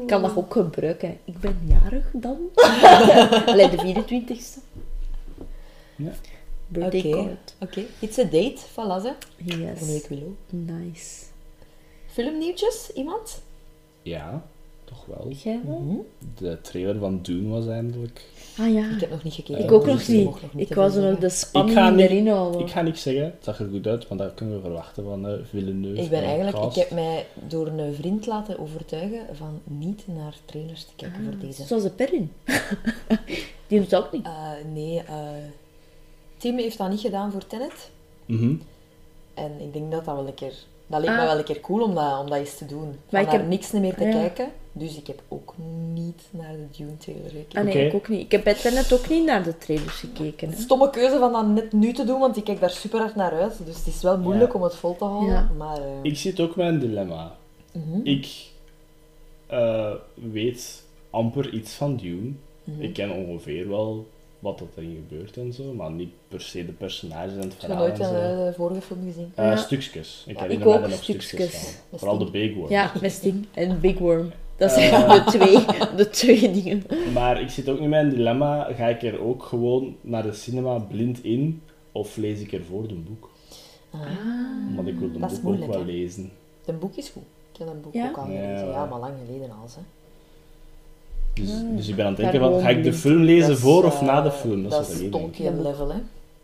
S3: Ik kan dat ook gebruiken. Ik ben jarig dan. Allee, de 24ste.
S2: Ja.
S3: Birthday
S1: Oké,
S3: card.
S1: oké. It's a date, voilà ze. Volgende
S3: Yes.
S1: week Willow.
S3: Nice.
S1: Filmnieuwtjes, iemand?
S2: Ja, toch wel.
S3: Jij wel?
S2: De trailer van Dune was eindelijk.
S3: Ah ja.
S1: Ik heb nog niet gekeken.
S3: Ik ook
S1: dus
S3: nog
S1: ik
S3: niet.
S1: mocht nog niet
S3: Ik
S1: te
S3: wou
S1: veel
S3: ze nog
S1: zeggen.
S3: de
S2: Ik ga
S3: spanning
S2: niet-
S3: erin houden.
S2: Ik ga niks zeggen, het zag er goed uit, maar dat kunnen we verwachten van eh Villeneuve.
S1: Ik ben
S2: en
S1: eigenlijk...
S2: cast.
S1: Ik heb mij door een vriend laten overtuigen van niet naar trailers te kijken voor deze.
S3: Zoals de Perrin. Die doet dat
S2: Ah,
S3: ook niet.
S1: Eh, nee, eh, Tim heeft dat niet gedaan voor Tenet.
S2: Mhm.
S1: En ik denk dat dat wel een keer... Dat leek
S3: Ah.
S1: me wel een keer cool om dat, om dat eens te doen. Maar
S3: Maar ik
S1: ik heb
S3: heb-
S1: niks meer te
S3: Ja.
S1: kijken. Dus ik heb ook niet naar de Dune trailer gekeken.
S3: Ah nee,
S2: Oké.
S3: ik ook niet. Ik heb bij Tenet ook niet naar de trailers gekeken. hè.
S1: Stomme keuze van dat net nu te doen, want ik kijk daar super hard naar uit. Dus het is wel moeilijk
S2: Ja.
S1: om het vol te houden.
S3: Ja.
S1: Maar eh, mhm.
S2: Ik zit ook met een dilemma. Ik eh, weet amper iets van Dune. Ik ken ongeveer wel wat dat erin gebeurt en zo, maar niet per se de personages en het
S1: ik heb
S2: verhaal
S1: nooit
S2: en
S1: een
S2: zo.
S1: eh, vorige film gezien.
S2: Eh,
S3: Ja.
S2: Stukjes. Ik
S3: Ja,
S2: herinner
S3: ik
S2: mij
S3: ook,
S2: er nog stukjes,
S3: stukjes.
S2: van. Vooral de big word.
S3: Ja, met Sting en Big Worm. Dat
S2: Eh.
S3: zijn de, twee, de twee dingen.
S2: Maar ik zit ook in mijn dilemma. Ga ik er ook gewoon naar de cinema blind in? Of lees ik ervoor een boek.
S1: Ah.
S2: Want ik wil een
S1: Dat is
S2: boek
S1: moeilijk,
S2: ook wel
S1: hè?
S2: lezen.
S1: De boek is goed. Ik heb dat boek
S3: Ja?
S1: ook al
S2: Ja,
S1: gelezen. Ja,
S2: ja.
S1: maar lang geleden al. Hè.
S2: Dus, dus ik ben aan het
S3: Daar
S2: denken, van,
S3: gewoon
S2: ga ik de
S3: niet.
S2: film lezen
S8: Dat is,
S2: voor of
S8: eh,
S2: na de film? Dat,
S8: dat
S2: is
S8: is
S2: wat ik denk.
S8: Tolkien level, hè.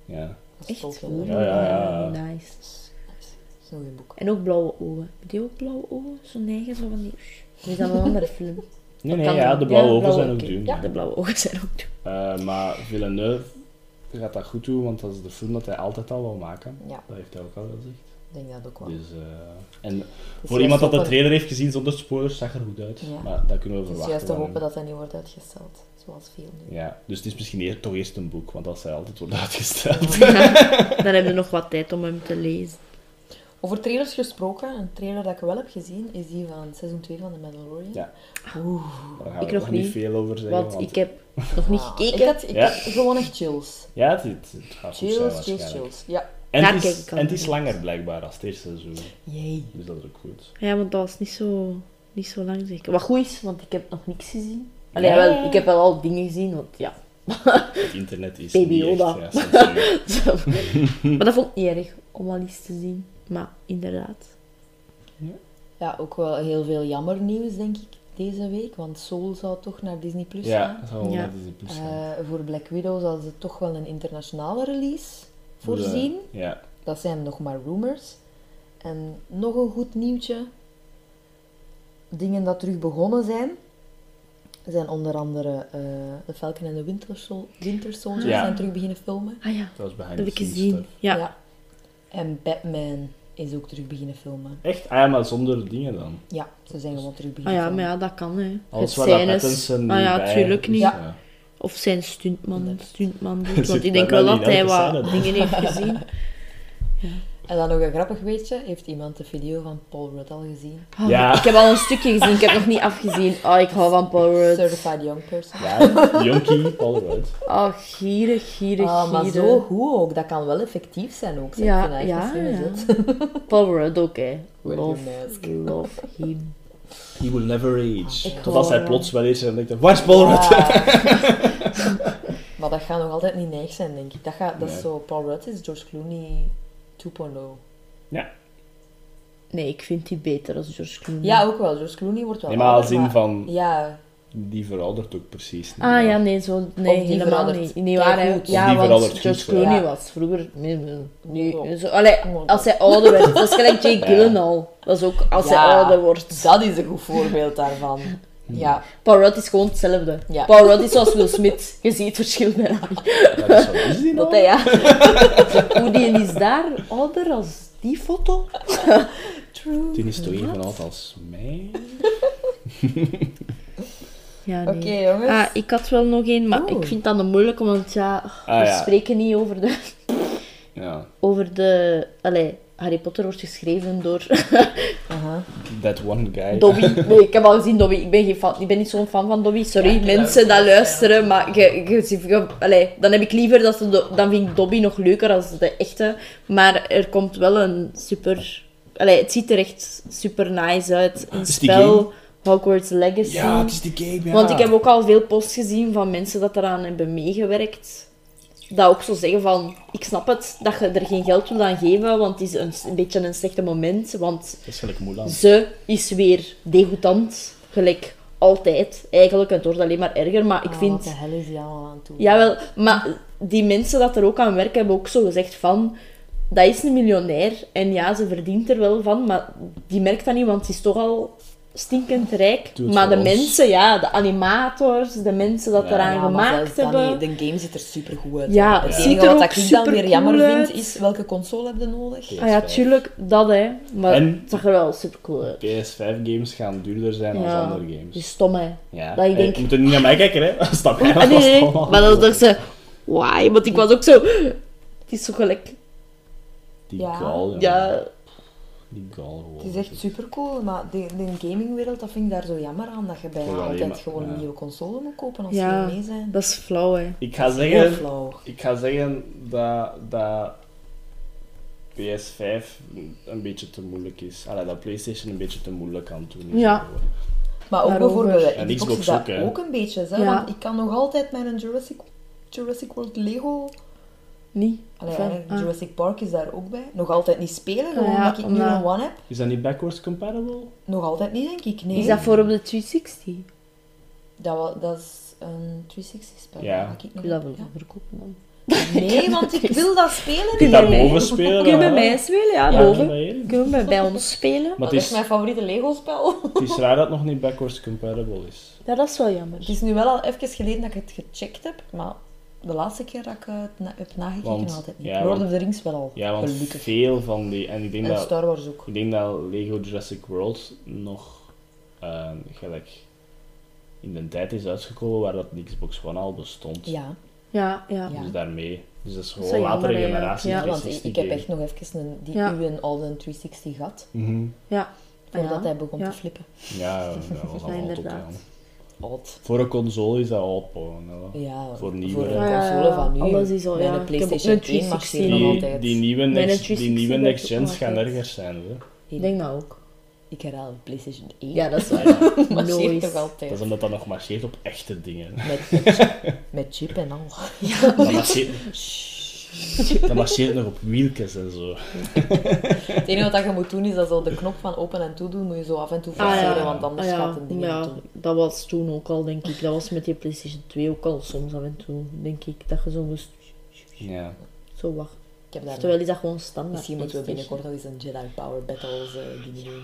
S2: Ja.
S8: Dat is
S3: Echt?
S8: Tolkien level.
S2: Ja, ja, ja.
S3: Nice.
S8: Dat is- dat is een goed boek.
S3: En ook blauwe ogen. Heb je ook blauwe ogen? Zo'n eigen, zo van die... Of is dat wel een andere film?
S2: Nee, nee,
S3: kan
S2: ja,
S3: wel.
S2: de blauwe
S3: Ja,
S2: ogen
S3: blauwe
S2: zijn ook
S3: ogen.
S2: duur.
S3: Ja, de blauwe ogen zijn ook doen.
S2: Eh, maar Villeneuve gaat dat goed doen, want dat is de film dat hij altijd al wil maken.
S1: Ja.
S2: Dat heeft hij ook al gezegd.
S1: Ik denk dat ook wel.
S2: Dus, eh, en
S1: Het
S2: voor
S1: is juist
S2: iemand dat de
S1: ook wel-
S2: trailer heeft gezien zonder spoilers, zag er goed uit.
S1: Ja.
S2: Maar dat kunnen
S1: Het
S2: we
S1: is
S2: verwachten.
S1: juist te
S2: van hem.
S1: hopen dat dat niet wordt uitgesteld. Zoals veel nu.
S2: Ja, dus het is misschien eer, toch eerst een boek, want dat zij altijd wordt uitgesteld.
S3: Dan hebben we nog wat tijd om hem te lezen.
S1: Over trailers gesproken, een trailer dat ik wel heb gezien is die van seizoen 2 van The Mandalorian.
S2: Ja. Daar gaan
S3: Ik
S2: we
S3: nog
S2: nog niet
S3: niet,
S2: veel over zeggen.
S3: Want ik heb nog niet
S1: Ah,
S3: gekeken.
S1: Ik had, ik
S2: Ja.
S1: had gewoon echt chills.
S2: Ja, het, het, het gaat goed zijn
S1: Chills, chills,
S2: waarschijnlijk.
S1: chills. Ja.
S2: En,
S3: Daar
S2: het
S3: kijk
S2: is,
S3: ik al
S2: en het is
S3: naar
S2: langer blijkbaar als het eerste seizoen.
S1: Jee.
S2: Dus dat is ook goed.
S3: Ja, want dat was niet zo, niet zo lang zeker. Wat goed is, want ik heb nog niks gezien. Allee,
S2: Ja.
S3: wel, ik heb wel al dingen gezien, want ja.
S2: Het internet is
S3: Baby
S2: niet echt,
S3: Yoda.
S2: ja, eh, Samsung.
S3: Zo. maar dat vond ik niet erg om al iets te zien. Maar inderdaad.
S1: Ja, ook wel heel veel jammer nieuws, denk ik, deze week. Want Soul zou toch naar Disney Plus
S2: Ja,
S1: gaan.
S2: dat zou wel
S3: Ja.
S2: net eens een plus zijn.
S1: Eh, voor Black Widow zal ze toch wel een internationale release voorzien.
S2: Dus, eh, ja.
S1: Dat zijn nog maar rumors. En nog een goed nieuwtje. Dingen dat terug begonnen zijn. Zijn onder andere eh The Falcon en de Winter, Sol- Winter Soldier
S2: Ja.
S1: zijn terug beginnen filmen.
S3: Ah ja,
S2: Dat was behind
S3: dat heb
S2: the
S3: ik
S2: scenes
S3: gezien.
S2: stuff.
S3: Ja.
S1: En Batman is ook terug beginnen filmen.
S2: Echt? Ah ja, maar zonder dingen dan.
S1: Ja, ze zijn gewoon terug
S3: Ah
S1: beginnen
S3: ja, maar
S1: filmen.
S3: ja, dat kan hè.
S2: Alles
S3: Het
S2: waar dat
S3: zijn is-
S2: Pattinson
S3: Ah ja,
S2: bij-
S3: tuurlijk niet.
S2: dus,
S1: Ja.
S2: ja.
S3: Of zijn stuntman, stuntman doet.
S2: Zit
S3: Want
S2: daar
S3: ik denk wel
S2: dan
S3: dat hij
S2: niet elke
S3: wat
S2: scène
S3: dingen heeft gezien.
S1: En dan nog een grappig weetje. Heeft iemand de video van Paul Rudd al gezien?
S3: Ah,
S2: Ja.
S3: Ik heb al een stukje gezien, ik heb nog niet afgezien. Oh, ik hou van Paul Rudd.
S1: Certified Young Person.
S2: Ja, Jonkie, Paul Rudd.
S3: Oh, gierig, gierig,
S1: Ah, maar
S3: gierig.
S1: zo goed ook. Dat kan wel effectief zijn ook. zeg.
S3: eh. Ja,
S1: Ik vind dat echt
S3: ja,
S1: een
S3: ja.
S1: zin.
S3: Paul Rudd ook, hè.
S1: Wear your
S3: Love,
S1: mask.
S3: love him.
S2: He will never age.
S1: Ik
S2: Totdat
S3: hoor
S2: hij
S3: hem.
S2: plots wel eens en denkt, waar is Paul Rudd?
S1: maar dat gaat nog altijd niet neig zijn, denk ik. Dat, gaat, dat
S2: Nee.
S1: is zo, Paul Rudd is George Clooney oh. 2.0.
S3: Mm. Nee, ik vind die beter als George Clooney.
S1: Ja, ook wel. George Clooney wordt wel
S2: Nee, maar als
S1: ouder,
S2: in
S1: maar-
S2: van,
S1: Ja,
S2: die veroudert ook precies niet.
S3: Ah ja, nee, zo, nee
S1: Of die
S3: helemaal
S1: verandert
S3: niet. Niet waar, hè.
S1: keigoed.
S3: Ja,
S2: Die
S3: want
S2: verandert
S3: George
S2: goed, ja.
S3: Clooney
S1: Ja.
S3: was vroeger... nee, nee, Nu,
S1: Ongelooflijk.
S3: zo, allee, als hij ouder werd. Dat is gelijk Jake
S2: Ja.
S3: Gyllenhaal. Dat is ook als hij
S1: Ja.
S3: ouder wordt.
S1: dat is een goed voorbeeld daarvan. Ja,
S3: Paul Rudd is gewoon hetzelfde.
S1: Ja.
S3: Paul Rudd is zoals Will Smith. Je ziet het verschil bijna. niet.
S2: Dat is, wel- is die
S3: Dat
S2: nou?
S3: hij, ja... Hoe die is daar ouder als die foto. True.
S2: Die is toch even oud als mij?
S3: Ja, nee.
S1: oké dus- Oh. jongens.
S3: Ah, ik had wel nog één, maar
S1: Oeh.
S3: ik vind dat een moeilijke, want ja,
S2: Ah,
S3: we
S2: ja.
S3: spreken niet over de...
S2: Ja.
S3: Over de allee, Harry Potter wordt geschreven door
S1: Aha.
S2: That one guy.
S3: Dobby. Nee, ik heb al gezien Dobby. Ik ben, geen fan, ik ben niet zo'n fan van Dobby. Sorry, mensen dat luisteren, maar je, je, je- allee, dan heb ik liever dat ze... Do- Dan vind ik Dobby nog leuker als de echte. Maar er komt wel een super... Allee, het ziet er echt super nice uit. Een
S2: Is die
S3: spel, Hogwarts Legacy.
S2: Ja, het is die game, ja.
S3: Want ik heb ook al veel posts gezien van mensen dat eraan hebben meegewerkt. Dat ook zo zeggen van, ik snap het, dat je er geen geld wil aan geven, want het is een, een beetje een slechte moment. Want
S2: Dat is gelijk Mulan.
S3: ze is weer degoutant, gelijk altijd eigenlijk. Het wordt alleen maar erger, maar ik
S1: Ah, Wat
S3: vind...
S1: de hel is die allemaal aan toe?
S3: Jawel, maar die mensen dat er ook aan werken hebben ook zo gezegd van... Dat is een miljonair en ja, ze verdient er wel van, maar die merkt dat niet, want ze is toch al stinkend rijk.
S2: Doe het
S3: maar de
S2: voor ons.
S3: mensen, ja, de animators, de mensen dat
S2: Ja.
S3: eraan
S1: Ja, maar zelfs
S3: gemaakt
S1: dan
S3: hebben...
S1: niet. De game ziet er super goed uit.
S3: Ja,
S1: het
S3: het ziet
S1: enige
S3: er
S1: wat
S3: ook
S1: ik dan weer
S3: supercool
S1: jammer
S3: uit.
S1: vind is welke console heb je nodig?
S2: Ja.
S3: Ah ja, tuurlijk, dat hè. Maar
S2: En-
S3: het zag er wel supercool uit.
S2: PS5-games gaan duurder zijn dan
S3: Ja.
S2: andere games.
S3: Die stom hè.
S2: Ja.
S3: Dat ik
S2: Eh,
S3: denk-
S2: Je moet er niet naar mij kijken, hè. Stap jij
S3: Ah, nee, nee, nee.
S2: alvast
S3: Maar
S2: al.
S3: dan dacht ze, why? Want ik was ook zo... Het is zo gelijk...
S2: Die
S1: Ja.
S2: gal, ja.
S3: Ja,
S2: Die gal gewoon.
S1: Het is echt super cool, maar de, de gamingwereld, dat vind ik daar zo jammer aan. Dat je bijna
S2: Gewoon alleen
S1: altijd
S2: maar-
S1: gewoon
S2: ja.
S1: een nieuwe console moet kopen als
S3: Ja.
S1: ze mee zijn.
S3: dat is flauw hè.
S2: Ik ga
S1: Heel
S2: zeggen...
S1: flauw.
S2: Ik ga zeggen dat, dat PS5 een beetje te moeilijk is. Allee, dat PlayStation een beetje te moeilijk aan het doen is.
S3: Ja.
S1: Maar ook
S3: Daarover.
S1: bijvoorbeeld
S2: En
S1: bij Xbox,
S2: Xbox
S1: is dat
S2: ook, hè.
S1: ook een beetje. Hè?
S3: Ja.
S1: Want ik kan nog altijd mijn Jurassic, Jurassic World Lego
S3: Niet?
S1: Allee,
S3: Enfin,
S1: eigenlijk
S3: ah.
S1: Jurassic Park is daar ook bij. Nog altijd niet spelen, gewoon
S3: ja,
S1: omdat ik nu
S3: omdat-
S1: een One heb.
S2: Is dat niet backwards compatible?
S1: Nog altijd niet, denk ik. Nee.
S3: Is dat voor op de 360?
S1: Dat, wa- dat is een 360-spel.
S2: Ja.
S1: Ik
S3: Ik
S1: nog...
S3: wil dat wel verkopen dan.
S1: Nee, want ik wil dat spelen.
S2: Kun je daarboven spelen?
S3: Kun
S2: hè?
S3: je bij mij spelen? Ja,
S2: Ja,
S3: boven.
S2: bij jullie.
S3: Kunnen we bij, bij ons spelen?
S2: Maar
S1: Dat
S2: het
S1: is
S2: is,
S1: mijn favoriete Lego-spel.
S2: het is raar dat het nog niet backwards compatible is.
S3: Ja, dat is wel jammer.
S1: Het is nu wel al even geleden dat ik het gecheckt heb, maar de laatste keer dat ik eh, het na- heb nagekeken,
S2: Want-
S1: had het niet.
S2: ja,
S1: Lord
S2: want-
S1: of the Rings wel al,
S2: Ja, want
S1: gelukkig.
S2: veel van die... En ik denk,
S1: En
S2: dat,
S1: Star Wars ook.
S2: ik denk dat Lego Jurassic World nog eh, gelijk in de tijd is uitgekomen waar dat de Xbox One al bestond.
S1: Ja,
S3: Ja, ja.
S1: Ja. eh,
S2: Dus daarmee. Dus dat is
S3: is
S2: gewoon
S3: wel
S2: latere
S3: jammer eigenlijk,
S2: generatie dus
S3: ja.
S1: want ik,
S2: 360
S1: ik heb
S2: game.
S1: echt nog even een, die
S3: Ja.
S1: uw en Alden 360 gehad,
S2: Mhm.
S1: voordat
S3: Ja,
S1: hij begon
S3: ja.
S1: te flippen.
S2: Ja, dat was
S3: Ja,
S2: al tot
S3: inderdaad.
S1: Oud.
S2: Voor een console is dat nou. oud, Paul, hè.
S1: Ja,
S2: Voor nieuwe.
S1: voor een
S2: Ja,
S3: ja,
S1: console
S3: ja.
S1: van nu.
S3: Alles is al-
S1: Mijn
S3: ja, ik heb
S1: PlayStation
S3: ook een
S1: 1 mag
S3: 360
S1: nog
S2: Die,
S1: altijd.
S2: die nieuwe
S3: Mijn
S2: next, die
S3: 360
S2: nieuwe
S3: werkt
S2: next
S3: ook
S2: gens
S3: nog
S2: gaan
S3: altijd.
S2: erger zijn. Hè.
S3: Ik denk dat ook.
S1: Ik herhaal PlayStation 1.
S3: Ja, dat is waar.
S1: maar
S3: Noise.
S1: toch altijd.
S2: Dat is omdat dat nog marcheert op echte dingen.
S1: Met, met, met chip en al.
S2: Dat marcheert, dat marcheert nog op wieltjes en zo.
S1: Het enige wat je moet doen is dat zo de knop van open en toe doen, moet je zo af en toe
S3: Ah, ja.
S1: forceren, want anders
S3: Ah, ja.
S1: gaat het ding
S3: ja,
S1: niet doen.
S3: dat was toen ook al, denk ik. Dat was met die PlayStation 2 ook al soms af en toe, denk ik. Dat je zo moest...
S2: Ja.
S3: Zo wacht.
S1: Ik heb daar
S3: Terwijl is dat gewoon standaard.
S1: Misschien moeten we
S3: PlayStation.
S1: binnenkort nog eens een Jedi Power Battles eh, dingen doen.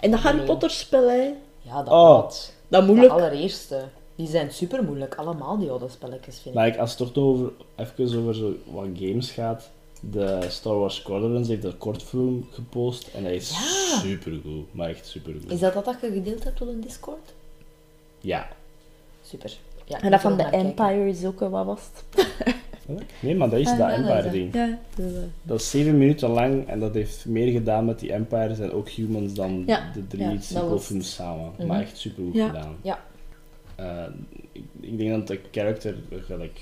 S3: En dat Harry Potter spel, hè.
S1: Ja, dat
S2: Oh.
S1: moet.
S3: Dat
S1: De
S3: moeilijk.
S1: allereerste. Die zijn super moeilijk, allemaal die oude spelletjes, vind ik.
S2: Maar ik, als het toch nog over, even over zo wat games gaat. De Star Wars Squadrons heeft een kortfilm gepost en hij is
S1: Ja.
S2: supergoed. Maar echt supergoed.
S1: Is dat dat dat je gedeeld hebt op een Discord?
S2: Ja.
S1: Super. Ja, ik
S3: En
S1: moet er
S3: dat van de
S1: nog naar kijken.
S3: Empire is ook, eh, wat was het?
S2: Nee, maar dat is
S1: Ah,
S2: dat
S1: ja, dat is dat.
S2: Empire-ding.
S3: Eh, Ja. dus, eh,
S2: Dat is zeven minuten lang en dat heeft meer gedaan met die Empires en ook Humans dan
S3: Ja,
S2: de drie
S3: ja, dat was Mhm.
S2: sequelfilms samen. Maar echt super goed
S3: Ja.
S2: gedaan.
S1: Ja.
S2: Eh, ik, ik denk dat de character eh, gelijk,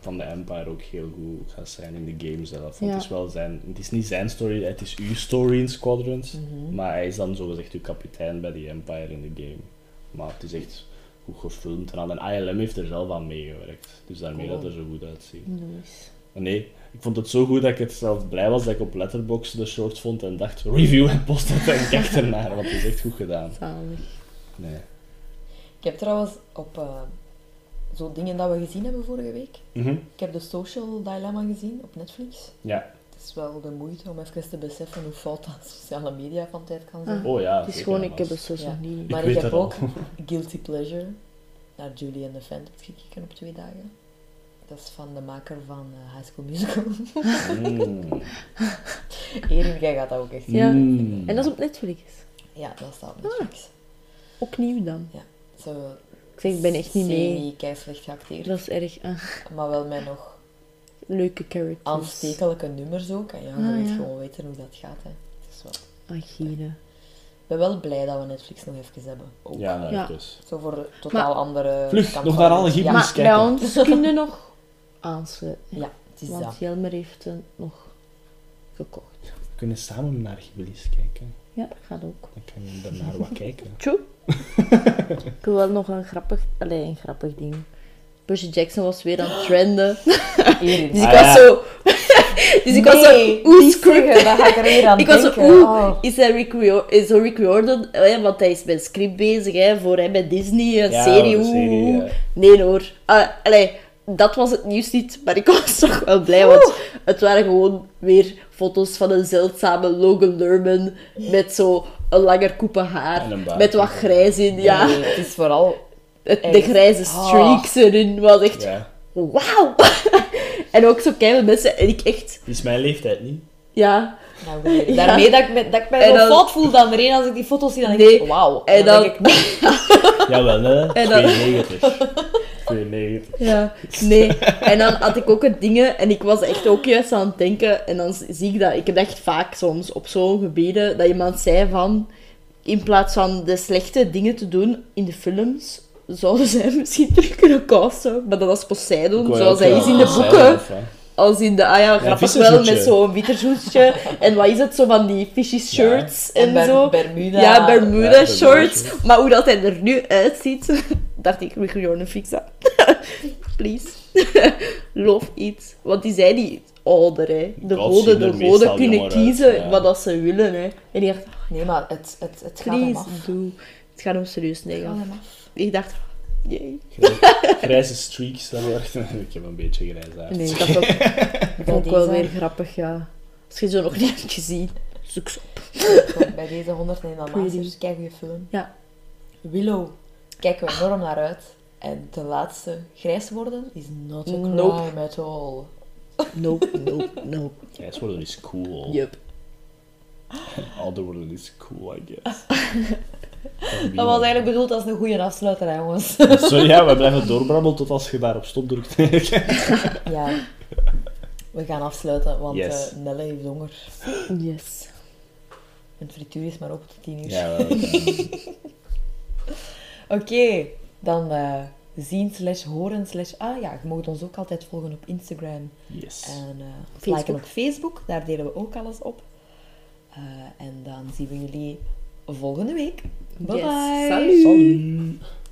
S2: van de Empire ook heel goed gaat zijn in de game zelf. Want
S3: Ja.
S2: het, is wel zijn, het is niet zijn story, het is uw story in Squadrons.
S3: Mhm.
S1: Mhm.
S2: Maar hij is dan zogezegd uw kapitein bij die Empire in de game. Maar het is echt goed gefilmd en al. En ILM heeft er zelf aan meegewerkt. Dus daarmee
S1: Cool.
S2: dat er zo goed uitziet.
S3: nice.
S2: Maar Nee, ik vond het zo goed dat ik het zelf blij was dat ik op Letterboxd de short vond en dacht review en post het en kijk ernaar, want het is echt goed gedaan.
S3: Zalig.
S2: Nee.
S1: Ik heb trouwens op eh, zo dingen dat we gezien hebben vorige week.
S2: Mhm.
S1: Ik heb de Social Dilemma gezien op Netflix.
S2: Ja.
S1: Het is wel de moeite om even te beseffen hoe fout dat sociale media van tijd kan zijn.
S3: Ah.
S2: Oh ja.
S3: Het is
S2: zeker
S3: gewoon,
S2: en
S3: ik heb het
S2: vast.
S3: zo
S1: Ja.
S3: nog niet.
S1: Maar
S2: weet
S1: ik heb
S2: dat al.
S1: ook Guilty Pleasure naar Julie and the Phantoms gekeken op twee dagen. Dat is van de maker van eh, High School Musical.
S2: Mm.
S1: Erin, jij gaat dat ook echt zien.
S3: Ja.
S2: Mm.
S3: En dat is op Netflix.
S1: Ja, dat staat op Netflix.
S3: Ook nieuw dan.
S1: Zo
S3: Ik zeg, Ah. ik ben echt niet mee.
S1: Semi-keislecht geacteerd.
S3: Dat is erg. ah,
S1: Maar wel met nog
S3: leuke characters.
S1: aanstekelijke nummers ook. En ja, je
S3: Ah,
S1: weet
S3: ja.
S1: gewoon weten hoe dat gaat. Hè. Het is wel...
S3: Agile.
S1: Ik ben wel blij dat we Netflix nog even hebben. Ook.
S2: Ja, nou,
S3: Ja.
S2: dus.
S1: Zo voor een totaal andere...
S2: Vlug,
S1: kant
S2: nog
S1: van
S2: naar
S1: het-
S2: alle
S1: Ja,
S2: gimmicks
S3: maar
S2: kijken.
S3: bij ons kunnen nog aansluiten.
S1: ja, het is dat.
S3: Want Jelmer heeft hem nog gekocht.
S2: We kunnen samen naar Gibbelis kijken.
S3: Ja, dat gaat ook.
S2: Dan kan je daarnaar wat kijken.
S3: True. ik wil wel nog een grappig, allee, een grappig ding. Percy Jackson was weer aan het trenden.
S1: Erin.
S3: Dus ik
S2: Ah, ja.
S3: was zo... dus ik was zo...
S1: Nee,
S3: Oeh,
S1: niet
S3: script.
S1: zeggen, Dat ga ik er weer aan
S3: Ik was
S1: denken.
S3: zo, oeh,
S1: Oh.
S3: is, dat Rick Rior- is zo Rick Riordan, eh, want hij is met een script bezig hè, voor hè, bij Disney, een
S2: Ja,
S3: serie,
S2: een
S3: oeh,
S2: serie,
S3: oeh.
S2: ja.
S3: Nee hoor, Ah, allee, dat was het nieuws niet, maar ik was toch wel blij, want het waren gewoon weer foto's van een zeldzame Logan Lerman met zo een langer koepe haar,
S2: En een baard.
S3: met wat grijs in, ja.
S1: Nee, het is vooral...
S3: Het- de
S1: echt.
S3: grijze streaks erin, was echt,
S2: Ja.
S3: wauw! en ook zo keihard mensen, en ik echt,
S2: Het is mijn leeftijd niet.
S3: ja...
S1: Nou, nee, Daarmee dat ik, me, dat ik mij
S3: En
S1: zo
S3: dan-
S1: fout voel dan erin als ik die foto's zie, dan denk
S3: Nee.
S1: ik, wauw.
S3: En dan-
S1: denk ik, nee,
S2: Jawel, hè.
S3: En dan-
S2: 92. 92.
S3: Ja, nee. En dan had ik ook het dingen en ik was echt ook juist aan het denken. En dan zie ik dat, ik heb dat echt vaak soms op zo'n gebieden, dat iemand zei van, in plaats van de slechte dingen te doen in de films, zouden zij misschien terug kunnen casten. Maar dat was
S2: Ik
S3: Poseidon,
S2: wou
S3: zoals
S2: ook
S3: hij is in
S2: wel
S3: de
S2: zeggen,
S3: boeken.
S2: of wat?
S3: Als in de, ah ja, grappig wel,
S2: vissenzoetje.
S3: met zo'n witterzoetje. En wat is het, zo van die fishy shirts en
S1: Ber-
S3: zo.
S1: Bermuda.
S3: Ja, Bermuda
S2: Ja,
S3: shorts.
S2: Bermuda
S3: Maar hoe dat hij er nu uitziet, dacht ik, Rick Riordan, fix dat. Please. Love it. Want die zei die ouder, hè. De
S2: God
S3: goden,
S2: zien
S3: de
S2: er
S3: goden
S2: meestal
S3: kunnen
S2: jonger uit,
S3: kiezen
S2: ja.
S3: wat dat ze willen, hè. En die dacht,
S1: Nee, maar het, het, het gaat hem
S3: please,
S1: af.
S3: doe. Het gaat hem serieus
S1: Het
S3: nee.
S1: gaat
S3: af.
S1: hem af.
S3: Ik dacht, jee.
S2: Grij- Grijze streaks dan weer. Ik heb een beetje grijs haar.
S3: Nee, dat is ook, dat vond ik wel
S1: deze.
S3: weer grappig, ja. Als je zo nog niet hebt gezien, zoek ze op.
S1: Goed, Bij deze 101 Dalmatiërs, dus kijk goede film.
S3: Ja.
S1: Willow, kijken we enorm naar uit. En de laatste, grijs worden, is not a crime
S3: Nope.
S1: at all.
S3: Nope, nope, nope.
S2: Grijs worden is cool.
S3: Yup.
S2: Ouder worden is cool, I guess.
S1: Dat was eigenlijk bedoeld als een goede afsluiter, hè, jongens.
S2: Sorry, ja, we blijven doorbrabbelen tot als je daar op stop drukt.
S1: Ja. We gaan afsluiten, want
S2: Yes.
S1: eh, Nelle heeft honger.
S3: Yes.
S1: Een frituur is maar op tot 10 uur.
S2: ja, wel,
S1: Oké, dan eh, zien slash horen slash... Ah ja, je mag ons ook altijd volgen op Instagram
S2: yes.
S1: en eh, of
S3: Facebook.
S1: liken op Facebook. Daar delen we ook alles op. Eh, en dan zien we jullie volgende week. Bye
S3: Yes.
S1: bye.
S3: Salut.
S2: Salut.